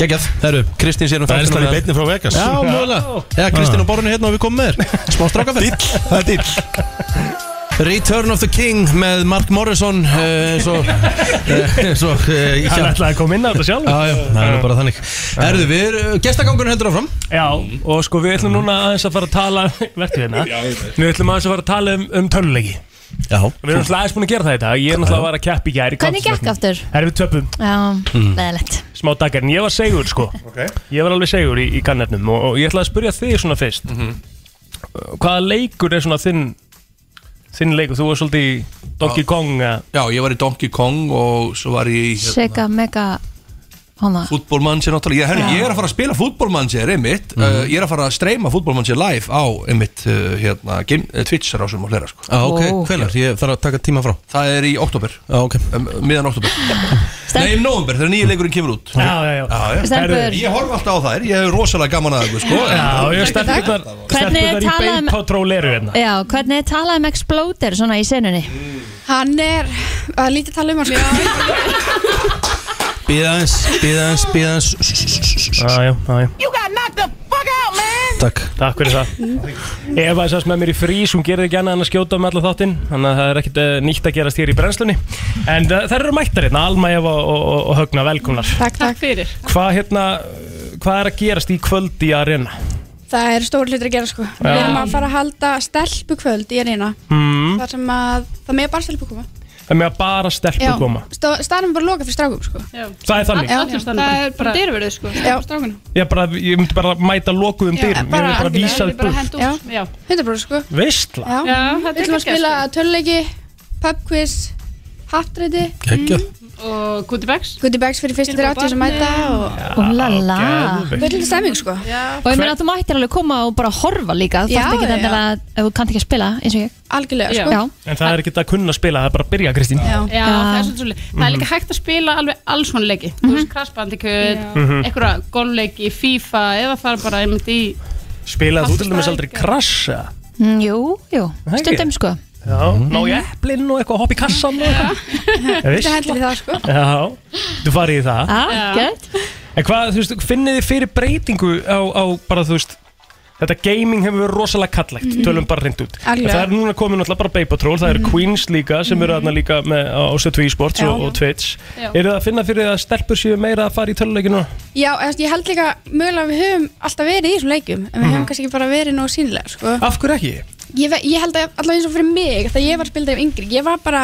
Geggjað, herru, Kristín sér um
Það er
þáttinn
slær í
með-
beinni frá Vegas.
Já, mögulega Já, Kristín á borðinu hérna og við komum með þér Smá strákaferð Dill,
það er dill
Return of the King með Mark Morrison eh, eins og eh, eins og eh,
Hann
hjá-
ætlaði að koma inn á þetta sjálf
Já, já, það er nú bara þannig Erðu, við erum, gestagangunum heldur áfram
Já, og sko við ætlum núna aðeins að fara að tala [laughs] Vertu hérna Við ætlum aðeins að fara að tala um, um töluleiki
Já
Við erum alltaf aðeins búin að gera það í dag Ég er náttúrulega að vara að keppi í gæri
Hvernig gekk aftur?
Herfið töpum
Já,
Mm.
veðalett
smá dagar en ég var segur
[laughs]
sko ég var alveg segur í, í kannefnum og, og ég ætla að spyrja þig svona fyrst
Mhm.
hvaða leikur er svona þinn þinn leikur, þú var svolítið í Donkey Kong eða-
Já, ég var í Donkey Kong og svo var ég í hérna,
Sega mega Hana
Fútbolmanager náttúrulega ég, herri, ég er að fara að spila fútbolmanager einmitt
Mhm.
uh, Ég er að fara að streyma fútbolmanager live á einmitt uh, hérna, game, eh, Twitch rásum og hlera sko
Ah,
Já, ok, oh. hvenar, ég þarf að taka tíma frá
Það er í oktober
Já, ok
um, Miðan oktober Nei, í november, þegar nýja leikurinn kemur út
Já, já, já,
Stelpur.
Herri, Ég horf alltaf á þær, ég hef rosalega gaman að þeim sko,
Já, já, stelpurnar-
Hvernig er
stelpurnar í
talað um-
beinpátról eru hérna
Já, hvernig er talað um Exploder svona í senunni?
Hann er að lítið tala um hann
Býða aðeins, býða aðeins, býða aðeins
Já, já, já, já
You got knocked the fuck out man
Takk
Takk fyrir það Eva er sérst með mér í frís, hún gerði ekki annað en að skjóta með alla þáttinn Þannig að það er ekkit uh, nýtt að gerast hér í brennslunni En uh, þær eru mættar hérna, Alma Eva og, og, og Högna, velkomnar
Takk, takk fyrir
Hvað hérna, hvað er að gerast í kvöld í arena?
Það er stór hlutur að gera sko Við erum að fara að halda stelpukvöld í Arena
Mm.
Þar sem að það með bara stelpu koma
Það með að bara stelpu koma
Staðan er bara lokað fyrir strákum sko Já,
Það er þannig
Já,
Allir staðnir
það
bara-
er bara
bara
dyrverðu sko Já, strákunum
Ég, bara, ég myndi bara mæta lokuðum dyrum Ég myndi bara vísa upp
Já, 100% sko
Veistla
Já,
Já, þetta er
við ætlum að sko.
geggjað,
spila töluleiki pub quiz, hattræti
Geggjað.
og goodiebags goodiebags fyrir fyrstu 30 sem mæta og
Úlala
Geðveikt. Full stemming, sko.
Og ég meina að þú mættir alveg koma og bara horfa líka Þú
Já,
þarft ekki
já,
þetta að, ef þú kannt ekki að spila eins og ég
Algjörlega,
Já.
sko
Já.
En það er ekki að kunna að spila, það er bara að byrja Kristín
Já, það er svolítið svolítið. Það er líka
Mhm.
hægt að spila alveg alls konar leiki.
Mhm.
Þú veist, krassbandikjöð,
Mhm.
einhverja golfleiki, FIFA, eða fara bara einmitt í...
Spilaði þú til dæmis aldrei krasja
Mm, Jú, jú,
ekki?
stundum sko
Já, ná ég eplinn og eitthvað hopp í kassan og eitthvað Já, veist.
hendlir það, sko
Já, þú farið í það
Ah, gett
En hvað, þú veist, finnið þið fyrir breytingu á, á bara, þú veist Þetta gaming hefur verið rosalega kallegt,
Mhm.
tölum bara reynd út En
Algjörlega.
Það er núna komið náttúrulega bara Bay Patrol, það eru Queens líka sem eru þarna líka með, á Sötu e-sports og,
Já.
og Twitch
Já.
Eru það að finna fyrir að stelpur séu meira að fara í töluleikinu?
Já, eða, þú veist, ég held líka mögulega að við höfum alltaf verið í þessum leikum en við höfum kannski ekki bara verið nógu sínilega sko.
Af hverju ekki?
ég, ve- ég held að allavega eins og fyrir mig þegar ég var að spila þeim yngri ég var bara,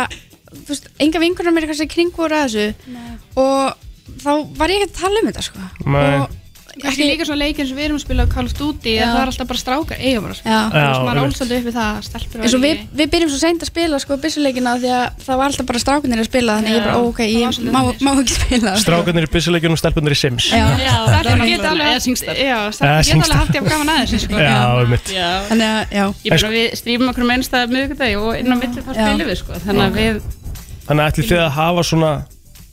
þú veist, enga vingunar mér kannski kring voru að þessu og þá var ég ekki að tala um þetta sko.
Nei.
Og
Ekki líka svona leikin sem við erum að spila á Call of Duty,
Já.
að það er alltaf bara strákar eiga bara. sko.
Já.
Þú veist,
Já,
maður
einmitt.
ólst alltaf upp við það að stelpur
eins og við, við byrjum svo seint að spila sko, byssuleikina því að það var alltaf bara strákunir að spila þannig
Já.
ég bara, ó, ok, ég má,
sko."
má ekki spila
Strákarnir í byssuleikinu og stelpurnar í Sims
Já.
Stelpur geta alveg haft- já, stelpur
Eða
geta
Singstar.
alveg haft jafn gaman aðeins sko.
Já, einmitt.
Já.
Þannig að, já
Ég bara við strýmum okkur með einstað miðugdagi og inn á milli þá spilum við sko. Þannig að við
Þannig að ætli þið að hafa svona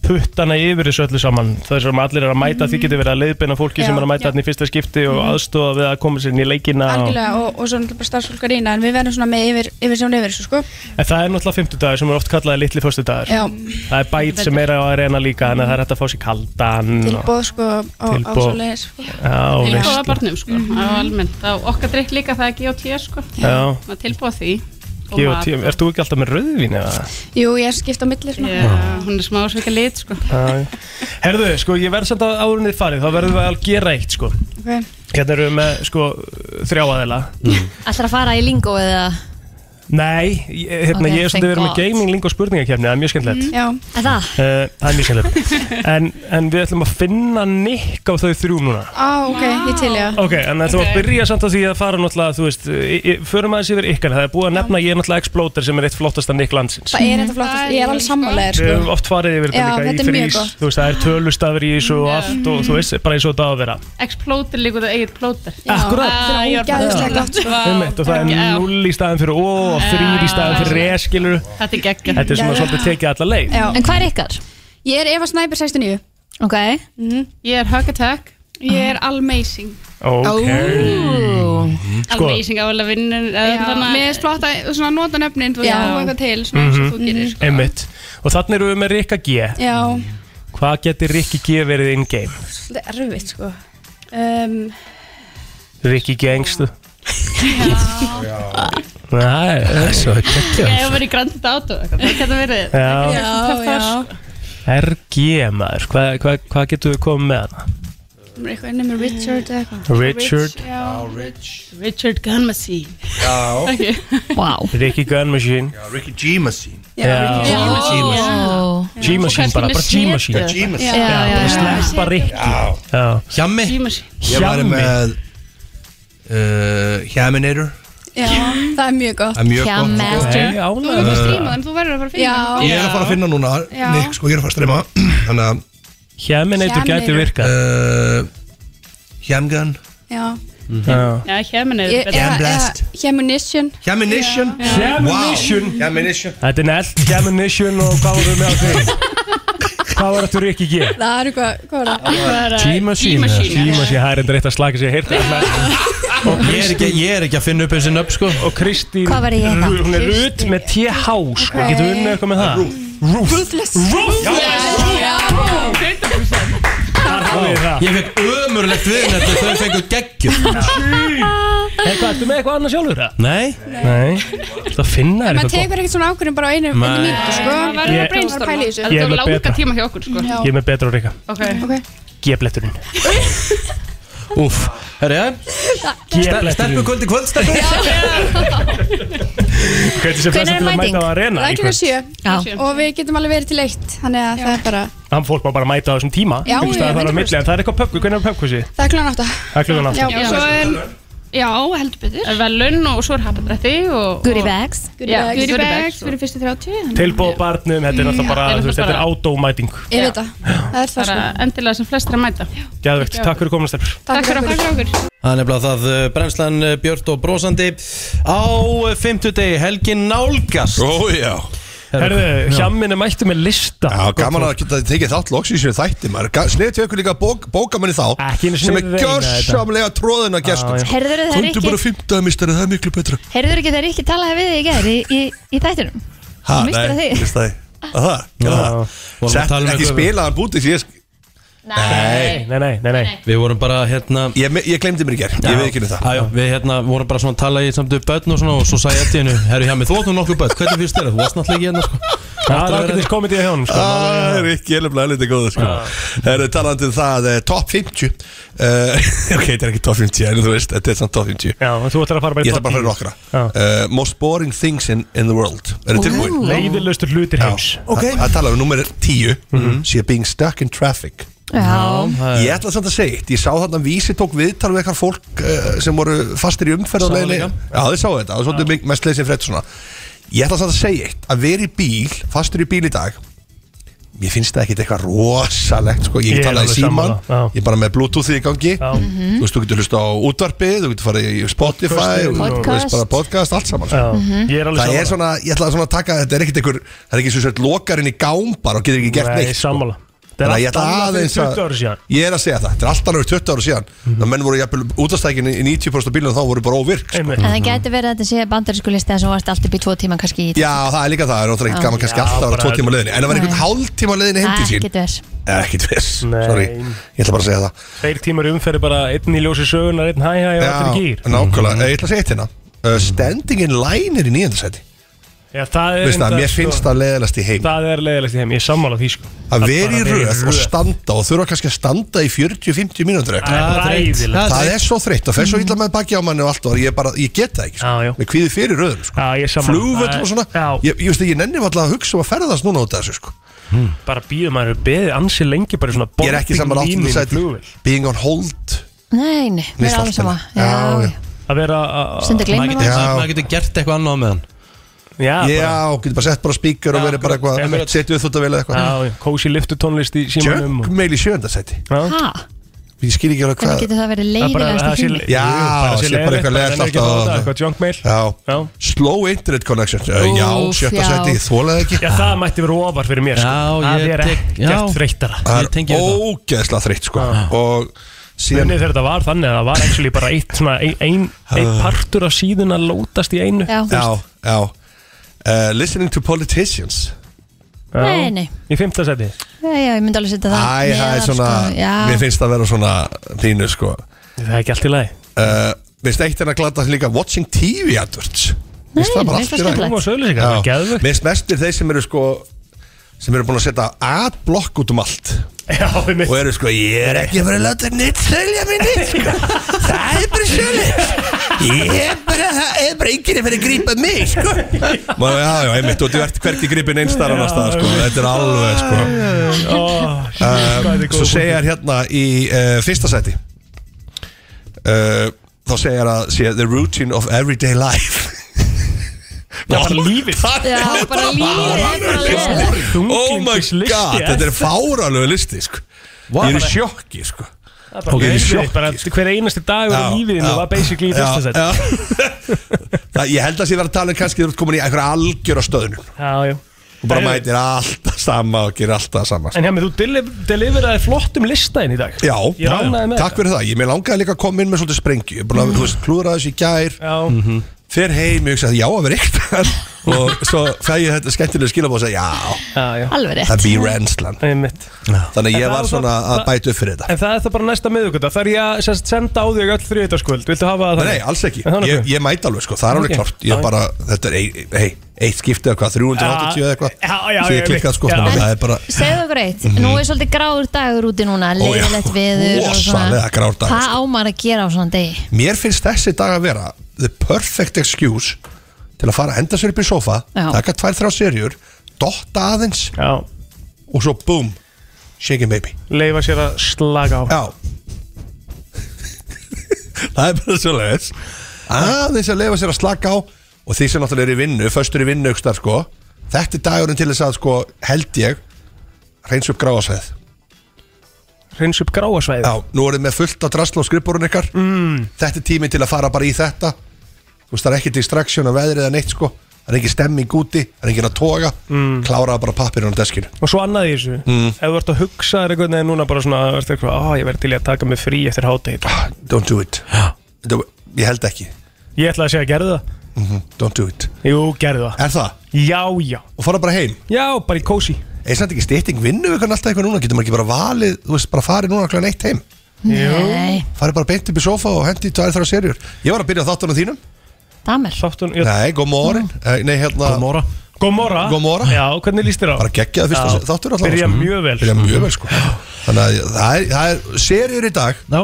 puttana yfir þessu öllu saman þar sem allir er að mæta, þið getur verið að leiðbeina fólki sem
Já. Mhm.
er að mæta þarna í fyrsta skipti og aðstofa við að koma sér inn í leikina og...
algjörlega og, og svo náttúrulega bara starfsfólkar ína en við verðum svona með yfir, yfir sem yfir þessu sko.
en það er náttúrulega fimmtudagur sem er oft kallaði litli föstudagur
Já.
það er bæt sem er á arena líka þannig að það er hægt að fá sér kaldan
tilbóð sko, á, á
Tilboð.
svoleiðis sko.
og... já,
tilbúða
veist
barnum sko.
Mhm.
á almennt. Þá okkar drikk líka það er G.O.T. sko.
Já.
Maður tilbúða því. og mat
G.O.T. Ert þú ekki alltaf með rauðvín eða?
Jú, ég er skipt á milli svona.
Já, hún er smá sveika lit sko.
Æ. Herðu, sko, ég verð samt að árunnið farið þá verðum við að gera eitt, sko
Ok.
Hérna erum við með, sko, þrjáaðela mm.
Ætlar að fara í lingo eða
Nei, ég- hérna,
Ok,
ég er
thank
svolítið verið með
God.
gaming, lingo spurningakefni, það er mjög skemmtilegt
Já
Er það?
Uh, það er mjög
[laughs]
skemmtilegt en, en við ætlum að finna nikk á þau þrjú núna
Á, ok, ég til ég
Ok, en það ætlum að byrja samt að því að fara náttúrulega, þú veist, í, í, förum aðeins yfir ykkar það er búið að nefna að ég er náttúrulega Exploder sem er eitt flottasta nikk landsins
Það er þetta flottast, ég er alveg sammálaðir
Við höfum
sko.
oft farið yfir
Já,
þetta líka
þetta
í
er mjög
frís
gott.
Þú veist, það er tölustafir í þessu og allt og þú veist, bara eins og þetta á að vera
Explóter líka það eigið plóter.
Akkúrat.
Ah, ég var bara-
Ógeðslega gott, sko.
Vá.
Einmitt, og það er 0 í staðin fyrir ó og 3 í staðin fyrir re, skilur
Þetta er geggjað.
Þetta er svona svolítið tekið alla leið
Já.
En hvað er ykkar?
Ég er Eva Snæper 69
Ok
Mhm.
Ég er Hug Attack. Ég er Almazing.
Um, Sko.
Almazing á alveg vinnur.
Mér er flott að svona, nota nöfnin, þú veist,
Já.
þú eitthvað til, svona eins og þú gerir. sko.
Mhm. Einmitt Og þannig erum við með Rikka G
sko. Já,
Hvað getur Rikki G verið in-game?
svolítið erfitt sko um,
Rikki G engstu?
Já
Ah,
Nei, það er svo
Ég
geggjað.
hef verið í Grand Theft Auto. eitthvað. Það getur verið.
Já.
Já, já
RG maður, hvað hva, hva getur við komið með hana?
Eitthvað ennum með Richard eða eitthvað
Richard.
Rich, Já,
Richard Gunn Machine.
Já.
Wow.
Rikki Gun Machine
Já, Ricky G Machine
Já. Já. G Machine bara, bara G Machine
Já, G Machine.
Já,
Já, já,
bara
já.
sleppa Rikki
Hjammi Ég var
Hjammi.
með uh, Hjaminator
Já, það er mjög gott
Það er mjög gott, sko. Nei,
Þú
ánægður.
erum að stríma þeim, þú verður að fara að finna
Já.
þeim.
Ég er að fara að finna núna
Já.
Nick, sko, ég er að fara að streyma [clears throat] Þannig að Eh,
Hjaminator gæti virkað
Hjamgan
Já
Já, Hjemmin er betra.
Hemunition
Hjaminition
Hjaminition.
Hjaminition
Þetta er nælt Gamunition og hvað voru með á því? Hvað var þetta Rikki G?
Það er eitthvað, hvað var það?
uh,
G-Machine G-Machine, það er enda eitt að slaka sér heyrta [laughs] Og
Ég er ekki, ég er ekki að finna upp þessi nöfn sko
Og Kristín
Hvað var ég að heita?
Hún er Rut með TH sko,
Ok.
getur unnið eitthvað með það?
Ruthless Ruthless Já,
Ég fekk ömurlegt við þetta Þau fengu geggjum
Hey, hvað, ertu með eitthvað annað sjálfur það?
Nei
Nei Það finna þér
Maður
eitthvað
tekur ekkert svona ákvörðum bara á einu
Nei.
einu mínútu sko
Maður verður að Ég- brainstorma.
Maður pæla í þessu.
Ég er með betra.
tíma hjá okkur sko.
Já.
gott Ég er með betra og Rikka
Ok.
G-bletturinn
[laughs] Úff, herri það Stelpu kvöld í kvöld, stelpu [laughs]
Hvernig sem flestum til að mæta á arena í
Það er klukkan
kvöld?
sjö Og við getum alveg verið til eitt Þannig að það er bara
Hann fólk má bara mæta á þessum tíma
Já,
einhvers staðar
já,
þar á milli, En það er eitthvað pöpku, hvernig er pöpkusi?
Það er klukkan átta
Það er klukkan átta
Já,
Já, svo er Já, heldur betur Velun og svo er hapadrætti og
Goodie bags.
Goodie bags,
Goodie
goodie
bags
bags fyrir fyrstu 30
Tilbóð barnum, þetta er náttúrulega bara,
Já,
þú veist, þetta er ádómæting
Ég veit það, það er það sko Endilega sem flestir að mæta
Gæðvegt, takk fyrir komuna stelpur
Takk fyrir okkur, okkur.
Það er nefnilega það uh, brennslan uh, Björt og brósandi á uh, fimmtudegi helgin nálgast
Ó já
Herðu, hjamminn er mættu með lista
Já, gaman að geta tekið þátt loks í sér þætti maður Sniðið til ykkur líka bók, bókamanni þá
Ekki einu sinni
Sem er
reyna þetta.
gjörsamlega tróðin að gestum
já. Heyrðirðu það, Rikki?
sko. Komdu bara fymtaðamistari, það er miklu betra
Heyrður ekki þegar Rikki talaði við þig í gæri í, í, í þættunum?
Ha,
Þú misstir
nei,
af því.
mistaði Það,
vorum að
Sett
tala um
ekki
eitthvað-
spilaðan bútið Ég
Nei,
nei, nei, nei, nei.
Við vorum bara hérna
Ég, ég glemdi mér í gerð, ég veit ekki um það
já, Við hérna vorum bara svona að tala í samt um börn og svona og svo sagði ég til hennu, herru hjá mig, þú áttu nokkuð börn hvernig finnst þér það, þú varst náttúrulega ekki hérna sko.
Það er ágætis komið hjá honum sko
Það Ah, er ekki eleflega helviti góð sko.
Ah.
Herru, talandi um það, eh, top 50 uh, [laughs] Ok, þetta er ekki top 50 En þú veist, þetta er samt top 50
Já, en þú ætlar að fara bara í
Ég ætla
topp
bara að
10.
fara nokkra uh, Most boring things in, in the world Er þetta tilbúin?
Leiðilegustu hlutir heims.
Ok Það það talar um nummer 10 mm
Mhm.
being stuck in traffic
Já.
Ég ætla samt að segja eitt, ég sá þarna vísi tók viðtal við eitthvað fólk uh, sem voru fastir í umferðarleginni
Sá það líka.
Já, þið sáu þetta, það var svolítið mik- mest leysið frétt svona Ég ætla samt að segja eitt, að vera í bíl, fastur í bíl í dag Mér finnst það ekkit eitthvað rosalegt sko. Ég,
Ég
ég
er
talaði
alveg
síman,
sammála, já.
ég er bara með bluetooth í gangi Þú veist, þú getur hlusta á útvarpið, þú getur farið í Spotify og-
Podcastin og-
Þú veist bara podcast, allt saman sko.
Já, Mhm. ég er alveg
Það
sammála.
er svona, ég ætla svona að taka, þetta er ekkit einhver Það er ekki svo sért lokarinn í gámbar og getur ekki gert
Nei,
neitt sko.
sammála Þetta er
Þannig að ég
allt
ætla
annað fyrir
aðeins
20 ára síðan Mhm.
Ég er að segja það, þetta er alltaf alveg 20 ára síðan mm menn voru jafnvel útastækin í 90% af bílunum þá voru bara óvirk sko.
En það gæti verið að þetta sé bandarísku listi þess að þú varst allt upp í tvo tíma kannski í
Mhm. Já, það er líka það, það er náttúrulega ekki gaman kannski
Já,
alltaf að vera
bara-
tvo tíma á leiðinni En það var einhvern hálftíma á leiðinni heim til sín
Ekkert verð
Eh, Ekkert viss, sorry, ég ætla bara að segja það
Tveir tímar í umferði bara einn í ljósi sögunar, einn hæ hæ og allir Mhm. í Mm. gýr
nákvæmlega, Eh, ég ætla að segja eitt hérna Uh, Standing in line er í nýjöndarsæti
Já, það er
Veist það,
reyndar,
mér finnst
sko,
það leðilegast í heim
Það er leiðilegst í heim, ég er sammála því sko
Að vera í
bara
röð og standa og þurfa kannski að standa í 40-50 mínútur
Það er hræðilegt.
Það er svo þreytt og fer svo illa með baki á manni og allt og ég, bara, ég get það ekki sko.
Já, já.
Mér kvíði fyrir röðum sko.
Já, ég er sammála
Flugvöll og svona
Já,
Ég, ég, veist, ég nenni alltaf að hugsa um að ferðast núna út af þessu sko.
Mm. bara býðum maður er beðið ansi lengi bara í svona
Ég er ekki saman áttundu sæti Being on hold
Nei, nei, mér er alveg sama Já,
Að vera
Stundum gleymir maður.
maður
Já.
Maður getur gert eitthvað annað með hann
Já,
Já, getur bara sett bara spíkur og verið bara eitthvað Settu upp þútt að velja eitthvað
Kósi liftu tónlist í símanum og-
Jöngmeil í sjöndasæti
Ha?
Ég skil ekki alveg
Hvernig
hvað
getur það verið
Það er bara-
leiðilegast
það sé-
tími?
Jú,
Já,
bara
sé bara
sé leiðilegt,
eitthvað
bara
leðast
nenni ekki að fá þetta, eitthvað junk mail Já.
Slow internet connection Uh, Já,
Úff,
sjötta
já.
seti, þólaði ekki
Já, það mætti vera ofar fyrir mér sko.
Já,
Það
ég
er
tek- já.
ekkert þreytara
Það er ógeðslega þreytt sko Og síðan
Þannig þegar þetta var þannig að það var actually bara eitt svona ein, ein, ein partur af síðun að lótast í einu
Já.
Ah. Já, já uh, Listening to politicians
Nei, nei.
Í fymta seti
Já, já, ég myndi alveg setja það
Æ, það er
neðar,
svona
sko. Já.
Mér finnst það vera svona þínu sko
Það er ekki allt í lagi
uh, Mér finnst eitt en að glata líka Watching TV adverts Mér finnst
Nei, mér finnst það skemmtilegt. Þú varst auðlýsingar, það er
Já. Mér finnst mestir þeir sem eru sko sem eru búin að setja adblock út um allt
Já, og
eru sko ég er ekki að fara að láta neitt selja mig neitt sko. það er bara sjölu ég er bara það er bara enginn að fara að grípa mig sko Má, já, já, einmitt, og þú ert hverki gripin einn starf annars stað, sko, þetta er alveg, sko Ehm,
uh,
Svo segja þér hérna í uh, fyrsta sæti uh, Þá segja þér að sé the routine of everyday
[laughs]
life Já, bara
lífið
Já,
bara
lífið Oh my
Þunglyndislist,
god,
ég.
þetta er fáralögu listi, sko
Vá,
Ég er í
eh? bara-
sjokki, sko
Það er bara
Ég er í
einmitt,
sjokki, sko.
bara Hver einasti dagur í
Já,
lífiðinu
já,
var basically í
já,
fyrsta seti
já.
[laughs]
Það, ég held að sé vera að tala um kannski þú ert komin í einhverja algjöra stöðnum
Já, já
og bara
Heyrðu.
mætir alltaf sama og gerir alltaf sama
En hjá mig, þú deli- deliveraði flottum listaðin í dag
Já,
Ég er ánægður með
takk fyrir það Ég mér langaði líka að koma inn með svolítið sprengju Ég er búin að mm. klúra þessu í gær
Já.
Fer heim, ég hugsa að já að vera
[laughs]
eitthvað Og svo fæ ég þetta skemmtilega skilabóð og segja já,
já.
Alveg rétt.
Það býr reynslan Þannig að
En
ég
það
var
var
svona
það-
að bæta upp fyrir þetta
En það er það bara næsta miðuguta Það er ég að sem sagt, senda á þig öll þriðutaskvöld Viltu hafa það?
Nei, nei,
þannig?
alls ekki,
En þannig
ég, ég mæti alveg sko, það er alveg
Ok.
klart Ég
Já.
bara, þetta er ei- ei- eitt skipti eða hvað, 380 eða eitthvað
Já, já,
Svo
já,
ég klikkað sko,
já.
þannig að það er bara
Segðu okkur eitt,
Mhm.
nú er svolítið gráður dagur úti núna, leiðilegt viður og svona.
Rosalega grár dagur,
Hvað ámar að gera á svona degi?
Mér finnst þessi dag að vera the perfect excuse til að fara að henda sér upp í sofa
Já.
taka tvær þrjá serjur, dotta aðeins
Já.
og svo boom shake it baby
Leifa sér að slaga á
Já [laughs] það er bara svo leiðis aðeins að leifa sér að slaka á og því sem náttúrulega er í vinnu, föstur í vinnu aukstar, sko, þetta er dagurinn til þess að sko, held ég reyns upp gráasveið
Reyns upp gráasveið?
Já, nú erum við fullt af drasl á skrifborun ykkar mm. þetta er tíminn til að fara bara í þetta þú veist, það er ekki distraction að veðrið eða neitt sko, það er ekki stemming úti það er ekki að toga, mm. kláraða bara pappirinn á deskinu
Og svo annað í þessu
Mm.
Ef þú ert að hugsa þér einhvern veginn núna bara svona þú ert eitthvað, "Ah, Ég verð til í að taka mig frí eftir hátæð
Don't do it Don't- Ég held ekki
Ég ætla að segja að gerðu það
Mhm, Don't do it
Jú, gerðu það
Er það?
Já, já
Og fara bara heim?
Já, bara í kósi
Er samt ekki stýtting vinnu við alltaf eitthvað núna? Getur maður ekki bara valið, þú veist, bara farið núna klæðan eitt heim?
Nei,
Farið bara beint upp í sofa og hendi í tvær þrjá serjur Ég var að byrja á þáttunum þínum
damer
Þáttun,
Nei, gómórin
Mm.
Nei, hérna
Gómóra
Gómóra
Gómóra
Já, hvernig líst þér á?
Bara geggjað fyrst
Já.
þáttur alltaf
Byrja mjög vel,
Byrja
sko.
mjög vel, sko Þannig að það er, það er serjur í dag
Já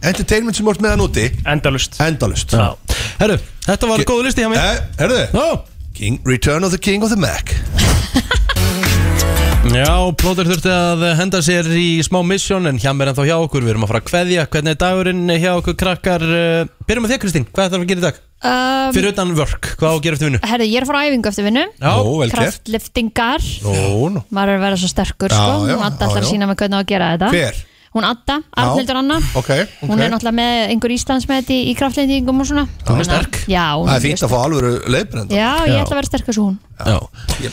Entertainment sem vort meðan úti
Endalust
Endalust
Já Herru, þetta var góð listi hjá mér
Herru Eh, King, Return of the King of the Mac
Já, plóður þurfti að henda sér í smá misjón en hjá mér ennþá hjá okkur, við erum að fara að kveðja hvernig er dagurinn hjá okkur krakkar eh, byrjum með þér Kristín, hvað þarf að gera í dag?
Um,
Fyrir utan vörk, hvað á að gera eftir vinnu?
Herðu, ég er að fara á æfingu eftir vinnu
Já, Ó, vel gert.
Kraftliftingar
Nú, nú
Maður er að vera svo sterkur,
Já,
sko
já,
Hún Adda
já,
ætlar að
já.
sína mig hvernig á að gera þetta
Hver?
Hún Adda, Arnildur Anna
Ok, ok
Hún er náttúrulega með einhver Íslandsmet í, í kraftlendingum og svona
Hún er
Þannig að-
sterk.
Já, hún
Það er fínt að fá alvöru leiðbrenda
Já, ég ætla að vera sterkur svo hún
Já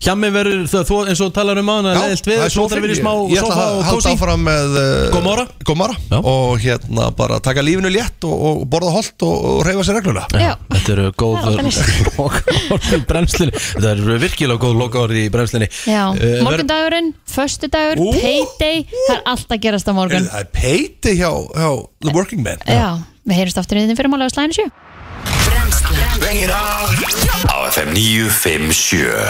Hjá mér verður það, þú, eins og þú talar um aðan að leðilt við,
það er
svo þarf að vera í smá
ég ætla
sofa
að
og
halda
kósi
áfram með
Gómóra
Gómóra og hérna bara taka lífinu létt og, og borða holdt og, og reyfa sér reglulega
Já.
Þetta eru góð
Það er alltaf
lokaord í brennslinni Þetta eru virkilega góð lokaord í brennslinni
Já,
Eh, verð-
morgundagurinn, föstudagur,
Ú.
payday Það er allt að gerast á morgun
Það er peiti hjá, hjá The Working Man
Já, við heyrjumst aftur í þinn fyrir málega slæðinu sjö
Á FM 957